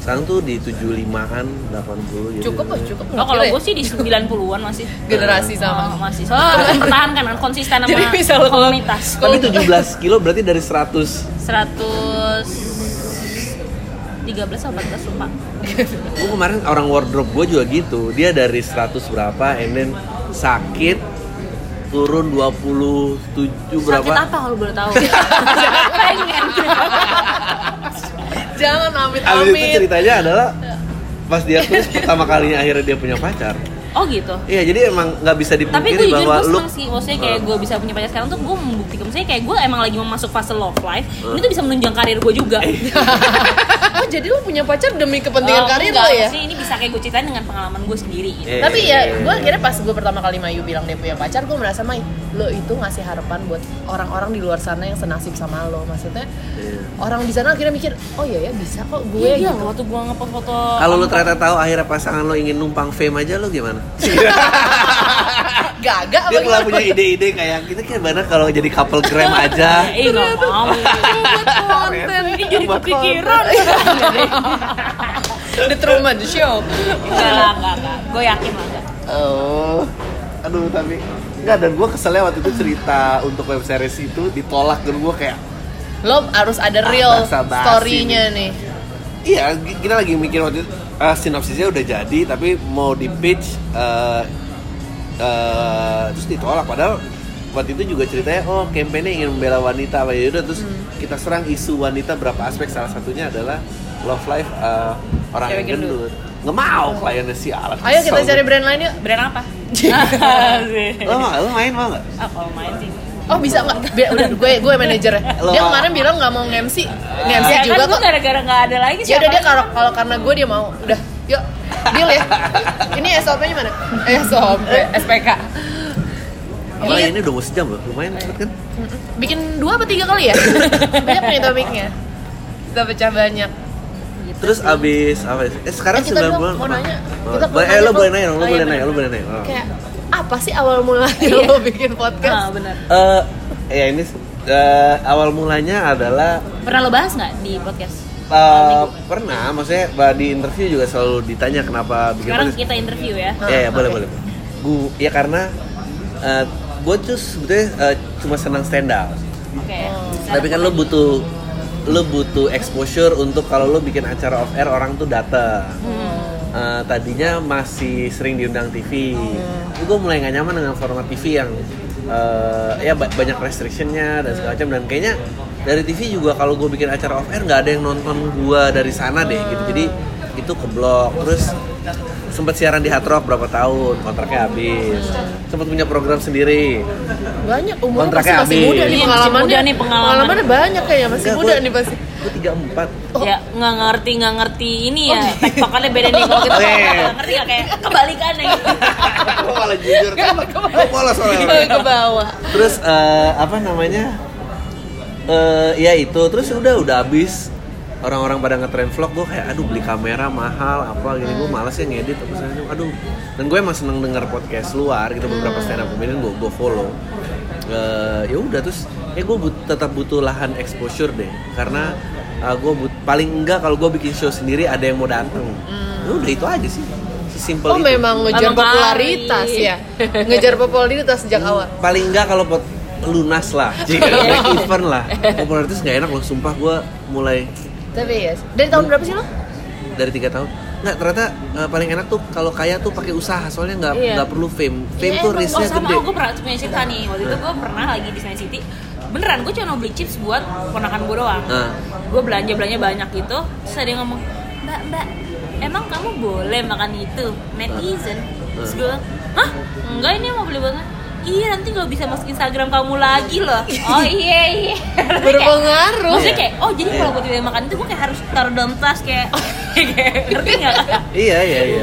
Speaker 2: sekarang tuh di 75an 80 gitu
Speaker 3: Cukup lah, cukup.
Speaker 1: Oh, kalau gue sih di 90-an masih.
Speaker 3: generasi
Speaker 1: Oh,
Speaker 3: ya? sama.
Speaker 1: masih. Soalnya harus mempertahankan kan konsisten sama
Speaker 3: Jadi bisa lo-
Speaker 1: komunitas.
Speaker 2: tapi 17 kilo berarti dari 100
Speaker 1: 100 13 atau 14 lupa.
Speaker 2: gue kemarin orang wardrobe gue juga gitu dia dari 100 berapa and then sakit turun 27 berapa
Speaker 1: Sakit apa kalau
Speaker 3: [laughs]
Speaker 1: boleh tahu? Pengen.
Speaker 3: Jangan amit
Speaker 2: Abis itu
Speaker 3: amit.
Speaker 2: ceritanya adalah pas dia terus pertama kalinya akhirnya dia punya pacar.
Speaker 1: Oh gitu.
Speaker 2: Iya jadi emang nggak bisa
Speaker 1: Tapi
Speaker 2: dipungkiri
Speaker 1: gue jujur
Speaker 2: bahwa
Speaker 1: gue
Speaker 2: lu
Speaker 1: seneng sih, maksudnya kayak
Speaker 3: Ah.
Speaker 1: gue bisa punya pacar sekarang tuh gue membuktikan Maksudnya kayak gue emang lagi mau masuk fase love life
Speaker 3: Ah.
Speaker 1: Ini tuh bisa menunjang karir gue juga [laughs]
Speaker 3: Eh, [laughs] Oh jadi lo punya pacar demi kepentingan
Speaker 1: Oh,
Speaker 3: karir
Speaker 1: enggak,
Speaker 3: lo ya?
Speaker 1: maksudnya ini bisa kayak gue ceritain dengan pengalaman gue sendiri gitu.
Speaker 2: Eh.
Speaker 3: Tapi ya, gue akhirnya pas gue pertama kali Mayu bilang dia punya pacar, gue merasa May, lo itu ngasih harapan buat orang-orang di luar sana yang senasib sama lo. Maksudnya
Speaker 2: Iya.
Speaker 3: orang di sana akhirnya mikir, oh iya ya bisa kok gue.
Speaker 1: Iya,
Speaker 3: gitu.
Speaker 1: loh, waktu gue ngepost foto
Speaker 2: kalau lu ternyata tahu akhirnya pasangan lo ingin numpang fame aja
Speaker 1: [laughs]
Speaker 2: lo gimana?
Speaker 3: Gagak apa
Speaker 2: Dia malah
Speaker 3: gimana? [laughs]
Speaker 2: punya ide-ide kayak kita kayak mana kalau jadi couple gram
Speaker 1: [laughs]
Speaker 2: aja.
Speaker 1: Eh, nggak
Speaker 3: [laughs]
Speaker 1: mau konten, ini jadi
Speaker 2: Buat
Speaker 1: kepikiran
Speaker 3: The Truman
Speaker 1: Enggak
Speaker 3: Show.
Speaker 1: lah, enggak, enggak Gue yakin lah, enggak
Speaker 2: Oh, aduh tapi enggak dan gue keselnya waktu itu cerita untuk web series itu ditolak dan gue kayak
Speaker 3: Lo harus ada
Speaker 2: Ah,
Speaker 3: real
Speaker 2: basa-basi
Speaker 3: story-nya nih.
Speaker 2: Iya, gi- kita lagi mikir waktu itu eh, sinopsisnya udah jadi, tapi mau di pitch eh, eh, terus ditolak. Padahal waktu itu juga ceritanya, oh kampanye ingin membela wanita, apa ya udah terus
Speaker 3: Hmm.
Speaker 2: kita serang isu wanita berapa aspek. Salah satunya adalah love life eh, orang
Speaker 3: Cewek Oh.
Speaker 2: yang gendut. Nggak mau kliennya si alat.
Speaker 3: Ayo kita cari brand lain yuk.
Speaker 1: Brand
Speaker 3: [laughs]
Speaker 1: apa? [laughs]
Speaker 2: Lo, mau- lo Oh, main mau nggak?
Speaker 1: Ah, kalau main sih
Speaker 3: Oh bisa nggak? Biar- Udah gue gue manajernya.
Speaker 2: Lo-
Speaker 3: Dia kemarin bilang nggak mau nge-MC, nge-MC
Speaker 1: Ya kan
Speaker 3: juga
Speaker 1: gue
Speaker 3: kok.
Speaker 1: gara-gara nggak ada lagi
Speaker 3: Ya udah
Speaker 1: siapa
Speaker 3: dia
Speaker 1: lagi?
Speaker 3: kalau kalau karena gue dia mau. Udah, yuk. Deal ya. Ini SOP-nya mana? Eh, SOP, SPK. Iya.
Speaker 2: Apalagi ini udah mau sejam loh, lumayan cepet kan?
Speaker 3: Bikin dua apa tiga kali ya? Banyak nih topiknya. Kita pecah banyak.
Speaker 2: Terus abis apa? ya? Eh sekarang
Speaker 3: Iya. Eh, kita
Speaker 2: 9
Speaker 3: dong,
Speaker 2: bulan.
Speaker 3: mau
Speaker 2: apa?
Speaker 3: nanya.
Speaker 2: Mau-
Speaker 3: Kita
Speaker 2: Boleh- eh
Speaker 3: mau
Speaker 2: lo
Speaker 3: nanya
Speaker 2: boleh
Speaker 3: dong.
Speaker 2: nanya, dong, lo
Speaker 3: Oh, iya,
Speaker 2: boleh
Speaker 3: bener.
Speaker 2: nanya, lo boleh nanya. Oh.
Speaker 3: Kayak apa sih awal mulanya lo bikin
Speaker 1: Ah,
Speaker 3: podcast?
Speaker 1: bener
Speaker 2: Eh, ya ini eh, awal mulanya adalah
Speaker 1: Pernah lo bahas nggak di podcast?
Speaker 2: eh, pernah, maksudnya bah- di interview juga selalu ditanya kenapa bikin
Speaker 1: Sekarang
Speaker 2: podcast.
Speaker 1: kita interview ya
Speaker 2: Ya, ya,
Speaker 3: Ah,
Speaker 2: boleh
Speaker 3: oke.
Speaker 2: boleh. Gue ya karena gue tuh sebetulnya eh, cuma senang stand up.
Speaker 1: Oke
Speaker 2: Tapi kan lo butuh lo butuh exposure untuk kalau lo bikin acara off air orang tuh datang. Eh, tadinya masih sering diundang TV. Tapi gue mulai nggak nyaman dengan format TV yang eh, ya ba- banyak restrictionnya dan segala macam dan kayaknya dari TV juga kalau gue bikin acara off air nggak ada yang nonton gue dari sana deh gitu. Jadi itu keblok terus sempat siaran di Hard Rock berapa tahun kontraknya habis sempat punya program sendiri
Speaker 3: Ah, Banyak umurnya
Speaker 2: Kontraknya
Speaker 3: pasti masih
Speaker 2: habis.
Speaker 3: muda nih
Speaker 1: Iya, masih
Speaker 3: pengalamannya.
Speaker 1: muda nih pengalaman.
Speaker 3: Pengalamannya banyak kayaknya masih
Speaker 2: Enggak,
Speaker 3: muda
Speaker 2: gua-
Speaker 3: nih pasti.
Speaker 2: gue tiga empat
Speaker 1: Ya nggak ngerti nggak ngerti ini ya
Speaker 2: Oh.
Speaker 1: [laughs] tektokannya beda nih kalau
Speaker 2: [laughs]
Speaker 1: kita
Speaker 2: Oke.
Speaker 1: nggak ngerti ya kayak kebalikannya gitu.
Speaker 2: Gue malah jujur kan Gue polos
Speaker 3: Ke-
Speaker 2: soalnya
Speaker 3: Ke bawah.
Speaker 2: [laughs] Terus eh, apa namanya Eh, Ya itu Terus udah udah habis Orang-orang pada ngetrend vlog Gue kayak aduh beli kamera mahal Apa gini Gue males ya ngedit apa segala macam. Aduh Dan gue emang seneng denger podcast luar gitu Beberapa
Speaker 3: Hmm.
Speaker 2: stand up comedian gue, gue follow Eh, ya udah terus ya gue but- tetap butuh lahan exposure deh karena gue paling enggak kalau gue bikin show sendiri ada yang mau datang ya udah itu aja sih sesimpel
Speaker 3: Hmm. Oh
Speaker 2: itu.
Speaker 3: memang ngejar
Speaker 1: Sama Bali.
Speaker 3: popularitas ya. Ngejar popularitas sejak awal.
Speaker 2: paling enggak kalau pot lunas lah jika event lah popularitas nggak enak loh sumpah gue mulai
Speaker 3: Tapi ya, dari tahun berapa sih lo?
Speaker 2: dari tiga tahun nggak ternyata eh, paling enak tuh kalau kaya tuh pakai usaha soalnya nggak
Speaker 1: Iya.
Speaker 2: nggak perlu fame fame
Speaker 1: Iya,
Speaker 2: tuh
Speaker 1: emang.
Speaker 2: risknya
Speaker 1: oh, sama,
Speaker 2: gede
Speaker 1: Oh, gue pernah punya cerita nih. Waktu itu gue pernah lagi di Senayan City. Beneran, gue cuma mau beli chips buat ponakan gue doang.
Speaker 2: Nah.
Speaker 1: Gue belanja-belanja banyak gitu. Terus ada yang ngomong, Mbak, Mbak, emang kamu boleh makan itu? Netizen. kan?" Terus gue, hah? Enggak, ini mau beli banget. Iya nanti gak bisa masuk Instagram kamu lagi loh Oh iya iya Terus kayak-
Speaker 3: Berpengaruh.
Speaker 1: Maksudnya kayak, oh jadi
Speaker 2: Iya.
Speaker 1: kalau gue tidak makan itu gue kayak harus taruh dalam tas kayak [laughs] kayak- Ngerti gak?
Speaker 2: iya iya iya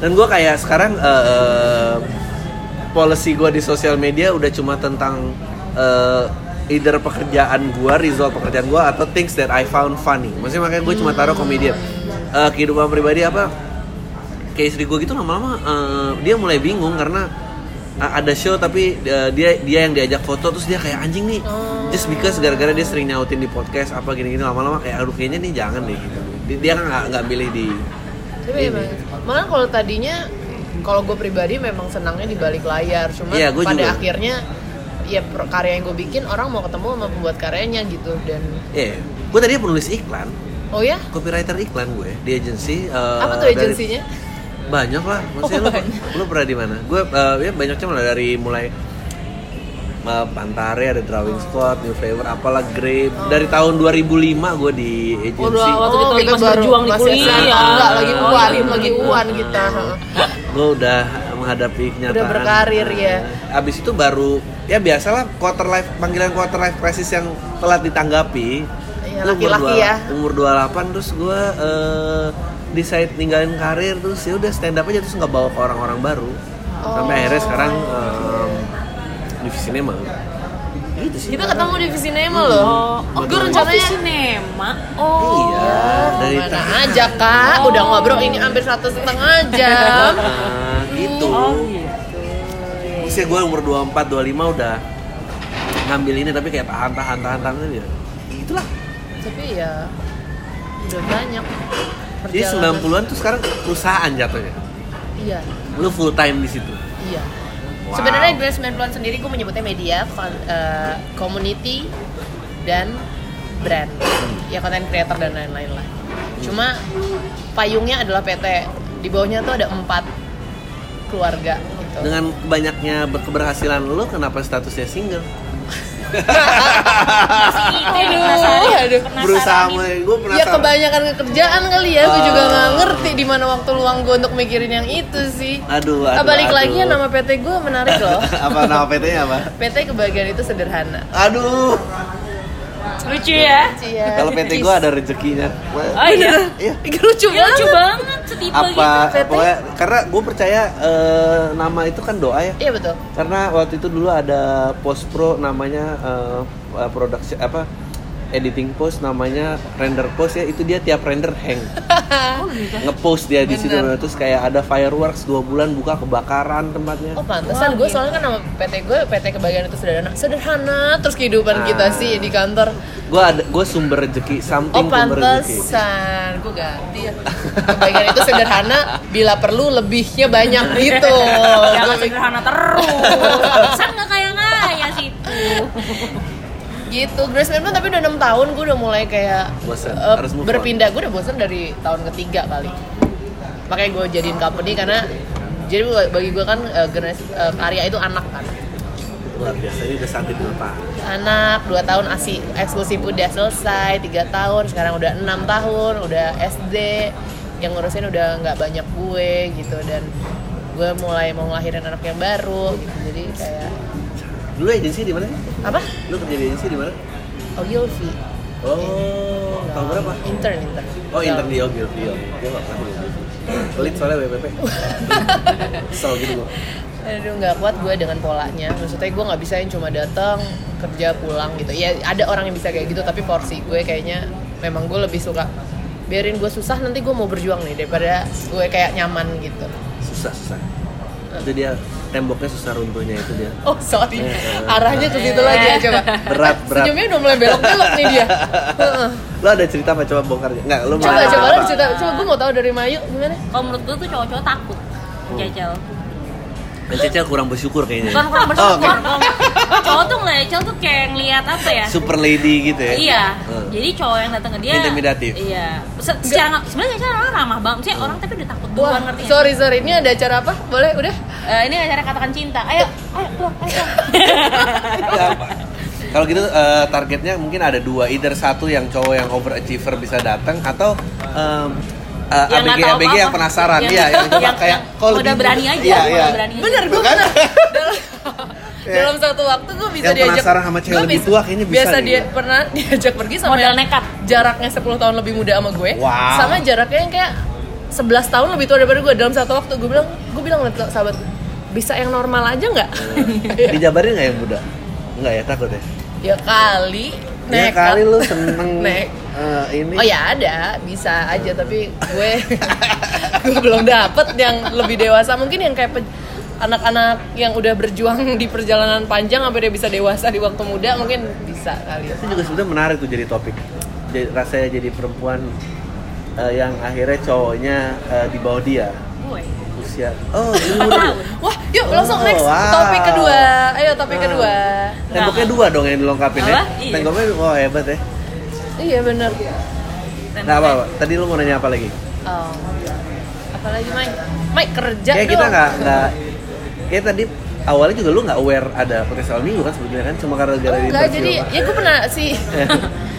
Speaker 2: dan gue kayak sekarang eh, eh, policy gue di sosial media udah cuma tentang eh, either pekerjaan gue result pekerjaan gue atau things that I found funny maksudnya makanya gue cuma taruh komedian Eh, kehidupan pribadi apa kayak istri gue gitu lama-lama eh, dia mulai bingung karena a- ada show tapi eh, dia dia yang diajak foto terus dia kayak anjing nih
Speaker 3: Oh.
Speaker 2: just because gara-gara dia sering nyautin di podcast apa gini-gini lama-lama kayak aduh kayaknya nih jangan deh gitu Dia- dia kan nggak nggak milih di
Speaker 3: Tapi emang, malah kalau tadinya kalau gue pribadi memang senangnya di balik layar, cuma
Speaker 2: Iya, gua
Speaker 3: pada
Speaker 2: juga.
Speaker 3: akhirnya ya per- karya yang gue bikin orang mau ketemu sama pembuat karyanya gitu dan
Speaker 2: eh gue tadi penulis iklan
Speaker 3: oh ya
Speaker 2: copywriter iklan gue di agensi eh,
Speaker 3: apa tuh
Speaker 2: dari-
Speaker 3: agensinya? Oh,
Speaker 2: banyak lah maksudnya lu, lu pernah di mana gue eh, ya banyaknya mulai dari mulai eh, Pantare ada Drawing
Speaker 3: Oh.
Speaker 2: Squad, New Flavor, apalah Grape dari tahun 2005 gue di
Speaker 3: Oh,
Speaker 1: Waduh,
Speaker 2: agensi
Speaker 1: waktu kita lagi masih berjuang di
Speaker 3: masih
Speaker 1: kuliah.
Speaker 3: SMA. Enggak, lagi
Speaker 1: Oh, iya,
Speaker 3: uan,
Speaker 1: bener.
Speaker 3: lagi uan kita.
Speaker 2: [laughs] gue udah menghadapi kenyataan
Speaker 3: Udah berkarir, ya.
Speaker 2: Eh, abis itu baru ya biasalah quarter life panggilan quarter life crisis yang telat ditanggapi
Speaker 3: Iya,
Speaker 2: Lu umur
Speaker 3: laki-laki
Speaker 2: dua-
Speaker 3: ya.
Speaker 2: umur 28 terus gue decide ninggalin karir terus ya udah stand up aja terus nggak bawa ke orang-orang baru sampai
Speaker 3: Oh.
Speaker 2: akhirnya sekarang em, di sinema gitu sih
Speaker 3: Kita ketemu di Visinema loh.
Speaker 1: Oh,
Speaker 3: Oh, gue
Speaker 1: rencananya
Speaker 3: rencananya
Speaker 1: sinema. Oh.
Speaker 2: iya dari
Speaker 3: mana
Speaker 2: tangan.
Speaker 3: aja kak,
Speaker 1: Oh.
Speaker 3: udah ngobrol ini hampir satu setengah
Speaker 1: [laughs]
Speaker 3: jam.
Speaker 2: Nah, gitu
Speaker 1: Oh
Speaker 3: iya.
Speaker 1: gitu.
Speaker 2: usia gue umur 24 25 udah ngambil ini tapi kayak tahan tahan tahan tahan gitu itulah
Speaker 3: Tapi ya udah banyak.
Speaker 2: jadi
Speaker 3: perjalanan.
Speaker 2: 90-an tuh sekarang perusahaan jatuhnya
Speaker 3: Iya,
Speaker 2: lu full time di situ
Speaker 3: iya.
Speaker 2: Wow.
Speaker 3: Sebenarnya dari 90-an sendiri gue menyebutnya media, kon- eh, community, dan brand. Ya konten creator dan lain-lain lah. Cuma payungnya adalah PT. Di bawahnya tuh ada empat keluarga gitu.
Speaker 2: dengan banyaknya keberhasilan lu kenapa statusnya single
Speaker 1: Itu
Speaker 3: Aduh, aduh.
Speaker 2: berusaha
Speaker 1: gitu.
Speaker 2: gue
Speaker 3: Ya
Speaker 2: penasaran
Speaker 3: kebanyakan kerjaan kali ya, gue juga
Speaker 2: Ah.
Speaker 3: nggak ngerti di mana waktu luang gue untuk mikirin yang itu sih.
Speaker 2: aduh
Speaker 3: Ah,
Speaker 2: aduh
Speaker 3: balik
Speaker 2: aduh.
Speaker 3: lagi ya nama PT gue menarik loh.
Speaker 2: [laughs] apa nama PT nya apa
Speaker 3: PT kebahagiaan itu sederhana.
Speaker 2: aduh
Speaker 1: Lucu ya?
Speaker 3: Cia.
Speaker 2: kalau PT gue ada rezekinya
Speaker 1: Oh iya.
Speaker 2: iya
Speaker 3: lucu
Speaker 1: Iya, lucu banget setipe
Speaker 2: apa
Speaker 3: gitu, PT.
Speaker 2: pokoknya karena gue percaya eh, nama itu kan doa ya
Speaker 3: Iya betul.
Speaker 2: karena waktu itu dulu ada post pro namanya eh, eh, production apa editing post namanya render post ya itu dia tiap render hang ngepost dia di situ
Speaker 3: Bener.
Speaker 2: terus kayak ada fireworks dua bulan buka kebakaran tempatnya
Speaker 3: Oh pantesan gue
Speaker 2: gitu.
Speaker 3: soalnya kan nama PT gue PT kebahagiaan itu sederhana. Sederhana terus
Speaker 2: Ah.
Speaker 3: kehidupan kita sih di kantor.
Speaker 2: gue ada gue sumber rezeki
Speaker 3: Oh
Speaker 2: something sumber rezeki
Speaker 3: pantesan gue ganti ya. Kebahagiaan itu sederhana bila perlu lebihnya
Speaker 2: [laughs]
Speaker 3: banyak gitu.
Speaker 2: Ya,
Speaker 1: Jangan sederhana terus. San nggak kayak kaya situ.
Speaker 3: gitu Grace Manman tapi udah enam tahun gue udah mulai kayak
Speaker 2: Bosen,
Speaker 3: eh,
Speaker 2: harus move on.
Speaker 3: berpindah gue udah bosen dari tahun ketiga kali makanya gue jadiin company karena jadi bagi gue kan eh, generasi- eh, karya itu anak kan
Speaker 2: luar biasa ini udah satu dua tahun
Speaker 3: anak dua tahun asi eksklusif udah selesai tiga tahun sekarang udah enam tahun udah SD yang ngurusin udah nggak banyak gue gitu dan gue mulai mau ngelahirin anak yang baru gitu jadi kayak
Speaker 2: dulu agensi di mana sih?
Speaker 3: apa
Speaker 2: lu kerja di agensi di mana
Speaker 3: oh Yulvi
Speaker 2: oh tahun berapa
Speaker 3: intern intern
Speaker 2: Oh intern di Ogil, di Ogil. Gue gak pernah di Ogil. Pelit soalnya BPP. Kesel gitu gue.
Speaker 3: Aduh nggak kuat gue dengan polanya. Maksudnya gue nggak bisa yang cuma datang kerja pulang gitu. Ya ada orang yang bisa kayak gitu tapi porsi gue kayaknya memang gue lebih suka biarin gue susah nanti gue mau berjuang nih daripada gue kayak nyaman gitu.
Speaker 2: Susah, susah. Itu dia temboknya susah runtuhnya itu dia.
Speaker 3: Oh sorry, arahnya ke situ lagi ya coba.
Speaker 2: Eh. Berat, berat.
Speaker 3: Senyumnya udah mulai belok-belok nih dia. Heeh.
Speaker 2: Lo ada cerita apa? Coba bongkar aja. Enggak, lo mau
Speaker 3: coba
Speaker 2: cerita
Speaker 3: coba
Speaker 2: apa?
Speaker 3: lu cerita, coba gue mau tahu dari Mayu gimana?
Speaker 1: Kalau menurut gue tuh cowok-cowok takut. Jajal.
Speaker 2: Dan Cecil kurang bersyukur kayaknya.
Speaker 1: Bukan kurang
Speaker 2: Oh,
Speaker 1: bersyukur.
Speaker 2: oke.
Speaker 1: kalau- Cowok tuh ngeliat Cel tuh kayak ngeliat apa ya?
Speaker 2: Super lady gitu ya?
Speaker 1: Iya.
Speaker 2: Hmm.
Speaker 1: Jadi cowok yang datang ke dia
Speaker 2: Intimidatif.
Speaker 1: Iya. Se secara sebenarnya Cel orang ramah banget. Maksudnya orang tapi udah takut
Speaker 3: Wah,
Speaker 1: duluan ngerti. nggak?
Speaker 3: sorry sorry ini ada acara apa? Boleh udah?
Speaker 1: Eh, ini acara katakan cinta. Ayo, ayo pulang, ayo pulang. Iya.
Speaker 2: Ya, apa? [laughs] Kalau gitu eh, targetnya mungkin ada dua, either satu yang cowok yang overachiever bisa datang atau em, eh,
Speaker 1: Yang nggak
Speaker 2: ABG
Speaker 1: tahu
Speaker 2: ABG yang
Speaker 1: apa-apa.
Speaker 2: penasaran,
Speaker 1: Yang-
Speaker 2: iya, yang coba
Speaker 1: [laughs] yang-
Speaker 2: kayak
Speaker 1: yang
Speaker 2: kok
Speaker 1: udah
Speaker 2: lebih-
Speaker 1: berani aja,
Speaker 2: Iya,
Speaker 1: udah
Speaker 2: iya.
Speaker 1: berani.
Speaker 3: Bener gue
Speaker 2: Bukan?
Speaker 3: bener dalam, dalam satu waktu gue bisa
Speaker 2: Eh. Yang
Speaker 3: diajak
Speaker 2: penasaran sama cewek
Speaker 3: gua
Speaker 2: lebih tua kayaknya bisa
Speaker 3: biasa
Speaker 2: deh
Speaker 3: dia
Speaker 2: gua.
Speaker 3: pernah [laughs] diajak pergi sama
Speaker 1: Modal
Speaker 3: yang
Speaker 1: nekat.
Speaker 3: jaraknya 10 tahun lebih muda sama gue
Speaker 2: Wow.
Speaker 3: sama jaraknya yang kayak 11 tahun lebih tua daripada gue dalam satu waktu gue bilang gue bilang sama sahabat gue, bisa yang normal aja nggak
Speaker 2: Eh.
Speaker 3: [laughs]
Speaker 2: Dijabarin nggak yang muda? Nggak ya, takut ya?
Speaker 3: ya kali
Speaker 2: Ya
Speaker 3: Nekat.
Speaker 2: kali lu seneng
Speaker 3: Nek.
Speaker 2: eh, ini.
Speaker 3: Oh
Speaker 1: iya.
Speaker 3: ya ada, bisa aja tapi gue [laughs] gue belum dapet yang lebih dewasa. Mungkin yang kayak pe- anak-anak yang udah berjuang di perjalanan panjang sampai dia bisa dewasa di waktu muda mungkin bisa kali ya.
Speaker 2: Itu juga sebenarnya menarik tuh jadi topik. Jadi, rasanya jadi perempuan eh, yang akhirnya cowoknya eh, di bawah dia
Speaker 1: Gue.
Speaker 2: usia. Oh,
Speaker 1: Empat
Speaker 2: ini muda.
Speaker 1: tahun.
Speaker 3: Wah, yuk
Speaker 2: Oh,
Speaker 3: langsung next
Speaker 2: wow.
Speaker 3: topik kedua. Ayo topik
Speaker 2: Wow.
Speaker 3: kedua.
Speaker 2: [laughs] Temboknya dua dong yang dilengkapin ya.
Speaker 1: Apa? Iya.
Speaker 2: Temboknya wah hebat ya.
Speaker 3: Iya bener.
Speaker 2: Nah, apa, apa? Tadi lu mau nanya apa lagi?
Speaker 3: Oh. Apalagi Mike? Mike kerja
Speaker 2: Kayak
Speaker 3: dong.
Speaker 2: kita nggak nggak kayak tadi awalnya juga lu nggak aware ada podcast awal minggu kan sebenarnya kan cuma karena gara-gara
Speaker 3: Enggak,
Speaker 2: interview.
Speaker 3: jadi ya gue pernah sih.
Speaker 2: [laughs]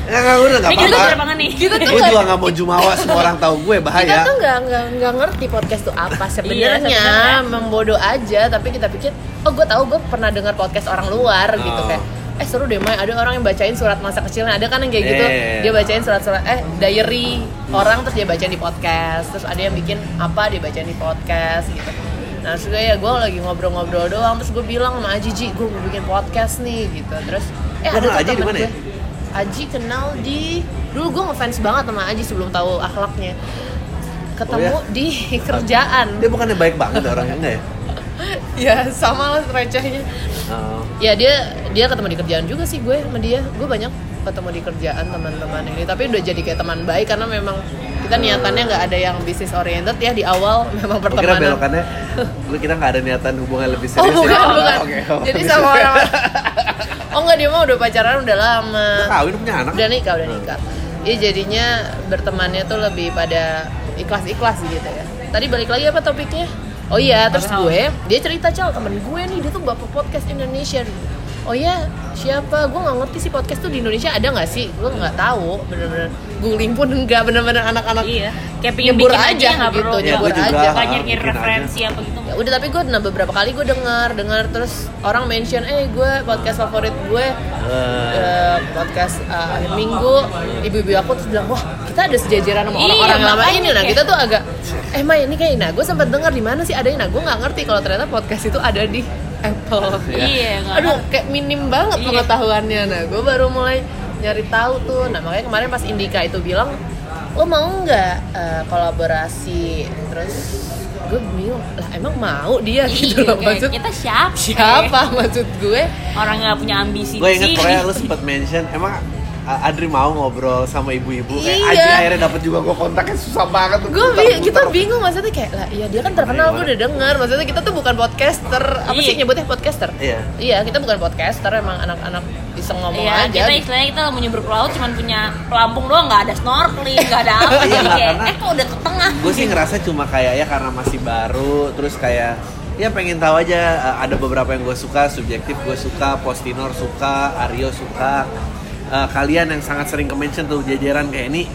Speaker 2: Nggak, nggak, udah nggak
Speaker 1: Ini kita
Speaker 2: apa-apa.
Speaker 1: berapa nih?
Speaker 3: Kita tuh
Speaker 2: Gue
Speaker 3: nggak-
Speaker 2: juga nggak mau jumawa semua orang tahu gue
Speaker 3: kita
Speaker 2: bahaya.
Speaker 3: tuh nggak nggak nggak ngerti podcast tuh apa
Speaker 1: Iya,
Speaker 3: sebenarnya
Speaker 1: sebenarnya.
Speaker 3: membodoh aja tapi kita pikir oh gue tahu gue pernah dengar podcast orang luar gitu
Speaker 2: Oh.
Speaker 3: kayak eh seru deh Mai ada orang yang bacain surat masa kecilnya ada kan yang kayak gitu
Speaker 2: Eh.
Speaker 3: dia bacain surat-surat eh diary orang terus dia bacain di podcast terus ada yang bikin apa dia bacain di podcast gitu nah terus gue ya gue lagi ngobrol-ngobrol doang terus gue bilang sama Aji Ji gue mau bikin podcast nih gitu terus eh
Speaker 2: Lu kenal Aji
Speaker 3: ada tuh
Speaker 2: di
Speaker 3: temen
Speaker 2: mana ya?
Speaker 3: gue Aji kenal di dulu gue ngefans banget sama Aji sebelum tahu akhlaknya ketemu
Speaker 2: Oh,
Speaker 3: di kerjaan
Speaker 2: Dia bukannya baik banget orangnya enggak ya?
Speaker 3: ya sama lah recehnya
Speaker 2: Oh.
Speaker 3: ya dia dia ketemu di kerjaan juga sih gue sama dia gue banyak ketemu di kerjaan teman-teman ini tapi udah jadi kayak teman baik karena memang kita niatannya nggak ada yang bisnis oriented ya di awal [laughs] memang
Speaker 2: Gue Oh, kira
Speaker 3: pertemanan
Speaker 2: belokannya lu kita nggak ada niatan hubungan lebih serius.
Speaker 3: oh
Speaker 2: ya?
Speaker 3: bukan
Speaker 2: Oh,
Speaker 3: bukan
Speaker 2: oke, oh,
Speaker 3: jadi
Speaker 2: bagus.
Speaker 3: sama orang
Speaker 2: [laughs]
Speaker 3: oh enggak dia mah udah pacaran udah lama
Speaker 2: Udah Kawin punya anak.
Speaker 3: udah nikah udah nikah Iya jadinya bertemannya tuh lebih pada ikhlas-ikhlas gitu ya tadi balik lagi apa topiknya oh iya terus
Speaker 1: Tahu.
Speaker 3: gue dia cerita cal temen gue nih dia tuh bapak podcast Indonesia oh iya siapa gue nggak ngerti sih podcast tuh di Indonesia ada nggak sih gue nggak tahu bener-bener googling pun nggak bener-bener anak-anak
Speaker 1: Iya. Kayak pingin
Speaker 3: Nyebur
Speaker 1: bikin
Speaker 3: aja
Speaker 1: aja nggak
Speaker 3: gitu,
Speaker 1: perlu.
Speaker 2: Ya, gue
Speaker 3: nyebur
Speaker 2: juga.
Speaker 3: aja.
Speaker 1: Nggak
Speaker 2: ah,
Speaker 1: nyari
Speaker 2: bikin aja. Oh,
Speaker 1: referensi apa gitu.
Speaker 3: ya udah tapi gue nah beberapa kali gue dengar dengar terus orang mention eh gue podcast favorit gue
Speaker 2: Eh,
Speaker 3: eh, podcast eh, akhir minggu ibu-ibu aku terus bilang wah kita ada sejajaran sama orang-orang
Speaker 1: Iya,
Speaker 3: lama
Speaker 1: makanya.
Speaker 3: ini nah kita tuh agak eh Mai ini kayak nah gue sempat dengar di mana sih ada nah gue nggak ngerti kalau ternyata podcast itu ada di Apple
Speaker 2: Iya.
Speaker 1: Iya. nggak
Speaker 3: aduh kayak minim banget
Speaker 1: Iya.
Speaker 3: pengetahuannya nah gue baru mulai nyari tahu tuh nah makanya kemarin pas Indika itu bilang lo mau nggak eh, kolaborasi terus gue bingung lah emang mau dia [laughs] gitu
Speaker 1: Iya,
Speaker 3: loh
Speaker 1: kayak
Speaker 3: maksud
Speaker 1: kita siapa?
Speaker 3: siapa maksud gue
Speaker 1: Orang nggak punya ambisi
Speaker 2: gue
Speaker 1: di
Speaker 2: inget
Speaker 1: sini.
Speaker 2: pokoknya lu sempet mention emang uh, Adri mau ngobrol sama ibu-ibu kayak
Speaker 3: Iya.
Speaker 2: Adri akhirnya dapet juga gue kontaknya susah banget
Speaker 3: gue
Speaker 2: Putar-putar.
Speaker 3: kita bingung maksudnya kayak lah iya dia kan terkenal gue udah denger maksudnya kita tuh bukan podcaster apa sih
Speaker 1: Iya.
Speaker 3: nyebutnya podcaster
Speaker 2: Iya.
Speaker 3: iya kita bukan podcaster emang anak-anak bisa ngomong
Speaker 1: Iya,
Speaker 3: aja
Speaker 1: kita istilahnya kita mau nyebur ke laut cuman punya pelampung doang, nggak ada snorkeling, nggak ada
Speaker 2: [laughs]
Speaker 1: apa
Speaker 2: Iya,
Speaker 1: jadi kayak,
Speaker 2: karena-
Speaker 1: eh kok udah ke tengah
Speaker 2: gue sih ngerasa cuma kayak ya karena masih baru terus kayak ya pengen tahu aja uh, ada beberapa yang gue suka subjektif gue suka postinor suka Aryo suka Uh, kalian yang sangat sering ke mention tuh jajaran kayak ini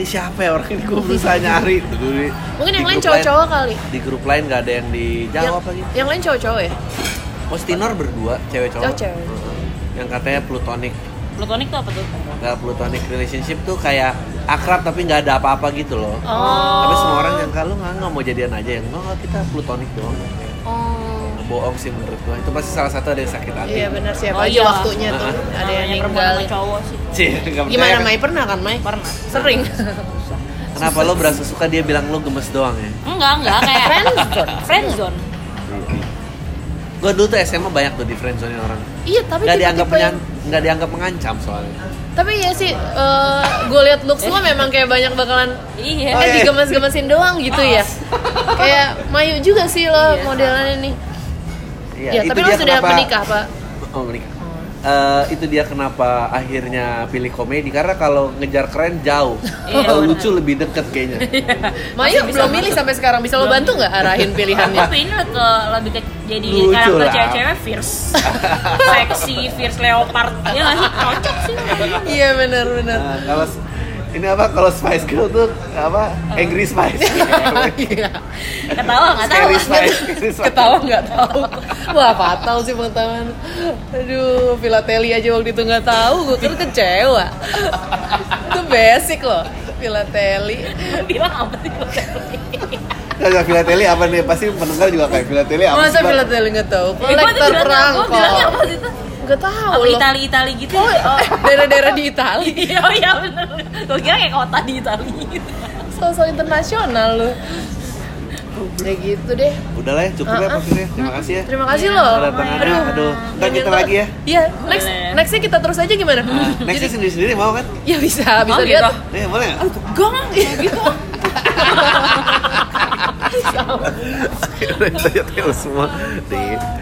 Speaker 2: ini siapa ya orang ini gue berusaha nyari Tuh, dulu Gitu, di- di
Speaker 3: mungkin yang lain
Speaker 2: grup lain-
Speaker 3: cowok-cowok kali
Speaker 2: di grup lain gak ada yang
Speaker 3: yang,
Speaker 2: dijawab
Speaker 1: gitu?
Speaker 2: lagi
Speaker 3: yang lain cowok-cowok ya
Speaker 2: postinor berdua cewek cowok
Speaker 3: Oh, cewek.
Speaker 2: yang katanya plutonic
Speaker 1: Plutonic tuh apa tuh?
Speaker 2: nggak plutonic relationship tuh kayak akrab tapi nggak ada apa-apa gitu loh
Speaker 3: Oh.
Speaker 2: tapi semua orang yang kalau nggak nggak mau jadian aja yang nggak nggak, kita plutonic doang
Speaker 3: oh
Speaker 2: bohong sih menurut gua itu pasti salah satu ada yang sakit hati
Speaker 3: Iya benar siapa
Speaker 1: Oh,
Speaker 3: aja
Speaker 1: iya.
Speaker 3: waktunya tuh ada yang
Speaker 1: Namanya perempuan
Speaker 3: meninggal.
Speaker 1: sama cowok sih
Speaker 2: [laughs] Cih, nggak
Speaker 3: Gimana
Speaker 2: percaya.
Speaker 3: Mai pernah kan Mai?
Speaker 1: Pernah [laughs]
Speaker 3: Sering.
Speaker 2: kenapa lo berasa suka dia bilang lo gemes doang ya
Speaker 1: Enggak, enggak, kayak
Speaker 3: Friendzone.
Speaker 1: Friendzone
Speaker 2: gua dulu tuh SMA banyak tuh di friendzone orang
Speaker 3: iya tapi
Speaker 2: nggak dianggap
Speaker 3: tipe-tipe yang-
Speaker 2: menyan- nggak dianggap mengancam soalnya
Speaker 3: Tapi ya sih gue liat looks lo memang kayak banyak bakalan
Speaker 1: Iya
Speaker 2: Oh,
Speaker 3: eh
Speaker 2: iya.
Speaker 3: digemes-gemesin doang gitu ya. kayak Mayu juga sih lo
Speaker 1: Iya,
Speaker 3: modelannya nih.
Speaker 2: iya
Speaker 3: Ya,
Speaker 2: itu
Speaker 3: tapi lo
Speaker 2: dia
Speaker 3: sudah
Speaker 2: kenapa-
Speaker 3: menikah, Pak.
Speaker 2: oh menikah Eh, itu dia kenapa akhirnya pilih komedi karena kalau ngejar keren jauh
Speaker 1: Iya,
Speaker 2: kalau
Speaker 1: benar.
Speaker 2: lucu lebih deket kayaknya
Speaker 3: Mayu
Speaker 1: Masih bisa
Speaker 3: belum milih sampai sekarang. Bisa lo
Speaker 1: Belum.
Speaker 3: bantu nggak arahin
Speaker 1: [laughs]
Speaker 3: pilihannya?
Speaker 1: Tapi ini lebih ke, lebih ke jadi
Speaker 2: Lucu
Speaker 1: karakter
Speaker 2: lah.
Speaker 1: cewek-cewek fierce Seksi, fierce leopard Iya nggak sih? Cocok sih kayaknya.
Speaker 3: Iya
Speaker 1: [laughs]
Speaker 3: benar-benar.
Speaker 2: Nah, kalau s- ini apa kalau Spice Girl tuh apa Angry Spice
Speaker 3: Iya.
Speaker 1: Ketawa, nggak tahu
Speaker 2: Scary
Speaker 1: [laughs]
Speaker 2: Spice Scary Spice.
Speaker 3: ketawa nggak tahu wah fatal sih pengetahuan aduh filateli aja waktu itu nggak tahu gue kan kecewa itu basic loh filateli
Speaker 1: Bilang apa sih?
Speaker 2: Kalau Filateli apa nih pasti pendengar juga kayak Filateli apa sih,
Speaker 3: masa
Speaker 2: Bang?
Speaker 3: filateli nggak
Speaker 1: Eh,
Speaker 3: tahu
Speaker 1: gua tuh
Speaker 3: kolektor
Speaker 1: bilang apa? Gua bilangnya
Speaker 3: perangko
Speaker 1: apa sih tuh?
Speaker 3: Gak tahu
Speaker 1: Apa
Speaker 3: loh.
Speaker 1: Itali Itali gitu?
Speaker 3: Oh, eh, [laughs] daerah-daerah di Itali.
Speaker 1: Iya, oh [laughs] iya bener. Gue kira kayak kota di Itali. gitu.
Speaker 3: Sosok internasional lu. Ya gitu deh.
Speaker 2: Udah lah ya, cukup ya
Speaker 3: Ah, ah.
Speaker 2: maksudnya. Terima kasih ya.
Speaker 3: Terima kasih
Speaker 1: Iya,
Speaker 3: loh.
Speaker 2: Udah tangannya.
Speaker 3: Aduh.
Speaker 2: Aduh, ntar kita
Speaker 3: Nyentil.
Speaker 2: lagi ya.
Speaker 3: Iya, next
Speaker 1: Boleh. Ah.
Speaker 3: nextnya kita terus aja gimana?
Speaker 2: Nextnya sendiri-sendiri mau kan?
Speaker 3: Ya bisa, bisa
Speaker 1: Mau gitu?
Speaker 3: diatur.
Speaker 2: Eh, boleh nggak?
Speaker 3: Gong, ya gitu.
Speaker 2: Akhirnya Kita nyetel semua di